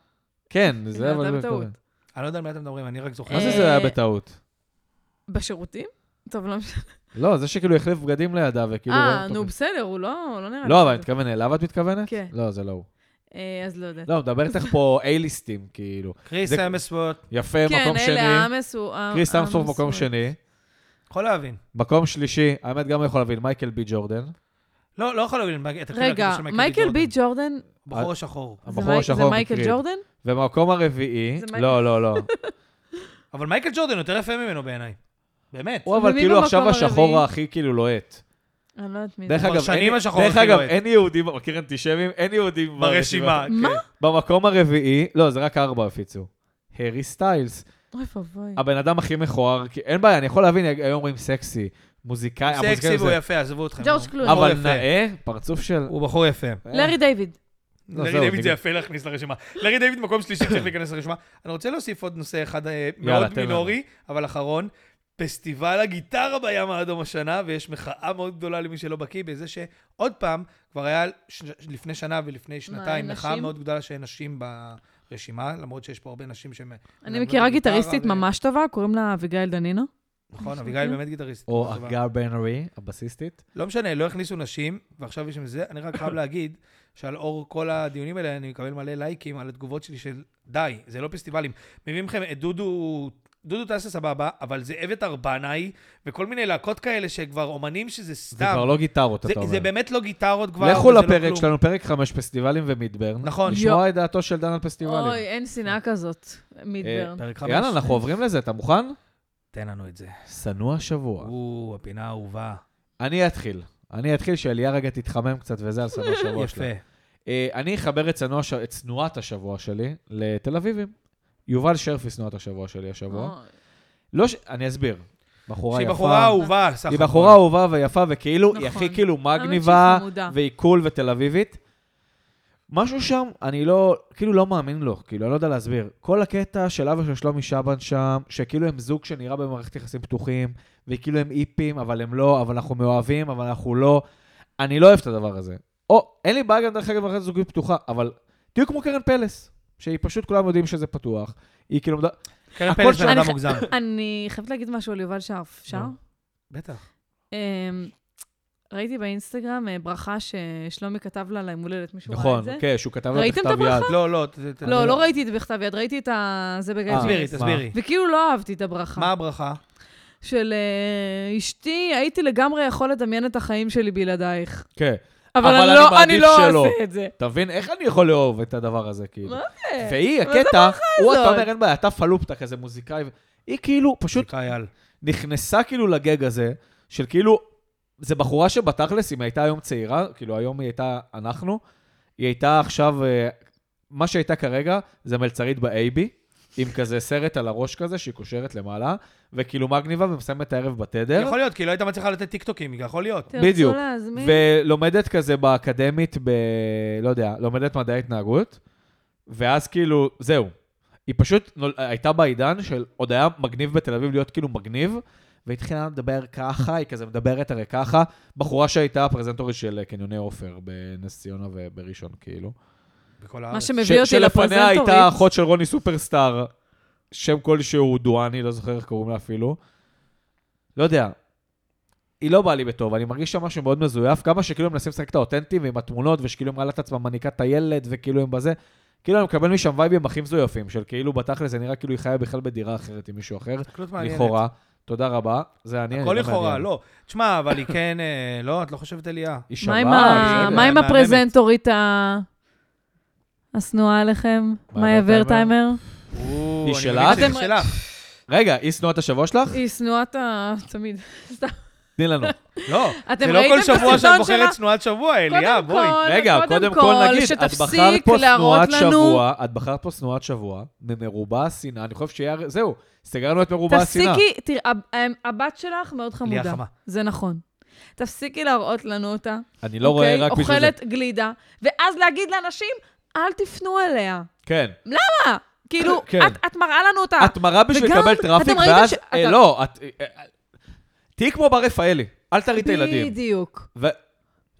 כן, זה זה אבל... היה זה- בטעות. אני לא יודע על מי אתם מדברים, אני רק זוכר. מה זה אה, זה היה בטעות? בשירותים? טוב, לא משנה. לא, זה שכאילו החליף בגדים לידה וכאילו... רואים אה, אותו נו, כזה. בסדר, הוא לא לא נראה... לא, אבל לי אני כזה. מתכוון אליו את מתכוונת? כן. לא, זה לא הוא. אה, אז לא יודעת. לא, מדבר איתך פה A-ליסטים, כאילו. קריס זה- אמסוורט, יפה, כן, מקום אלה, שני. האמס הוא... אה, קריס האמס אמסורף מקום הוא- שני. יכול להבין. מקום שלישי, האמת גם לא יכול להבין, מייקל בי ג'ורדן. לא, לא יכול להבין את הקריירה רגע, של מייקל בי ג'ורדן, בחור אה. השחור. זה הבחור מי- השחור זה מייקל מקריב. ג'ורדן? ובמקום הרביעי, זה מייקל- לא, לא, לא. אבל מייקל ג'ורדן יותר יפה ממנו בעיניי. באמת. הוא אבל ומי כאילו במקום עכשיו השחור הרביעי? הכי כאילו לוהט. אני לא יודעת מי זה. דרך כבר אגב, שנים אין- השחור דרך הכי אגב, לוהט. אין יהודים, מכיר אנטישמים? אין יהודים ברשימה. מה? כן. במקום הרביעי, לא, זה רק ארבע הפיצו. הארי סטיילס. אוי ואבוי. אוקיי. הבן אדם הכי מכוער, כי אין בעיה, אני יכול להבין, היום אומרים סקסי, מוזיקאי, המוזיקאי סקסי והוא הזה, יפה, עזבו אתכם. ג'ורג' נו. קלוני. בחור אה, אבל יפה. נאה, פרצוף של... הוא בחור יפה. אה. לארי דיוויד. לא, לארי זהו, דיוויד נגיד- זה יפה להכניס לרשימה. לארי דיוויד מקום שלישי צריך להיכנס לרשימה. אני רוצה להוסיף עוד נושא אחד אה, יאללה, מאוד תן לנו. מינורי, אבל אחרון. פסטיבל הגיטרה בים האדום השנה, ויש מחאה מאוד גדולה למי שלא בקיא בזה שעוד פעם, כבר היה ש... לפני שנה ולפני שנתיים אין מחאה נשים? מאוד גדולה שאין נשים ברשימה, למרות שיש פה הרבה נשים לא שהן... אני אה, מכירה גיטריסטית ממש טובה, קוראים לה אביגיל דנינו. אה, נכון, אביגיל באמת גיטריסטית. או טובה. הגר בנרי, הבסיסטית. לא משנה, לא הכניסו נשים, ועכשיו יש עם זה, אני רק חייב להגיד שעל אור כל הדיונים האלה אני מקבל מלא לייקים על התגובות שלי של די, זה לא פסטיבלים. מביאים לכם את דודו, דודו טסה סבבה, אבל זה אבט ארבנאי, וכל מיני להקות כאלה שכבר אומנים שזה זה סתם. כבר לא גיטרות, זה, אתה זה אומר. באמת לא גיטרות כבר. לכו וזה לא לפרק כלום. שלנו, פרק חמש, פסטיבלים ומידברן. נכון. לשמוע את דעתו של דן על אוי, פסטיבלים. אין שנאה כזאת, אה, מידברן. פרק חמש. יאללה, אנחנו עוברים לזה, אתה מוכן? תן לנו את זה. שנוא השבוע. או, הפינה האהובה. אני אתחיל. אני אתחיל, שאליה רגע תתחמם קצת וזה על שנוא השבוע שלה. יפה. אה, אני אחבר את שנוא הש- את שנואת השבוע שלי לתל אביבים. יובל שרפי שנואת השבוע שלי השבוע. אוי. לא ש... אני אסביר. בחורה שהיא יפה. בחורה אהובה, סך היא הכל. בחורה אהובה ויפה, וכאילו, היא נכון. הכי כאילו האמת שהיא מגניבה, חמודה. והיא קול ותל אביבית. משהו שם, אני לא, כאילו לא מאמין לו, כאילו, אני לא יודע להסביר. כל הקטע של אבא של שלומי שבן שם, שכאילו הם זוג שנראה במערכת יחסים פתוחים, וכאילו הם איפים, אבל הם לא, אבל אנחנו מאוהבים, אבל אנחנו לא. אני לא אוהב את הדבר הזה. או, אין לי בעיה גם דרך אגב במערכת זוגית פתוחה, אבל תהיו כמו קרן פלס, שהיא פשוט, כולם יודעים שזה פתוח. היא כאילו, מד- קרן הכל פלס שם- בן אדם אני- מוגזם. אני חייבת להגיד משהו על יובל שרף, אפשר? נו. בטח. אמ, ראיתי באינסטגרם אה, ברכה ששלומי כתב לה ליום הולדת, מישהו ראה את נכון, זה? כן, שהוא כתב לה ראיתם את בכתב יד. לא, לא. ת- ת- לא, לא ראיתי את זה בכתב יד, ראיתי את ה- זה בגלל אה. תסבירי, ש... תסבירי. וכאילו לא אהבתי את הברכה. מה הברכה? של אה, אשתי, הייתי לגמרי יכול לדמיין את החיים שלי בלעדייך. כן. אבל אבל אני אני לא- אני מעדיף לא שלא. עושה את זה. אתה מבין? איך אני יכול לאהוב את הדבר הזה, כאילו? מה זה? והיא, מה זה הקטע, הוא, אתה הזאת? אומר, אין בעיה, אתה פלופ, אתה כזה מוזיקאי. ו- היא כאילו פשוט זה קהל. נכנסה כאילו לגג הזה, של כאילו, זה בחורה שבתכלס, אם הייתה היום צעירה, כאילו היום היא הייתה אנחנו, היא הייתה עכשיו, אה, מה שהייתה כרגע, זה מלצרית באייבי, עם כזה סרט על הראש כזה, שהיא קושרת למעלה, וכאילו מגניבה ומסיימת את הערב בתדר. יכול להיות, כי לא הייתה מצליחה לתת טיקטוקים, יכול להיות. בדיוק. תרצו להזמין? ולומדת כזה באקדמית, ב... לא יודע, לומדת מדעי התנהגות, ואז כאילו, זהו. היא פשוט נול... הייתה בעידן של עוד היה מגניב בתל אביב להיות כאילו מגניב, והיא התחילה לדבר ככה, היא כזה מדברת הרי ככה, בחורה שהייתה הפרזנטורית של קניוני עופר בנס ציונה ובראשון, כאילו. בכל הארץ. מה שמביא ש- אותי שלפניה הייתה לפרזנטורית. אחות של רוני סופרסטאר, שם כלשהו דואני, לא זוכר איך קוראים לה אפילו. לא יודע. היא לא באה לי בטוב, אני מרגיש שם משהו מאוד מזויף, כמה שכאילו הם מנסים לשחק את האותנטי ועם התמונות, ושכאילו הם מעלה את עצמם מניקה את הילד, וכאילו הם בזה, כאילו אני מקבל משם וייבים הכי מזויפים, של כאילו בתכל'ס זה נראה כאילו היא חיה בכלל בדירה אחרת עם מישהו אחר, הסתכלות מעניינת. לכאורה. תודה רבה, זה אני, הכל לכאורה, לא. תשמע, אבל היא כן, אה, לא, את לא חושבת אליה. היא מה שווה, עם ה- בסדר. מה עם מהממת. הפרזנטורית ה- השנואה עליכם? מאיה ורטהיימר? או, היא אני שלך? מבין אתם- שהיא שלך. רגע, היא שנואת השבוע שלך? היא שנואת ה... תמיד. סתם. תני לנו. לא, אתם זה לא ראיתם כל את שבוע שאת הסרטון בוחרת שלה? צנועת שבוע, אליה, נכון, קודם בואי. כל, רגע, קודם כל נגיד, את בחרת שתפסיק פה להראות שנואת לנו, שבוע, את בחרת פה שנואת שבוע, ממרובה השנאה, אני חושב שהיה, זהו, סגרנו את מרובה השנאה. תפסיקי, תראי, ה- ה- הבת שלך מאוד ליה חמודה. חמה. זה נכון. תפסיקי להראות לנו אותה, אוקיי? אני לא רואה רק בשביל זה. אוכלת גלידה, ואז להגיד לאנשים, אל תפנו אליה. כן. כאילו, כן. את- את מראה לנו אותה. את מראה בשביל וגם, לקבל אתם טראפיק, ראיתם ואז... ש- אה, אתה- לא, את... אה, אה, תהיי כמו בר רפאלי, אל תראי את הילדים. בדיוק. ו-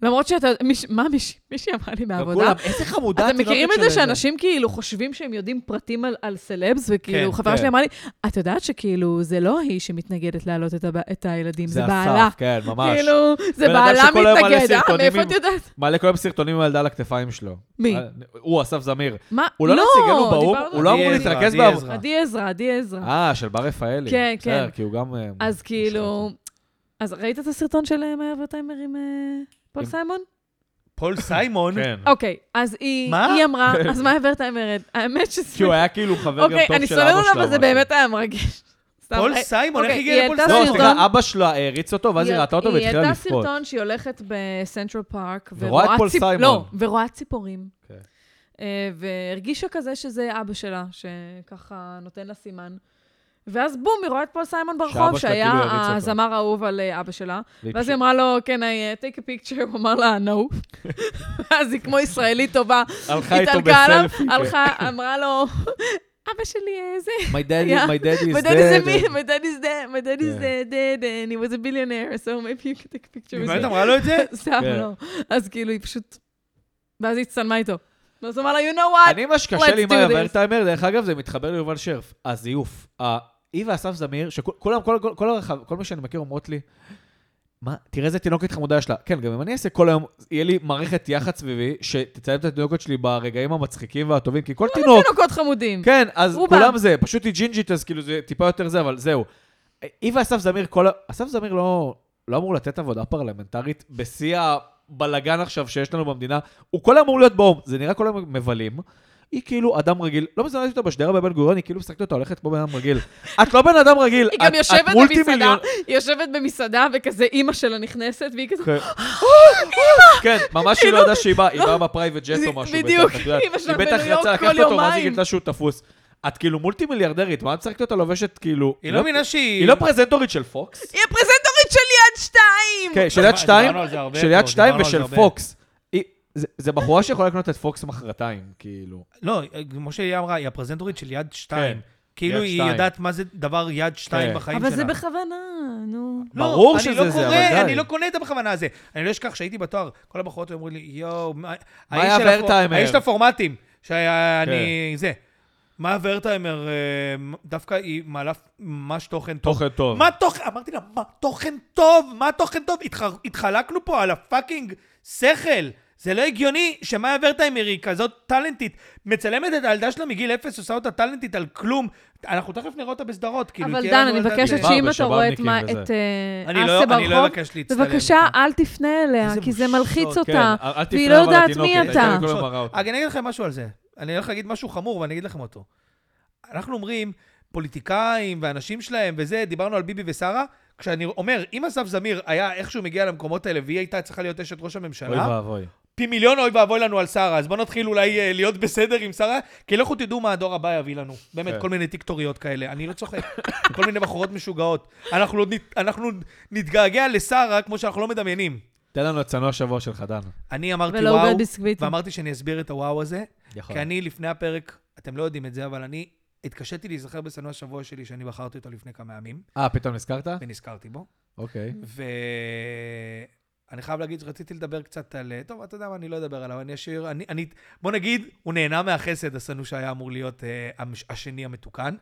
למרות שאתה, מיש- מה מיש- מישהי אמרה לי מהעבודה? וכולם, איזה חמודה אתם התינוקת מכירים את זה שלהם. שאנשים כאילו חושבים שהם יודעים פרטים על, על סלבס, וכאילו כן, חברה כן. שלי אמרה לי, את יודעת שכאילו זה לא היא שמתנגדת להעלות את, הב... את הילדים, זה, זה בעלה. אסף, כן, ממש. כאילו, זה בן אדם בעלה שכל היום מעלה מתנגד, אה, סרטונים מאיפה עם- את יודעת? מעלה כל היום סרטונים עם הילדה על הכתפיים שלו. מי? אה, הוא, אסף זמיר. מה? הוא לא נציג, אין לו באו"ם, דיברנו- הוא לא אמור עדי עזרא, להתרכז עדי בעבודה. עזרא. עדי עזרא, עדי עזרא. אה, של בר רפאלי. כן, כן. בסדר, כי הוא גם... אה, אז כאילו, מושלם. אז ראית את הסרטון של אה, מאיה ורטהיימר עם אה, פול עם- סיימון? פול סיימון, כן. אוקיי, אז היא מה? היא אמרה, אז מאיה ורטהיימר, האמת כי שזה... הוא היה כאילו חבר גם טוב של אבא אוקיי, שלו. אני סוללת עליו, אבל זה משהו. באמת היה מרגש. סתם, פול אה, סיימון, איך אוקיי, הגיע היא לפול העלתה סיימון? לא, סרטון- סליחה, אבא שלה העריץ אותו, ואז היא ראתה אותו והתחילה העלתה לבכות. סרטון שהיא הולכת בסנטרל פארק, ורואה את פול ציפ- סיימון. לא, ורואה ציפורים. כן. אה, והרגישה כזה שזה אבא שלה, שככה נותן לה סימן. ואז בום, היא רואה את פול סיימון ברחוב, שאבא שלה שהיה כאילו הריץ אותו. הזמר האהוב על אה, אבא שלה. ואז היא והיא אמרה לו, כן, I uh, take a picture, הוא אמר לה, no. ואז היא כמו ישראלית טובה, פשוט הלכה איתו התעלקה עליו, בסלפי. כן. הלכה, אמרה לו, אבא שלי אה, זה, My daddy, Yeah. my daddy my is dad is a dead. me- my dad is dead, my dad is כן. uh, dead, and he was a billionaire, so maybe you can take a picture היא with באמת me. אמרה לו את זה? סתם, כן. לא. אז כאילו, היא פשוט... ואז היא הצטלמה איתו. ואז הוא אמר לה, you know what? אני, מה שקשה לי עם Let's do מאיה this. ורטהיימר, דרך אגב, זה מתחבר ליובל שרף. הזיוף. ה- היא ואסף זמיר, שכולם, כל- כל- כל הרחב, כל מי שאני מכיר אומרות לי, מה, תראה איזה תינוקת חמודה יש לה. כן, גם אם אני אעשה כל היום, יהיה לי מערכת יח"צ סביבי, שתצלם את התינוקת שלי ברגעים המצחיקים והטובים, כי לא כל לא תינוק... תינוקות חמודים. כן, אז רובם. כולם זה, פשוט היא ג'ינג'ית, אז כאילו זה טיפה יותר זה, אבל זהו. היא ואסף זמיר, כל ה... אסף זמיר לא, לא אמור לתת עבודה פרלמנטרית בשיא הבלגן עכשיו שיש לנו במדינה. הוא כל היום אמור להיות באו"ם, זה נראה כל היום מבלים. היא כאילו אדם רגיל, לא מזמן ראיתי אותה בשדרה בבן גוריון, היא כאילו משחקת אותה הולכת כמו בן אדם רגיל. את לא בן אדם רגיל, היא את, גם את יושבת מולטי במסעדה, מיליון- היא יושבת במסעדה, וכזה אימא שלה נכנסת, והיא כזה... כן. כן, ממש היא לא ידעה שהיא באה, היא באה בפרייבט ג'ט או אה, כאילו, זה- משהו. בטח, בדיוק, את יודעת. אמא שלה היא בטח בניו יורק יצאה כל לקחת אותו, ואז היא יומיים. גילתה שהוא תפוס. את כאילו מולטי מיליארדרית, מה את משחקת אותה לובשת כאילו... היא לא מבינה שהיא... היא לא פרזנטורית של פוקס? היא הפרזנטורית של יד שתיים! כן, של יד דיברנו שתיים, על זה הרבה של פה, יד שתיים דיברנו על זה ושל הרבה. פוקס. היא- זה- זה בחורה שיכולה לקנות את פוקס מחרתיים, כאילו. לא, כמו שהיא אמרה, היא הפרזנטורית של יד שתיים. כן, כאילו יד היא שתיים. יודעת מה זה דבר יד שתיים כן. בחיים שלה. אבל זה בכוונה, נו. לא, ברור אני שזה לא זה, אבל קורא- די. אני לא קונה את הבכוונה הזה. אני לא אשכח שהייתי בתואר, כל הבחורות היו אומרות לי, יואו, מה- האיש היה של הפור- ורטהיימר?" כן. האיש של הפורמטים, שאני... זה. מה ורטהיימר, אה, דווקא היא מעלה ממש תוכן טוב. תוכן טוב. מה תוכן? אמרתי לה, מה תוכן טוב? מה תוכן טוב? התח- התחלקנו פה על הפאקינג שכל. זה לא הגיוני שמאיה ורטהיימר היא כזאת טאלנטית, מצלמת את הילדה שלה מגיל אפס, עושה אותה טאלנטית על כלום. אנחנו תכף נראה אותה בסדרות, כאילו, אבל תהיה דן, לנו אני ילדה מבקשת גאה. מדהימה. שאם אתה רואה את בשב"בניקים מה- וזה. את אה, אני לא- אסה אני לא ברחוב, אבקש להצטלם. בבקשה, איתה. אל תפנה אליה, איזה כי זה בושות, מלחיץ כן. אותה. כן, אל- אל והיא תפנה לא אבל יודעת מי לתינוקת, אתה. הייתה לי כל היום מראה אותה. רק אני אגיד לכם משהו על זה. אני הולך להגיד משהו חמור, ואני אגיד לכם אותו. אנחנו אומרים, פוליטיקאים ואנשים שלהם וזה, דיברנו על ביבי ושרה, כשאני אומר, אם אסף זמיר היה איכשהו מגיע למקומות האלה, והיא הייתה צריכה להיות אשת ראש אוי הממשלה, ואבוי. פי מיליון אוי ואבוי לנו על שרה, אז בואו נתחיל אולי אה, להיות בסדר עם שרה, כי לכו תדעו מה הדור הבא יביא לנו. באמת, כן. כל מיני טיקטוריות כאלה, אני לא צוחק. כל מיני בחורות משוגעות. אנחנו עוד נת- אנחנו נתגעגע לשרה כמו שאנחנו לא מדמיינים. תן לנו את צנוע השבוע שלך, דן. אני אמרתי ולא עובד וואו, ביסקוויטים. ואמרתי שאני אסביר את הוואו הזה, יכול. נכון. כי אני לפני הפרק, אתם לא יודעים את זה, אבל אני התקשיתי להיזכר בשנוא השבוע שלי, שאני בחרתי אותו לפני כמה ימים, אוקיי. אה, פתאום נזכרת? ונזכרתי בו. אוקיי. ואני חייב להגיד שרציתי לדבר קצת על... טוב, אתה יודע מה, אני לא אדבר עליו, אני אשאיר... אני, אני... בוא נגיד, הוא נהנה מהחסד, השנוא שהיה אמור להיות אה, המש- השני המתוקן,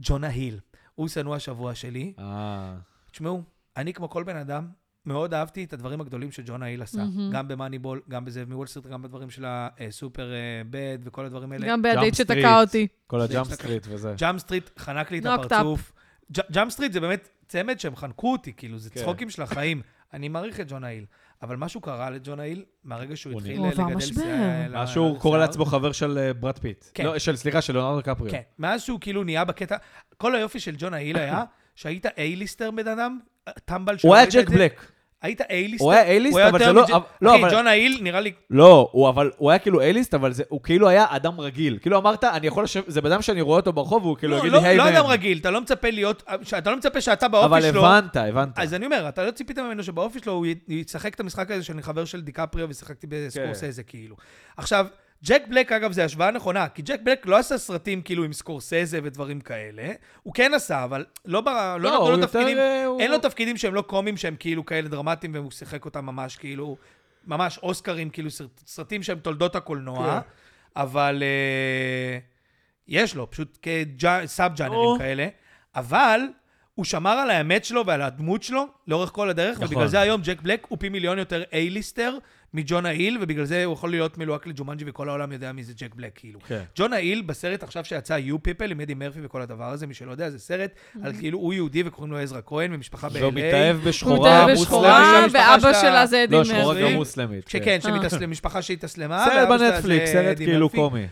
ג'ונה היל. הוא שנוא השבוע שלי. אה, תשמעו, אני כמו כל בן אדם, מאוד אהבתי את הדברים הגדולים שג'ון האיל עשה, מהמם. גם במאניבול, גם בזאב מוול סטריט, גם בדברים של הסופר אה, בד וכל הדברים האלה. גם Jump בידית Street. שתקע אותי. כל זה הג'אמפ יש לך- סטריט וזה. ג'אם סטריט חנק לי את Knocked up. הפרצוף. ג'- ג'אם סטריט זה באמת צמד שהם חנקו אותי, כאילו, זה כן. צחוקים של החיים. אני מעריך את ג'ון האיל, אבל משהו קרה לג'ון האיל מהרגע שהוא הוא התחיל נהיה. הוא עבר לגדל משבר. שיער. ל- משהו הוא לשיער. קורא לעצמו חבר של אה, ברד פיט. כן. לא, של, סליחה, של ליאונרדו קפריו. כן, מאז שהוא כאילו נהיה בקטע, כל היופי של ג'ון האיל היה שהיית אייליסטר בן אדם, טמבל שלא הוא היה ראית את ג'ק זה. בלק. היית אייליסטר. הוא היה אייליסט, אבל יותר זה לא... מג'ק- אבל- לא, אחי, אבל... ג'ון האיל נראה לי... לא, הוא אבל... הוא היה כאילו אייליסט, אבל זה- הוא כאילו היה אדם רגיל. כאילו אמרת, אני יכול לשבת... זה בן אדם שאני רואה אותו ברחוב, והוא כאילו לא, יגיד לא לי, היי, לא מן." אדם רגיל, אתה לא מצפה להיות... אתה לא מצפה שאתה אבל באופי שלו... הבנת, הבנת. אז אני אומר, אתה לא ציפית ממנו שבאופי שלו הוא י- ישחק את המשחק הזה שאני חבר של דיקפריו ושיחקתי כן. בסקורסזה, כאילו. עכשיו, ג'ק בלק, אגב, זו השוואה נכונה, כי ג'ק בלק לא עשה סרטים כאילו עם סקורסזה ודברים כאלה. הוא כן עשה, אבל לא בר- לא לא, נתנו הוא לו יותר, תפקידים... אה, הוא- אין לו תפקידים שהם לא קומיים, שהם כאילו כאלה דרמטיים, והוא שיחק אותם ממש כאילו... ממש אוסקרים, כאילו סרט- סרטים שהם תולדות הקולנוע. כן. אבל... אה, יש לו, פשוט כסאב או. ג'אנרים כאלה, אבל הוא שמר על האמת שלו ועל הדמות שלו לאורך כל הדרך, נכון. ובגלל זה היום ג'ק בלק הוא פי מיליון יותר אייליסטר מג'ון האיל, ובגלל זה הוא יכול להיות מלוהק לג'ומנג'י וכל העולם יודע מי זה ג'ק בלק, כאילו. כן. ג'ון האיל בסרט עכשיו שיצא You People עם אדי מרפי וכל הדבר הזה, מי שלא יודע, זה סרט על כאילו הוא יהודי וקוראים לו עזרא כהן ומשפחה ב-LA. והוא מתאהב הוא בשחורה מתאהב בשחורה, מוסלמית. שהמשפחה ואבא שלה- שלה זה אדי לא, שחורה מרפי. גם מרוויל. מוסלמית. כן. שכן, אה, שמתאסלם, משפחה שהתאסלמה. סרט ואבא שלה זה בנטפליקס, סרט אדי כאילו מרפי. קומי.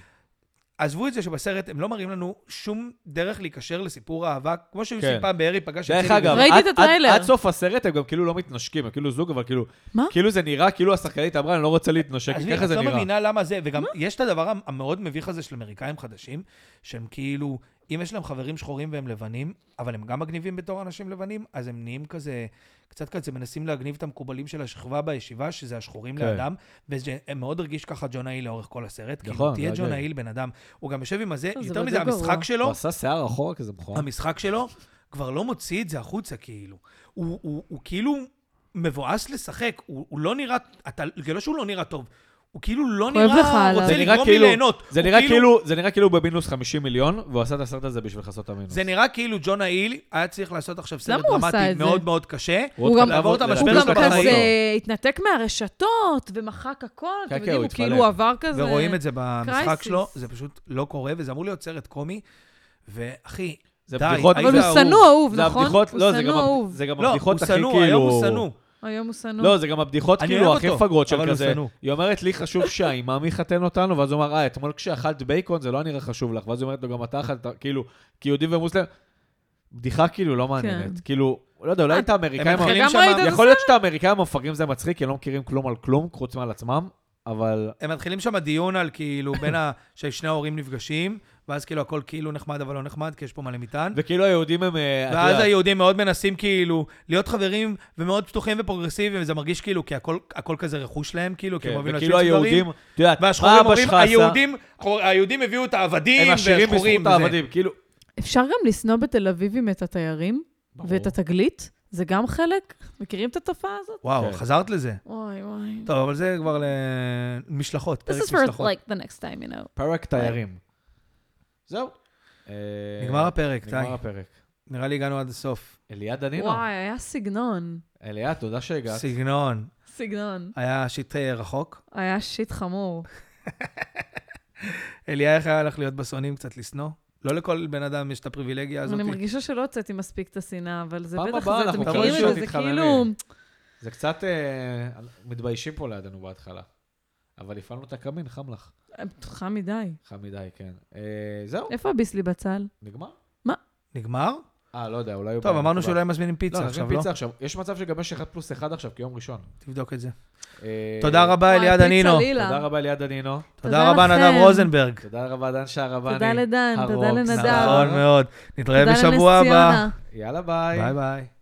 עזבו את זה שבסרט הם לא מראים לנו שום דרך להיקשר לסיפור אהבה, כמו שהיו כן. עושים פעם בארי פגש דרך צילי אגב, בזמן. ראיתי עד- את עד- הטריילר. עד סוף הסרט הם גם כאילו לא מתנשקים, הם כאילו זוג, אבל כאילו... מה? כאילו זה נראה כאילו השחקנית אמרה, אני לא רוצה להתנשק, עזבי, ככה את זה לא נראה. מבינה למה זה, וגם יש את הדבר המ- המאוד מביך הזה של אמריקאים חדשים, שהם כאילו, אם יש להם חברים שחורים והם לבנים, אבל הם גם מגניבים בתור אנשים לבנים, אז הם נהיים כזה, קצת כזה מנסים להגניב את המקובלים של השכבה בישיבה, שזה השחורים כן. לאדם, והם מאוד הרגיש ככה ג'ון האיל לאורך כל הסרט. נכון, זה נכון, כאילו, תהיה ג'ון הגיוני. האיל בן אדם. הוא גם יושב עם הזה, לא, זה יותר בדיוק מזה, המשחק גרוע. שלו, הוא עשה שיער אחורה כזה מכוער. המשחק שלו כבר לא מוציא את זה החוצה, כאילו. הוא, הוא, הוא כאילו מבואס לשחק, הוא, הוא לא נראה, אתה, זה לא שהוא לא נראה טוב, הוא כאילו לא כואב לך נראה, עליו. רוצה זה נראה לגרום לי כאילו- ליהנות. זה הוא נראה כאילו, זה נראה כאילו הוא במינוס 50 מיליון, והוא עשה את הסרט הזה בשביל לכסות את המינוס. זה נראה כאילו ג'ון האיל היה צריך לעשות עכשיו סרט למה הוא עשה דרמטי את זה? מאוד מאוד קשה. הוא עוד גם- כתב- לעבור את לדעתי הוא המשבר הוא שלו גם כתב בחיים. כזה אותו. התנתק מהרשתות ומחק הכל, כן, אתם כן, יודעים, הוא הוא כאילו התפלק. עבר כזה... ורואים את זה במשחק קרייסיס. שלו, זה פשוט לא קורה, וזה אמור להיות סרט קומי, ואחי, זה די, בדיחות- היית אבל הוא אהוב. שנוא אהוב, זה נכון? הבדיחות, הוא לא, זה גם שנוא הבד- אהוב. זה גם לא, הוא הבדיחות הכי כאילו... שנוא, היום הוא שנוא. היום הוא שנוא. לא, זה גם הבדיחות אני כאילו אוהב הכי אותו, מפגרות אבל של הוא כזה. שנוא. היא אומרת, לי חשוב שהאימאם יחתן אותנו, ואז הוא אמר, אה, אתמול כשאכלת בייקון זה לא היה נראה חשוב לך, ואז היא אומרת לו, גם אתה אכלת, כאילו, כיהודי ומוסלם. בדיחה כאילו לא מעניינת. כאילו, לא יודע, אולי כן. אה, את האמריקאים... הם אתה מתחילים גם שם- ראית את יכול להיות שאת האמריקאים המפגרים זה מצחיק, כי הם לא מכירים כלום על כלום, חוץ מעל עצמם, אבל... הם מתחילים שם דיון על כאילו, בין ה... ששני ההורים נפגשים, ואז כאילו הכל כאילו נחמד אבל לא נחמד, כי יש פה מלא מטען. וכאילו היהודים הם... אה, את ואז יודעת, היהודים מאוד מנסים כאילו להיות חברים ומאוד פתוחים ופרוגרסיביים, וזה מרגיש כאילו, כי הכל, הכל כזה רכוש להם, כאילו, כי כן, הם אוהבים וכאילו היהודים, את יודעת, מה והשחורים אבא אומרים, שלך עשה, היהודים, היהודים הביאו את העבדים, הם עשירים והשחורים, בזכות וזה." העבדים, כאילו... אפשר גם לשנוא בתל אביבים את התיירים ברור. ואת התגלית, זה גם חלק. מכירים את התופעה הזאת? וואו, כן. חזרת לזה. אוי אוי. טוב, אבל זה כבר למשלחות, פרק משלחות. the next time, you know. פרק תיירים. זהו. אה, נגמר הפרק, די. נגמר הפרק. נראה לי הגענו עד הסוף. אליה דנינו. וואי, היה סגנון. אליה, תודה שהגעת. סגנון. סגנון. היה שיט אה, רחוק. היה שיט חמור. אליה, איך היה לך להיות בשונאים קצת לשנוא? לא לכל בן אדם יש את הפריבילגיה הזאת. אני מרגישה שלא הוצאתי מספיק את השנאה, אבל זה פעם בטח, הבאה זה, אתם אנחנו מכירים פשוט את זה, זה נתחממים. כאילו... זה קצת... אה, מתביישים פה לידינו בהתחלה. אבל הפעלנו את הקמין, חם לך. חם אה, מדי. חם מדי, כן. אה, זהו, איפה הביסלי בצל? נגמר? נגמר? אה, לא יודע, אולי... הוא טוב, בא- אמרנו הוא בא. שאולי מזמינים פיצה לא, נזמין עכשיו, לא? פיצה עכשיו. יש מצב שגם יש 1 פלוס 1 עכשיו, כי יום ראשון. תבדוק את זה. אה, תודה רבה, וואי, אליה פיצה דנינו. לילה. תודה רבה אליה דנינו. תודה רבה, נדב לכם. רוזנברג. תודה רבה, דן שערבני. תודה לדן, תודה הרוק, לנדב. סער. נכון מאוד. נתראה תודה בשבוע לנס הבא. ציונה. יאללה, ביי. ביי ביי.